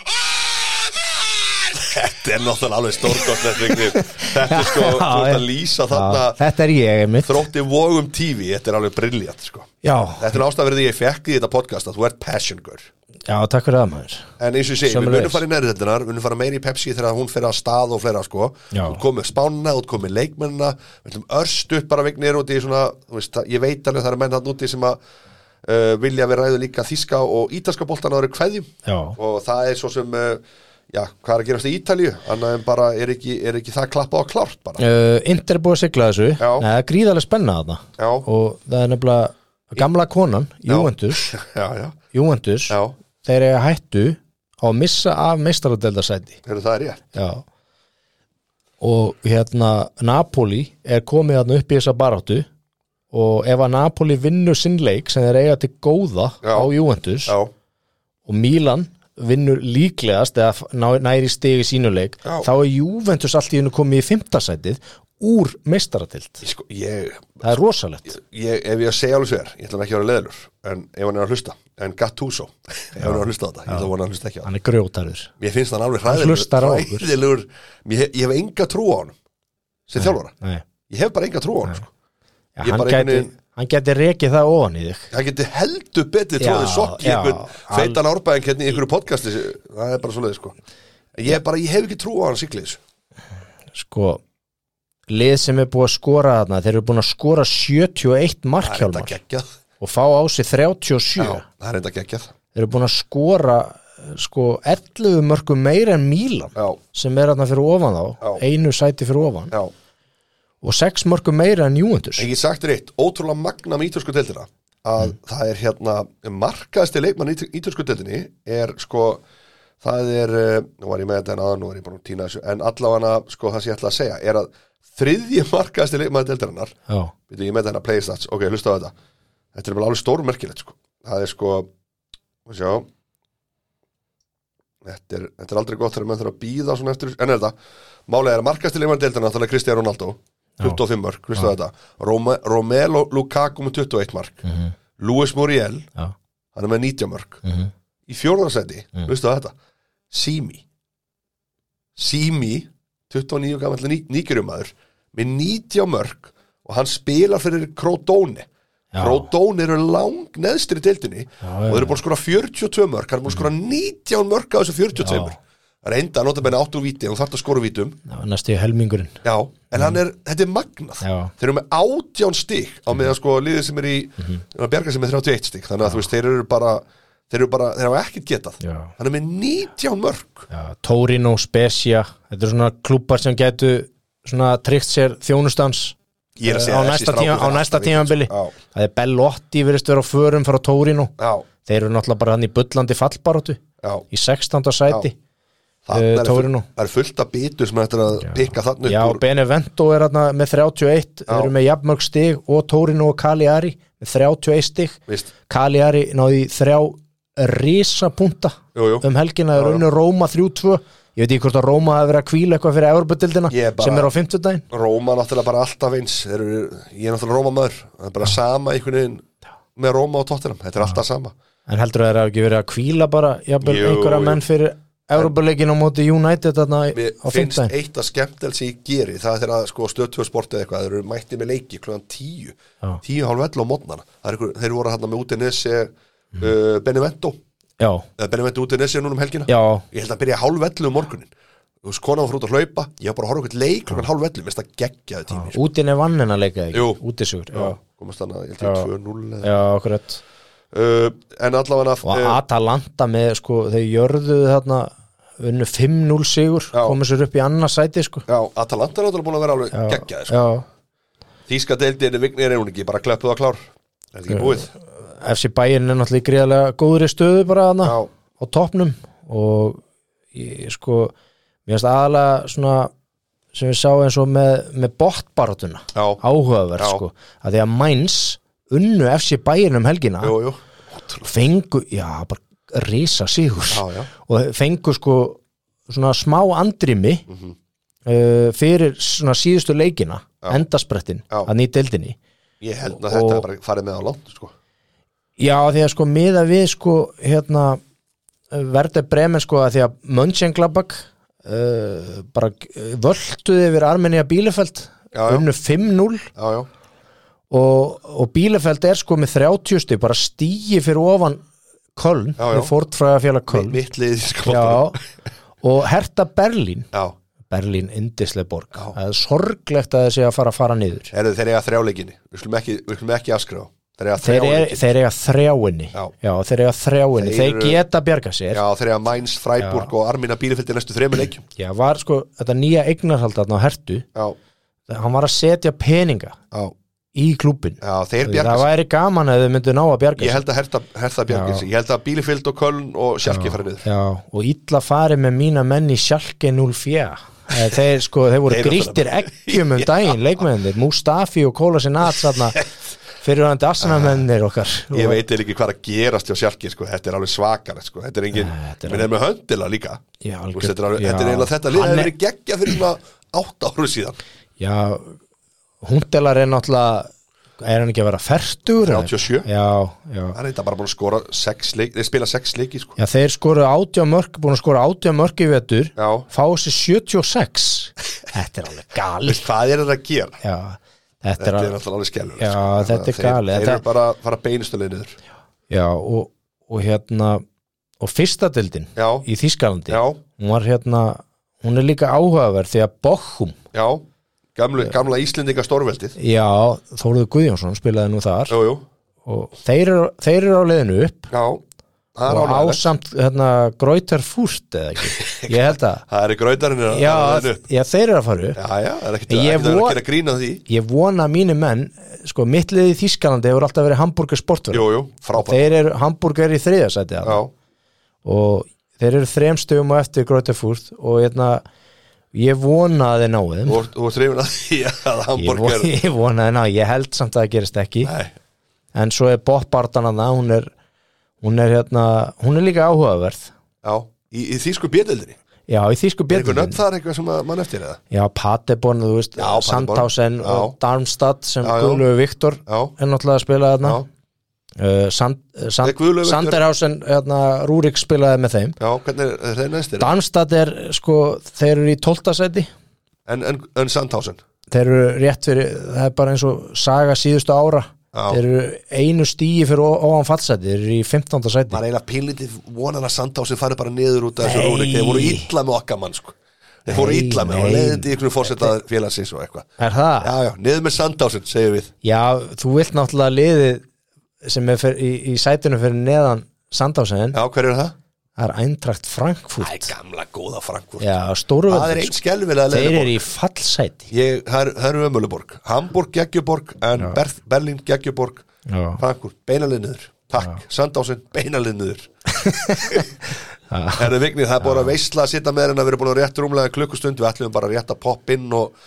[SPEAKER 3] og mark!
[SPEAKER 1] þetta er náttúrulega alveg stórkort þetta er sko, þú ert að lýsa þarna
[SPEAKER 2] Já, þetta er ég einmitt
[SPEAKER 1] þrótti vógum TV, þetta er alveg briljant sko.
[SPEAKER 2] já,
[SPEAKER 1] þetta er ástæðverðið ég fekk í þetta podcast að þú ert passion girl
[SPEAKER 2] já, takk fyrir það maður
[SPEAKER 1] En eins og ég segi, við
[SPEAKER 2] Sömuleiðis.
[SPEAKER 1] munum fara í nærðeldunar, við munum fara meiri í Pepsi þegar hún fyrir að stað og fleira sko.
[SPEAKER 2] Já.
[SPEAKER 1] Þú komið spánna, þú komið leikmennina, við ætlum örst upp bara vegnir út í svona, þú veist, það- ég veit alveg það eru menn hann úti sem að uh, vilja að við ræðum líka þíska og ítalska boltan áður kveðjum
[SPEAKER 2] já,
[SPEAKER 1] og það er svo sem, uh, já, hvað er að gerast í Ítalju, annað en bara er ekki, er ekki það klappað og klárt bara.
[SPEAKER 2] uh, Inter er búið að sigla þessu
[SPEAKER 1] Já.
[SPEAKER 2] Nei, það er gríðarlega spenna þarna
[SPEAKER 1] Já.
[SPEAKER 2] og það er nefnilega gamla konan, Juventus
[SPEAKER 1] Já, já,
[SPEAKER 2] Juventus,
[SPEAKER 1] já,
[SPEAKER 2] þeir eru hættu á að missa af meistaradeldasæti
[SPEAKER 1] eru það er ég.
[SPEAKER 2] Já og hérna Napoli er komið þarna upp í þessa baráttu og ef að Napoli vinnur sinn leik sem þeir eiga til góða
[SPEAKER 1] Já.
[SPEAKER 2] á Juventus
[SPEAKER 1] Já,
[SPEAKER 2] og Milan vinnur líklegast eða f- ná- næri stigi sínuleik
[SPEAKER 1] Já.
[SPEAKER 2] þá er Juventus allt í hennu komið í fymtasætið úr meistaratilt
[SPEAKER 1] ég, sko, ég
[SPEAKER 2] það er rosalegt
[SPEAKER 1] ég, ef ég að segja alveg sér, ég ætla nú ekki að vera leðlur en ef hann er að hlusta, en Gattuso ef hann er að hlusta á þetta, ég ætla að vona að hann hlusta ekki á þetta
[SPEAKER 2] hann er grjótarur
[SPEAKER 1] mér finnst hann alveg hræðilegur
[SPEAKER 2] hlustar á okkur.
[SPEAKER 1] hræðilegur, mér, hef- ég hef enga trú á hann sem þjálfara,
[SPEAKER 2] Nei.
[SPEAKER 1] ég hef bara enga trú á hann sko.
[SPEAKER 2] Já,
[SPEAKER 1] Ég
[SPEAKER 2] hann,
[SPEAKER 1] bara
[SPEAKER 2] gæti,
[SPEAKER 1] einhvern veginn-
[SPEAKER 2] hann gæti rekið það ofan í þig
[SPEAKER 1] hann geti heldur betur
[SPEAKER 2] Já,
[SPEAKER 1] tróðið sokk í
[SPEAKER 2] já,
[SPEAKER 1] einhvern
[SPEAKER 2] al-
[SPEAKER 1] feitan árbæðing hérna í einhverju podcasti það er bara svo sko. En ég, bara, ég hef ekki trú á hann siglið þessu
[SPEAKER 2] sko lið sem er búið að skora þarna þeir eru búin að skora 71
[SPEAKER 1] það er enda
[SPEAKER 2] markhjálmar
[SPEAKER 1] geggjað
[SPEAKER 2] og fá á sig 37
[SPEAKER 1] Já, það er enda geggjað
[SPEAKER 2] þeir eru búin að skora eh, sko 11 mörgum meira en Mílan
[SPEAKER 1] já,
[SPEAKER 2] sem er þarna fyrir ofan þá
[SPEAKER 1] Já.
[SPEAKER 2] einu sæti fyrir ofan
[SPEAKER 1] já.
[SPEAKER 2] og 6 mörgum meira en Júventus
[SPEAKER 1] En ég sagt þér eitt, ótrúlega magna með ítölsku deildina að það er hérna markaðasti leikmann í ítölsku deildinni er sko það er, eh, nú var ég með þetta en aðan nú er ég bara að týna þessu, en allavega sko það sem ég ætla að segja er að þriðji markaðasti leikmann deildarinnar,
[SPEAKER 2] já,
[SPEAKER 1] við ég er með þetta player stats, ok, hlusta á þetta þetta er bara alveg stórmerkilegt sko það er sko, og sjá þetta er, þetta er aldrei gott þegar menn þurfa að býða svona eftir, en er þetta, málega er að markaðasti leikmann deildarinnar, þannig að Cristiano Ronaldo 25 mörg, hlustaðu þetta Rome, Romelu Lukaku með 21 mörg mm
[SPEAKER 2] Mhm.
[SPEAKER 1] Luis Muriel,
[SPEAKER 2] já,
[SPEAKER 1] hann er með 90 mörg
[SPEAKER 2] Mhm.
[SPEAKER 1] í fjórðarsæti, mm. hlustaðu þetta Simi, Simi 29 gamall nýgjurumæður með 90 mörg og hann spilar fyrir Kródóni
[SPEAKER 2] Já.
[SPEAKER 1] Kródóni eru lang neðstri deildinni
[SPEAKER 2] já,
[SPEAKER 1] og þeir eru búin að skora 42 mörg hann er búin að skora 19 mörg á þessu 42
[SPEAKER 2] Já.
[SPEAKER 1] mörg reynda að nota benni 8 úr víti og þarf að skora úr vítum
[SPEAKER 2] Já, næstu í helmingurinn
[SPEAKER 1] Já, en hann er, þetta er magnað
[SPEAKER 2] Já.
[SPEAKER 1] Þeir eru með átján stík á meðan sko liðið sem er í
[SPEAKER 2] Mhm.
[SPEAKER 1] mm að Bjarga sem er 31 stík Þannig að þú veist, þeir eru bara Þeir eru bara, þeir hafa ekkert getað
[SPEAKER 2] Já.
[SPEAKER 1] Hann er með 19 mörg
[SPEAKER 2] Já, Torino, Spezia Þetta eru svona klúpar sem gætu svona tryggt sér þjónustans
[SPEAKER 1] Ég er að
[SPEAKER 2] eh,
[SPEAKER 1] segja
[SPEAKER 2] á
[SPEAKER 1] þessi
[SPEAKER 2] næsta,
[SPEAKER 1] strákur
[SPEAKER 2] tíma,
[SPEAKER 1] er
[SPEAKER 2] á
[SPEAKER 1] alltaf
[SPEAKER 2] næsta
[SPEAKER 1] í þessu.
[SPEAKER 2] tímabili
[SPEAKER 1] Já,
[SPEAKER 2] Það er Bellotti verðist vera á förum frá Torino
[SPEAKER 1] já,
[SPEAKER 2] Þeir eru náttúrulega bara hann í bullandi fallbaróttu
[SPEAKER 1] já
[SPEAKER 2] í 16. sæti
[SPEAKER 1] Þarna
[SPEAKER 2] Eh,
[SPEAKER 1] er full-
[SPEAKER 2] Torino.
[SPEAKER 1] Það er fullt af bitur sem þetta er að pikka þarna
[SPEAKER 2] Já,
[SPEAKER 1] upp úr
[SPEAKER 2] Benevento er hann með 31 Þeir eru með jafnmörg stig og Torino og Cagliari með 31 stig
[SPEAKER 1] Vist,
[SPEAKER 2] Cagliari náði í þrjá risapunta
[SPEAKER 1] jú, jú
[SPEAKER 2] um helgina
[SPEAKER 1] Já,
[SPEAKER 2] er
[SPEAKER 1] já.
[SPEAKER 2] unnu Róma 3-2 ég veit ekki hvort að Róma hafi verið að kvíla eitthvað fyrir Evropadildina
[SPEAKER 1] Ég er bara-
[SPEAKER 2] sem er á 50 daginn
[SPEAKER 1] Róma náttúrulega bara alltaf eins Þeir eru, Ég er náttúrulega Róma maður Það er bara sama einhvern veginn með Róma og Tottenham Þetta er alltaf sama
[SPEAKER 2] en heldur það að ekki verið að kvíla bara jafnvel,
[SPEAKER 1] Jú,
[SPEAKER 2] einhverja
[SPEAKER 1] jú.
[SPEAKER 2] menn fyrir Evropaleikin á móti United þarna í-
[SPEAKER 1] Mér
[SPEAKER 2] á 50
[SPEAKER 1] finnst
[SPEAKER 2] daginn
[SPEAKER 1] eitt að skemmtel sem ég geri það er þegar að sko stöðtöðsport eða eitthvað þeir eru mættið með leiki klukkan tíu
[SPEAKER 2] Já.
[SPEAKER 1] tíu hálf ellu á mótnana einhver, þeir voru hérna með Udinese
[SPEAKER 2] Mhm.
[SPEAKER 1] uh, Benevento
[SPEAKER 2] já,
[SPEAKER 1] eða Benevento Udinese núna um helgina
[SPEAKER 2] já,
[SPEAKER 1] ég held að byrja hálf ellu um morgunin þú veist konan var frá út að hlaupa ég var bara að horfa okkur leik klukkan hálf ellu minnst að geggja það tími sko.
[SPEAKER 2] útin er vann en að leika
[SPEAKER 1] Jú.
[SPEAKER 2] ekki útisugur, já,
[SPEAKER 1] komast þannig að ég held
[SPEAKER 2] Já.
[SPEAKER 1] ég 2-0 eða-
[SPEAKER 2] já, akkurat
[SPEAKER 1] uh, en allavega
[SPEAKER 2] og
[SPEAKER 1] uh,
[SPEAKER 2] Atalanta með sko, þau jörðuðu þarna unnu 5-0 sigur,
[SPEAKER 1] Já.
[SPEAKER 2] komu sér upp í annars sæti sko.
[SPEAKER 1] já, Atalanta er náttúrulega búin að vera alveg geggja sko.
[SPEAKER 2] já,
[SPEAKER 1] Þíska deildin er vignir er hún ekki bara kleppuð og klár er þetta ekki búið
[SPEAKER 2] FC Bayern er náttúrulega í gríðarlega góðri stöðu bara hana
[SPEAKER 1] Já.
[SPEAKER 2] á toppnum og ég sko mér finnst aðalega svona sem við sáum eins og með, með botbaratuna
[SPEAKER 1] Já.
[SPEAKER 2] áhugaverð
[SPEAKER 1] Já.
[SPEAKER 2] sko að því að Mainz unnu FC Bayern um helgina
[SPEAKER 1] jú, jú.
[SPEAKER 2] fengu, já bara risa sigur
[SPEAKER 1] Já, já.
[SPEAKER 2] og fengu sko svona smá andrimi
[SPEAKER 1] Mhm.
[SPEAKER 2] uh, fyrir svona síðustu leikina endasprettin
[SPEAKER 1] Já.
[SPEAKER 2] að nýja deildinni
[SPEAKER 1] Ég held að
[SPEAKER 2] Og-
[SPEAKER 1] þetta er bara farið með á langt sko.
[SPEAKER 2] Já, því að sko miða við sko hérna verður bremen sko að því að Mönchenglabbak uh, bara uh, völduði yfir Armenia Bílefeld
[SPEAKER 1] Já, já.
[SPEAKER 2] unnu 5-0
[SPEAKER 1] Já, já,
[SPEAKER 2] og, og Bílefeld er sko með 30 stig bara stígi fyrir ofan Köln,
[SPEAKER 1] Já, já.
[SPEAKER 2] með fórtfræðafélag Köln
[SPEAKER 1] mitt lið sko.
[SPEAKER 2] Já, og herta Berlín
[SPEAKER 1] já.
[SPEAKER 2] Berlín indislega borg
[SPEAKER 1] Já.
[SPEAKER 2] það er sorglegt að þessi að fara að fara niður
[SPEAKER 1] Herðu, þeir eiga þrjáleikinni Við skulum ekki, við skulum ekki afskrá Þeir eiga
[SPEAKER 2] þeir, er,
[SPEAKER 1] þrjáleikinni
[SPEAKER 2] þeir eiga þrjáinni
[SPEAKER 1] Já.
[SPEAKER 2] þeir eiga þrjáinni,
[SPEAKER 1] Þeir
[SPEAKER 2] þeir,
[SPEAKER 1] eru-
[SPEAKER 2] geta bjarga sér
[SPEAKER 1] Já, þeir eiga Mainz, Freiburg og Armina Bílefeld í næstu þremur leikjum
[SPEAKER 2] Já, var sko, þetta nýja eignarhaldarn á hertu,
[SPEAKER 1] Já,
[SPEAKER 2] hann var að setja peninga
[SPEAKER 1] já,
[SPEAKER 2] í klúbin
[SPEAKER 1] já, þeir bjarga
[SPEAKER 2] það
[SPEAKER 1] sér.
[SPEAKER 2] væri gaman að þau myndu ná að bjarga
[SPEAKER 1] Ég held að herta, herta
[SPEAKER 2] Já.
[SPEAKER 1] bjargins Ég held að Bílefeld og Köln og Sjalki fara
[SPEAKER 2] sig.
[SPEAKER 1] niður
[SPEAKER 2] Já, og illa farið með mína menn í Schalke 04 Eh, þeir sko, þeir voru
[SPEAKER 1] Þeir eru
[SPEAKER 2] grýttir ekkjum um daginn, leikmennir, Mustafi og Kóla Sinat þarna fyrirhandi asanamennir okkar
[SPEAKER 1] Ég veit eða ekki hvað er að gerast hjá Sjalki sko. Þetta er alveg svakar sko. Þetta er engin,
[SPEAKER 2] Nei, þetta er-
[SPEAKER 1] menn er með höndila líka
[SPEAKER 2] Já,
[SPEAKER 1] Þú
[SPEAKER 2] algjör-
[SPEAKER 1] veist, Þetta er alveg-
[SPEAKER 2] já.
[SPEAKER 1] þetta er eiginlega þetta lið
[SPEAKER 2] Hann
[SPEAKER 1] Það
[SPEAKER 2] er-
[SPEAKER 1] er verið geggja fyrir svona átt áru síðan
[SPEAKER 2] Já, hundelar er náttúrulega er hann ekki að vera fertur
[SPEAKER 1] 37.
[SPEAKER 2] Já, já
[SPEAKER 1] Það er þetta bara búin að skora sex leik Þeir spila sex leiki sko.
[SPEAKER 2] Já, þeir skoru átjá mörg, búin að skora átjá mörg í vetur
[SPEAKER 1] Já.
[SPEAKER 2] fá sér 76 Þetta er alveg gali
[SPEAKER 1] Veist, hvað er þetta að gera?
[SPEAKER 2] Já, þetta,
[SPEAKER 1] Þetta er
[SPEAKER 2] alveg
[SPEAKER 1] alltaf alveg skellur
[SPEAKER 2] Já, þetta er
[SPEAKER 1] Þeir,
[SPEAKER 2] galið.
[SPEAKER 1] þeir
[SPEAKER 2] Þetta-
[SPEAKER 1] eru bara að fara beinustulegið niður
[SPEAKER 2] Já, og, og hérna og fyrsta deildin
[SPEAKER 1] Já,
[SPEAKER 2] í Þískalandi
[SPEAKER 1] já,
[SPEAKER 2] hún var hérna, hún er líka áhugaverð því að Bochum,
[SPEAKER 1] já Gamlu, Gamla Íslendinga stórveldið
[SPEAKER 2] já, Þóruður Guðjónsson spilaði nú þar
[SPEAKER 1] Jú, jú,
[SPEAKER 2] og þeir eru, þeir eru á leiðinu upp
[SPEAKER 1] já Það er
[SPEAKER 2] og
[SPEAKER 1] ánægilegt
[SPEAKER 2] ásamt hérna Gróitar Fúrt eða ekki, ég held að
[SPEAKER 1] Það er í grautarinn að-
[SPEAKER 2] já,
[SPEAKER 1] að- að-
[SPEAKER 2] já, þeir eru að fara upp
[SPEAKER 1] Já, já, það er ekkert
[SPEAKER 2] Ég
[SPEAKER 1] það er ekkert að
[SPEAKER 2] vor-
[SPEAKER 1] gera grín að því
[SPEAKER 2] ég vona að mínu menn sko, mitt liðið í Þískalandi hefur alltaf verið Hamburger sportverð
[SPEAKER 1] Jú, jú, frábært
[SPEAKER 2] þeir eru Hamburger í þriðasæti
[SPEAKER 1] Já,
[SPEAKER 2] og þeir eru þrem stöðum og eftir Grötefúrð og hérna, ég vona að þeir náu þeim
[SPEAKER 1] þú ert- þú ert hrifin að því að
[SPEAKER 2] ég, von,
[SPEAKER 1] Hamburger
[SPEAKER 2] ég vona að þeir náu, ég held samt að það gerist ekki
[SPEAKER 1] Nei,
[SPEAKER 2] en svo er Boppartan að það hún er, hún er hérna hún er líka áhugaverð
[SPEAKER 1] já, í, í þýsku bjöldildinni
[SPEAKER 2] já, í
[SPEAKER 1] Er
[SPEAKER 2] þýsku
[SPEAKER 1] einhver nöfn
[SPEAKER 2] björnum
[SPEAKER 1] þar eitthvað sem að mann eftir eða?
[SPEAKER 2] já, Pateborn, þú veist,
[SPEAKER 1] Já, Paderborn.
[SPEAKER 2] Sandhausen og
[SPEAKER 1] Já.
[SPEAKER 2] Darmstadt sem
[SPEAKER 1] Já, já.
[SPEAKER 2] Guðlögu Viktor
[SPEAKER 1] Já.
[SPEAKER 2] er náttúrulega að spila þarna
[SPEAKER 1] Já,
[SPEAKER 2] uh, Sand, uh,
[SPEAKER 1] Nei, Guðlaugur-
[SPEAKER 2] Sand, Sanderhausen hérna, Rúrik spilaði með þeim
[SPEAKER 1] Já, hvernig er, er þeir næstir?
[SPEAKER 2] Darmstadt er sko, þeir eru í 12. seti
[SPEAKER 1] En, en, en Sandhausen
[SPEAKER 2] þeir eru rétt fyrir, það er bara eins og saga síðustu ára
[SPEAKER 1] Já.
[SPEAKER 2] þeir eru einu stíi fyrir ó- ofan fallseti þeir eru í 15. seti
[SPEAKER 1] Maður eiginlega pínlítið vonar að Sandhausen fari bara niður út af þessu
[SPEAKER 2] Nei.
[SPEAKER 1] rúrik Þeir voru illa með okkar mann sko Þeir fóru
[SPEAKER 2] Nei,
[SPEAKER 1] illa með og
[SPEAKER 2] nei.
[SPEAKER 1] leiðið í ykkur fórsetað félagsins og eitthvað
[SPEAKER 2] er það?
[SPEAKER 1] Já, já, niður með Sandhausen, segir við
[SPEAKER 2] Já, þú vilt náttúrulega liðið sem er fyr, í, í sætunum fyrir neðan Sandhásinn,
[SPEAKER 1] Já, hver er það?
[SPEAKER 2] það er Eintrakt
[SPEAKER 1] Æ,
[SPEAKER 2] Frankfurt
[SPEAKER 1] gamla góða Frankfurt
[SPEAKER 2] Já,
[SPEAKER 1] Það er
[SPEAKER 2] stóruveldur
[SPEAKER 1] einn skelvilega
[SPEAKER 2] Þeir
[SPEAKER 1] leiðið
[SPEAKER 2] eru í fallsæti
[SPEAKER 1] Ég, það eru- það eru ömuleborg Hamburg geggjuborg en Berth, Berlín geggjuborg
[SPEAKER 2] Já.
[SPEAKER 1] Frankfurt, beinaliðniður Takk, Sandásinn, beinaliðniður Herðu vignið, það er búin að veisla að sitja með hérna, við erum búin að rétt rúmlega klukkustund við ætlum bara rétt að poppa inn og,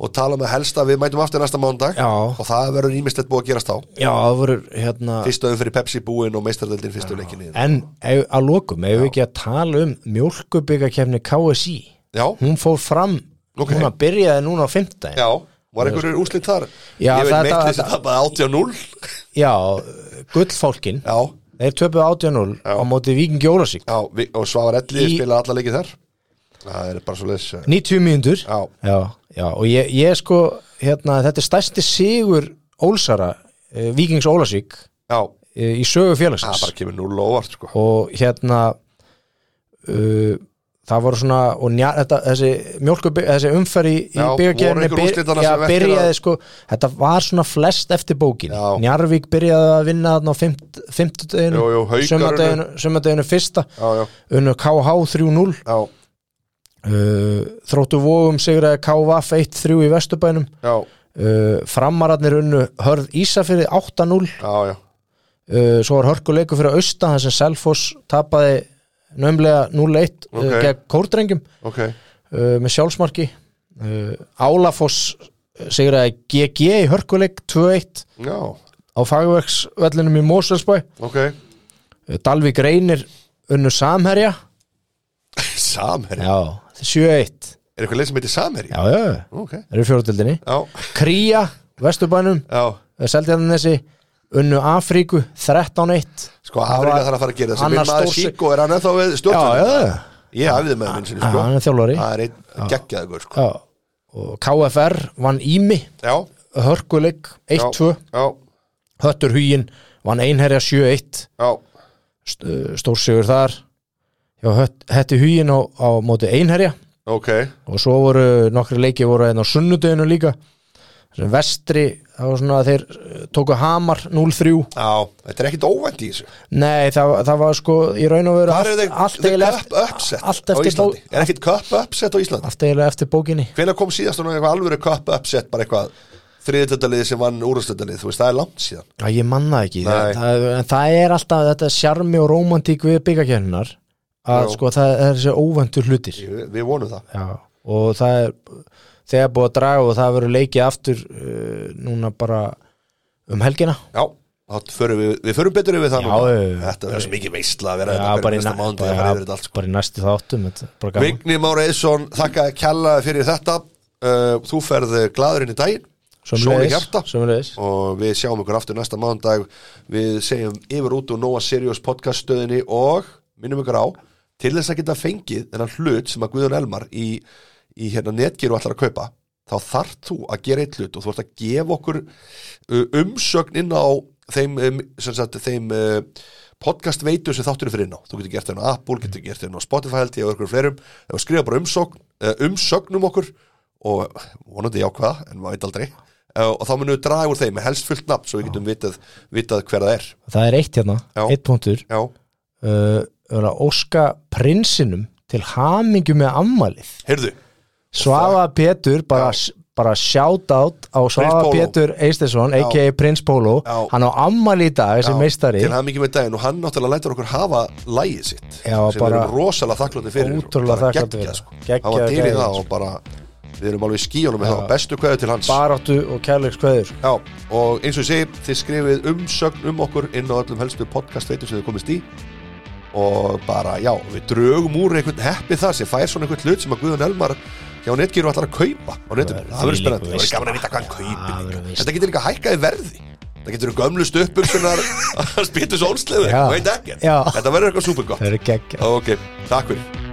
[SPEAKER 1] og tala um með helsta, við mætum aftur næsta mándag
[SPEAKER 2] Já.
[SPEAKER 1] og það verður ímislegt búið að gerast á
[SPEAKER 2] Já, það voru hérna
[SPEAKER 1] fyrsta umfyrir Pepsi búin og meistardeldin fyrstu hérna. leikinni
[SPEAKER 2] En ef, að lokum, ef við ekki að tala um mjólkubyggakefni KSI
[SPEAKER 1] Já,
[SPEAKER 2] Hún fór fram,
[SPEAKER 1] Ok.
[SPEAKER 2] hún að byrjaði núna á fimmtudaginn
[SPEAKER 1] já, var einhverjur úslit þar
[SPEAKER 2] Já,
[SPEAKER 1] Ég veit
[SPEAKER 2] þetta-
[SPEAKER 1] meitt þessi
[SPEAKER 2] þetta-
[SPEAKER 1] tapaði 80-0
[SPEAKER 2] Já, gullfólkin
[SPEAKER 1] Já,
[SPEAKER 2] Þeir töpuðu 18-0 á móti Víkingi Ólafsík
[SPEAKER 1] já, vi, og Svavar Elli
[SPEAKER 2] Í-
[SPEAKER 1] spilaði alla leikið þar Það er bara svo leis
[SPEAKER 2] 90 mínútur
[SPEAKER 1] Já,
[SPEAKER 2] Já, já, og ég, ég sko hérna, þetta er stærsti sigur Ólsara, uh, Víkings Ólasík
[SPEAKER 1] já,
[SPEAKER 2] uh, í sögu
[SPEAKER 1] það
[SPEAKER 2] félagsins
[SPEAKER 1] bara kemur 0 og óvart sko.
[SPEAKER 2] og hérna uh, það voru svona og njá, þetta, þessi mjólku þessi umferð í, í
[SPEAKER 1] Já, voru
[SPEAKER 2] byggjargerðinni
[SPEAKER 1] einhver úrslitanna
[SPEAKER 2] já,
[SPEAKER 1] sem eftir
[SPEAKER 2] byrjaði
[SPEAKER 1] að-
[SPEAKER 2] sko, þetta var svona flest eftir bókin
[SPEAKER 1] Já.
[SPEAKER 2] Njarvík byrjaði að vinna þarna á fimmt- fimmtudeginu
[SPEAKER 1] Jú, jú, Haukar
[SPEAKER 2] sumadeginu, sumadeginu fyrsta
[SPEAKER 1] Já, já,
[SPEAKER 2] unnu KH 3-0
[SPEAKER 1] já,
[SPEAKER 2] uh, Þróttu vóum sigraði KVF 1-3 í Vesturbænum
[SPEAKER 1] já,
[SPEAKER 2] uh, Framararnir unnu Hörð Ísafyrði 8-0 uh,
[SPEAKER 1] já, já.
[SPEAKER 2] Eh, Svo var hörkuleiku fyrir austan þar sem Selfoss tapaði nömmlega 0-1
[SPEAKER 1] Ok.
[SPEAKER 2] uh, gegn kórdrengjum
[SPEAKER 1] ok
[SPEAKER 2] uh, með sjálfsmarki uh, Álafoss eh, sigraði GG í hörkuleik 2-1
[SPEAKER 1] Já,
[SPEAKER 2] á fagverksvellinum í Moselsbæ
[SPEAKER 1] ok
[SPEAKER 2] uh, Dalvík Reynir unnu Samherja
[SPEAKER 1] Samherji,
[SPEAKER 2] Já, 7-1
[SPEAKER 1] er eitthvað leið sem heitir Samherji?
[SPEAKER 2] Já, já,
[SPEAKER 1] Ok,
[SPEAKER 2] það eru fjóruðildinni
[SPEAKER 1] já,
[SPEAKER 2] Kría, Vesturbænum
[SPEAKER 1] já
[SPEAKER 2] Seldjarnanesi unnu Afríku 13-1
[SPEAKER 1] Sko,
[SPEAKER 2] Það
[SPEAKER 1] Afrika
[SPEAKER 2] var
[SPEAKER 1] þarf að fara að gera þessi
[SPEAKER 2] annar
[SPEAKER 1] Minn maður
[SPEAKER 2] stór sig-
[SPEAKER 1] Síko, er hann ennþá við
[SPEAKER 2] Já, já,
[SPEAKER 1] stjórnum?
[SPEAKER 2] já,
[SPEAKER 1] Ég hafði með minn sinni,
[SPEAKER 2] já,
[SPEAKER 1] sko
[SPEAKER 2] hann er þjálfari
[SPEAKER 1] Það er einn geggjaður, sko
[SPEAKER 2] já. og KFR vann Ími
[SPEAKER 1] Já,
[SPEAKER 2] Hörkuleik 1-2
[SPEAKER 1] já,
[SPEAKER 2] Höttur Hugin vann Einherja 7-1
[SPEAKER 1] já
[SPEAKER 2] St- uh, stórsigur þar Já, Hött- Hetti Hugin á, á móti Einherja
[SPEAKER 1] Ok,
[SPEAKER 2] og svo voru nokkri leiki voru einn á sunnudeginu líka sem vestri, það var svona að þeir uh, tóku Hamar 0-3
[SPEAKER 1] já, þetta er ekkit óvænt í þessu
[SPEAKER 2] Nei, það, það var sko í raun og veru
[SPEAKER 1] Hvað er
[SPEAKER 2] allt, allt,
[SPEAKER 1] þetta
[SPEAKER 2] eiginlega
[SPEAKER 1] cup
[SPEAKER 2] eftir-
[SPEAKER 1] upset
[SPEAKER 2] allt
[SPEAKER 1] á
[SPEAKER 2] eftir
[SPEAKER 1] Íslandi? Er ekkit cup upset á Íslandi?
[SPEAKER 2] allt eiginlega eftir bókinni
[SPEAKER 1] Hvenær kom síðast og eitthvað alvöru cup upset bara eitthvað þriðutöldalið sem vann úrstöldarlið, þú veist, það er langt síðan
[SPEAKER 2] Já, ég manna ekki
[SPEAKER 1] Nei.
[SPEAKER 2] það, það, en það er alltaf þetta sjarmi og rómantík við byggakjörnunar að
[SPEAKER 1] Jú.
[SPEAKER 2] sko það er þessi óvöndur hlutir
[SPEAKER 1] Ég- Við vonum það
[SPEAKER 2] Já, og það er þegar búið að draga og það verður leikið aftur uh, núna bara um helgina
[SPEAKER 1] Já, þá förum við, við förum betur yfir það
[SPEAKER 2] Já,
[SPEAKER 1] núna.
[SPEAKER 2] já, já.
[SPEAKER 1] Þetta verður svo mikið veistla að vera
[SPEAKER 2] Já,
[SPEAKER 1] þetta
[SPEAKER 2] bara, í
[SPEAKER 1] hverjum
[SPEAKER 2] na,
[SPEAKER 1] næsta mánuð að fara
[SPEAKER 2] bara,
[SPEAKER 1] yfir þetta allt sko.
[SPEAKER 2] bara í næstu þáttum þetta, er bara gaman.
[SPEAKER 1] Vigni Már Eðsson, þakka kjalla fyrir þetta uh, Þú ferð gladur inn í daginn Sól í
[SPEAKER 2] Sömuleiðis,
[SPEAKER 1] hjarta
[SPEAKER 2] sömuleiðis.
[SPEAKER 1] og við sjáum ykkur aftur næsta mánudag við segjum yfir út úr Nóa Sirius podcast stöðinni og minnum ykkur á til þess að geta fengið þennan hlut sem að Guðjón Elmar í, í hérna netgeru allar að kaupa þá þarft þú að gera eitt hlut og þú ert að gefa okkur uh, umsögn inn á þeim, um, sem sagt, þeim uh, podcast veitu sem þáttur er fyrir inn á þú getur gert þeirn á Apple, getur gert þeirn á Spotify held ég og ykkur fleirum, ef að skrifa bara umsögn, uh, umsögn um okkur og vonandi jákvæða, en maður veit aldrei uh, og þá munum við draga úr þeim með helst fullt nafn svo við getum vitað, vitað hver það er
[SPEAKER 2] það er eitt hérna,
[SPEAKER 1] Já.
[SPEAKER 2] eitt punktur
[SPEAKER 1] já,
[SPEAKER 2] uh, er að óska prinsinum til hamingju með ammalið
[SPEAKER 1] heyrðu,
[SPEAKER 2] Svafa Pétur bara, bara shout out á Svafa
[SPEAKER 1] Polo.
[SPEAKER 2] Pétur Eistesson a.k.a. Prins Polo
[SPEAKER 1] Já.
[SPEAKER 2] hann á ammali í dag
[SPEAKER 1] Já,
[SPEAKER 2] sem meistari
[SPEAKER 1] til hann mikið með daginn og hann náttúrulega lætur okkur hafa lægið sitt
[SPEAKER 2] Já,
[SPEAKER 1] sem við
[SPEAKER 2] bara-
[SPEAKER 1] erum rosalega þakklandi fyrir og
[SPEAKER 2] Ótrúlega
[SPEAKER 1] bara
[SPEAKER 2] þakkláttir
[SPEAKER 1] geggjað,
[SPEAKER 2] fyrir.
[SPEAKER 1] sko.
[SPEAKER 2] Geggjað,
[SPEAKER 1] hann var til í
[SPEAKER 2] geggjað,
[SPEAKER 1] það
[SPEAKER 2] sko.
[SPEAKER 1] og bara við erum alveg í skíunum með það bestu kveðu til hans
[SPEAKER 2] baráttu og kærleiks kveður
[SPEAKER 1] Já, og eins og ég segi, þið skrifið umsögn um okkur inn á öllum helstu podcast veitum sem þið komist í og bara, já, við drögum úr einhvern heppi þar sem fær svona einhvern hlut sem að Guðun Elmar hjá Netgeir ætlar að kaupa á netinu,
[SPEAKER 2] Það verður
[SPEAKER 1] það verður
[SPEAKER 2] þvílík
[SPEAKER 1] spennandi, það
[SPEAKER 2] veisla.
[SPEAKER 1] verður gaman að vita hvað hann
[SPEAKER 2] Það verður
[SPEAKER 1] kaupir líka.
[SPEAKER 2] veisla.
[SPEAKER 1] þetta getur líka hækkað í verði það getur verið gömlu stöpbuksunar að spýta svo ónsliðu,
[SPEAKER 2] Já.
[SPEAKER 1] veit ekki
[SPEAKER 2] Já.
[SPEAKER 1] þetta verður eitthvað supergott
[SPEAKER 2] það eru geggja
[SPEAKER 1] ok, takk fyrir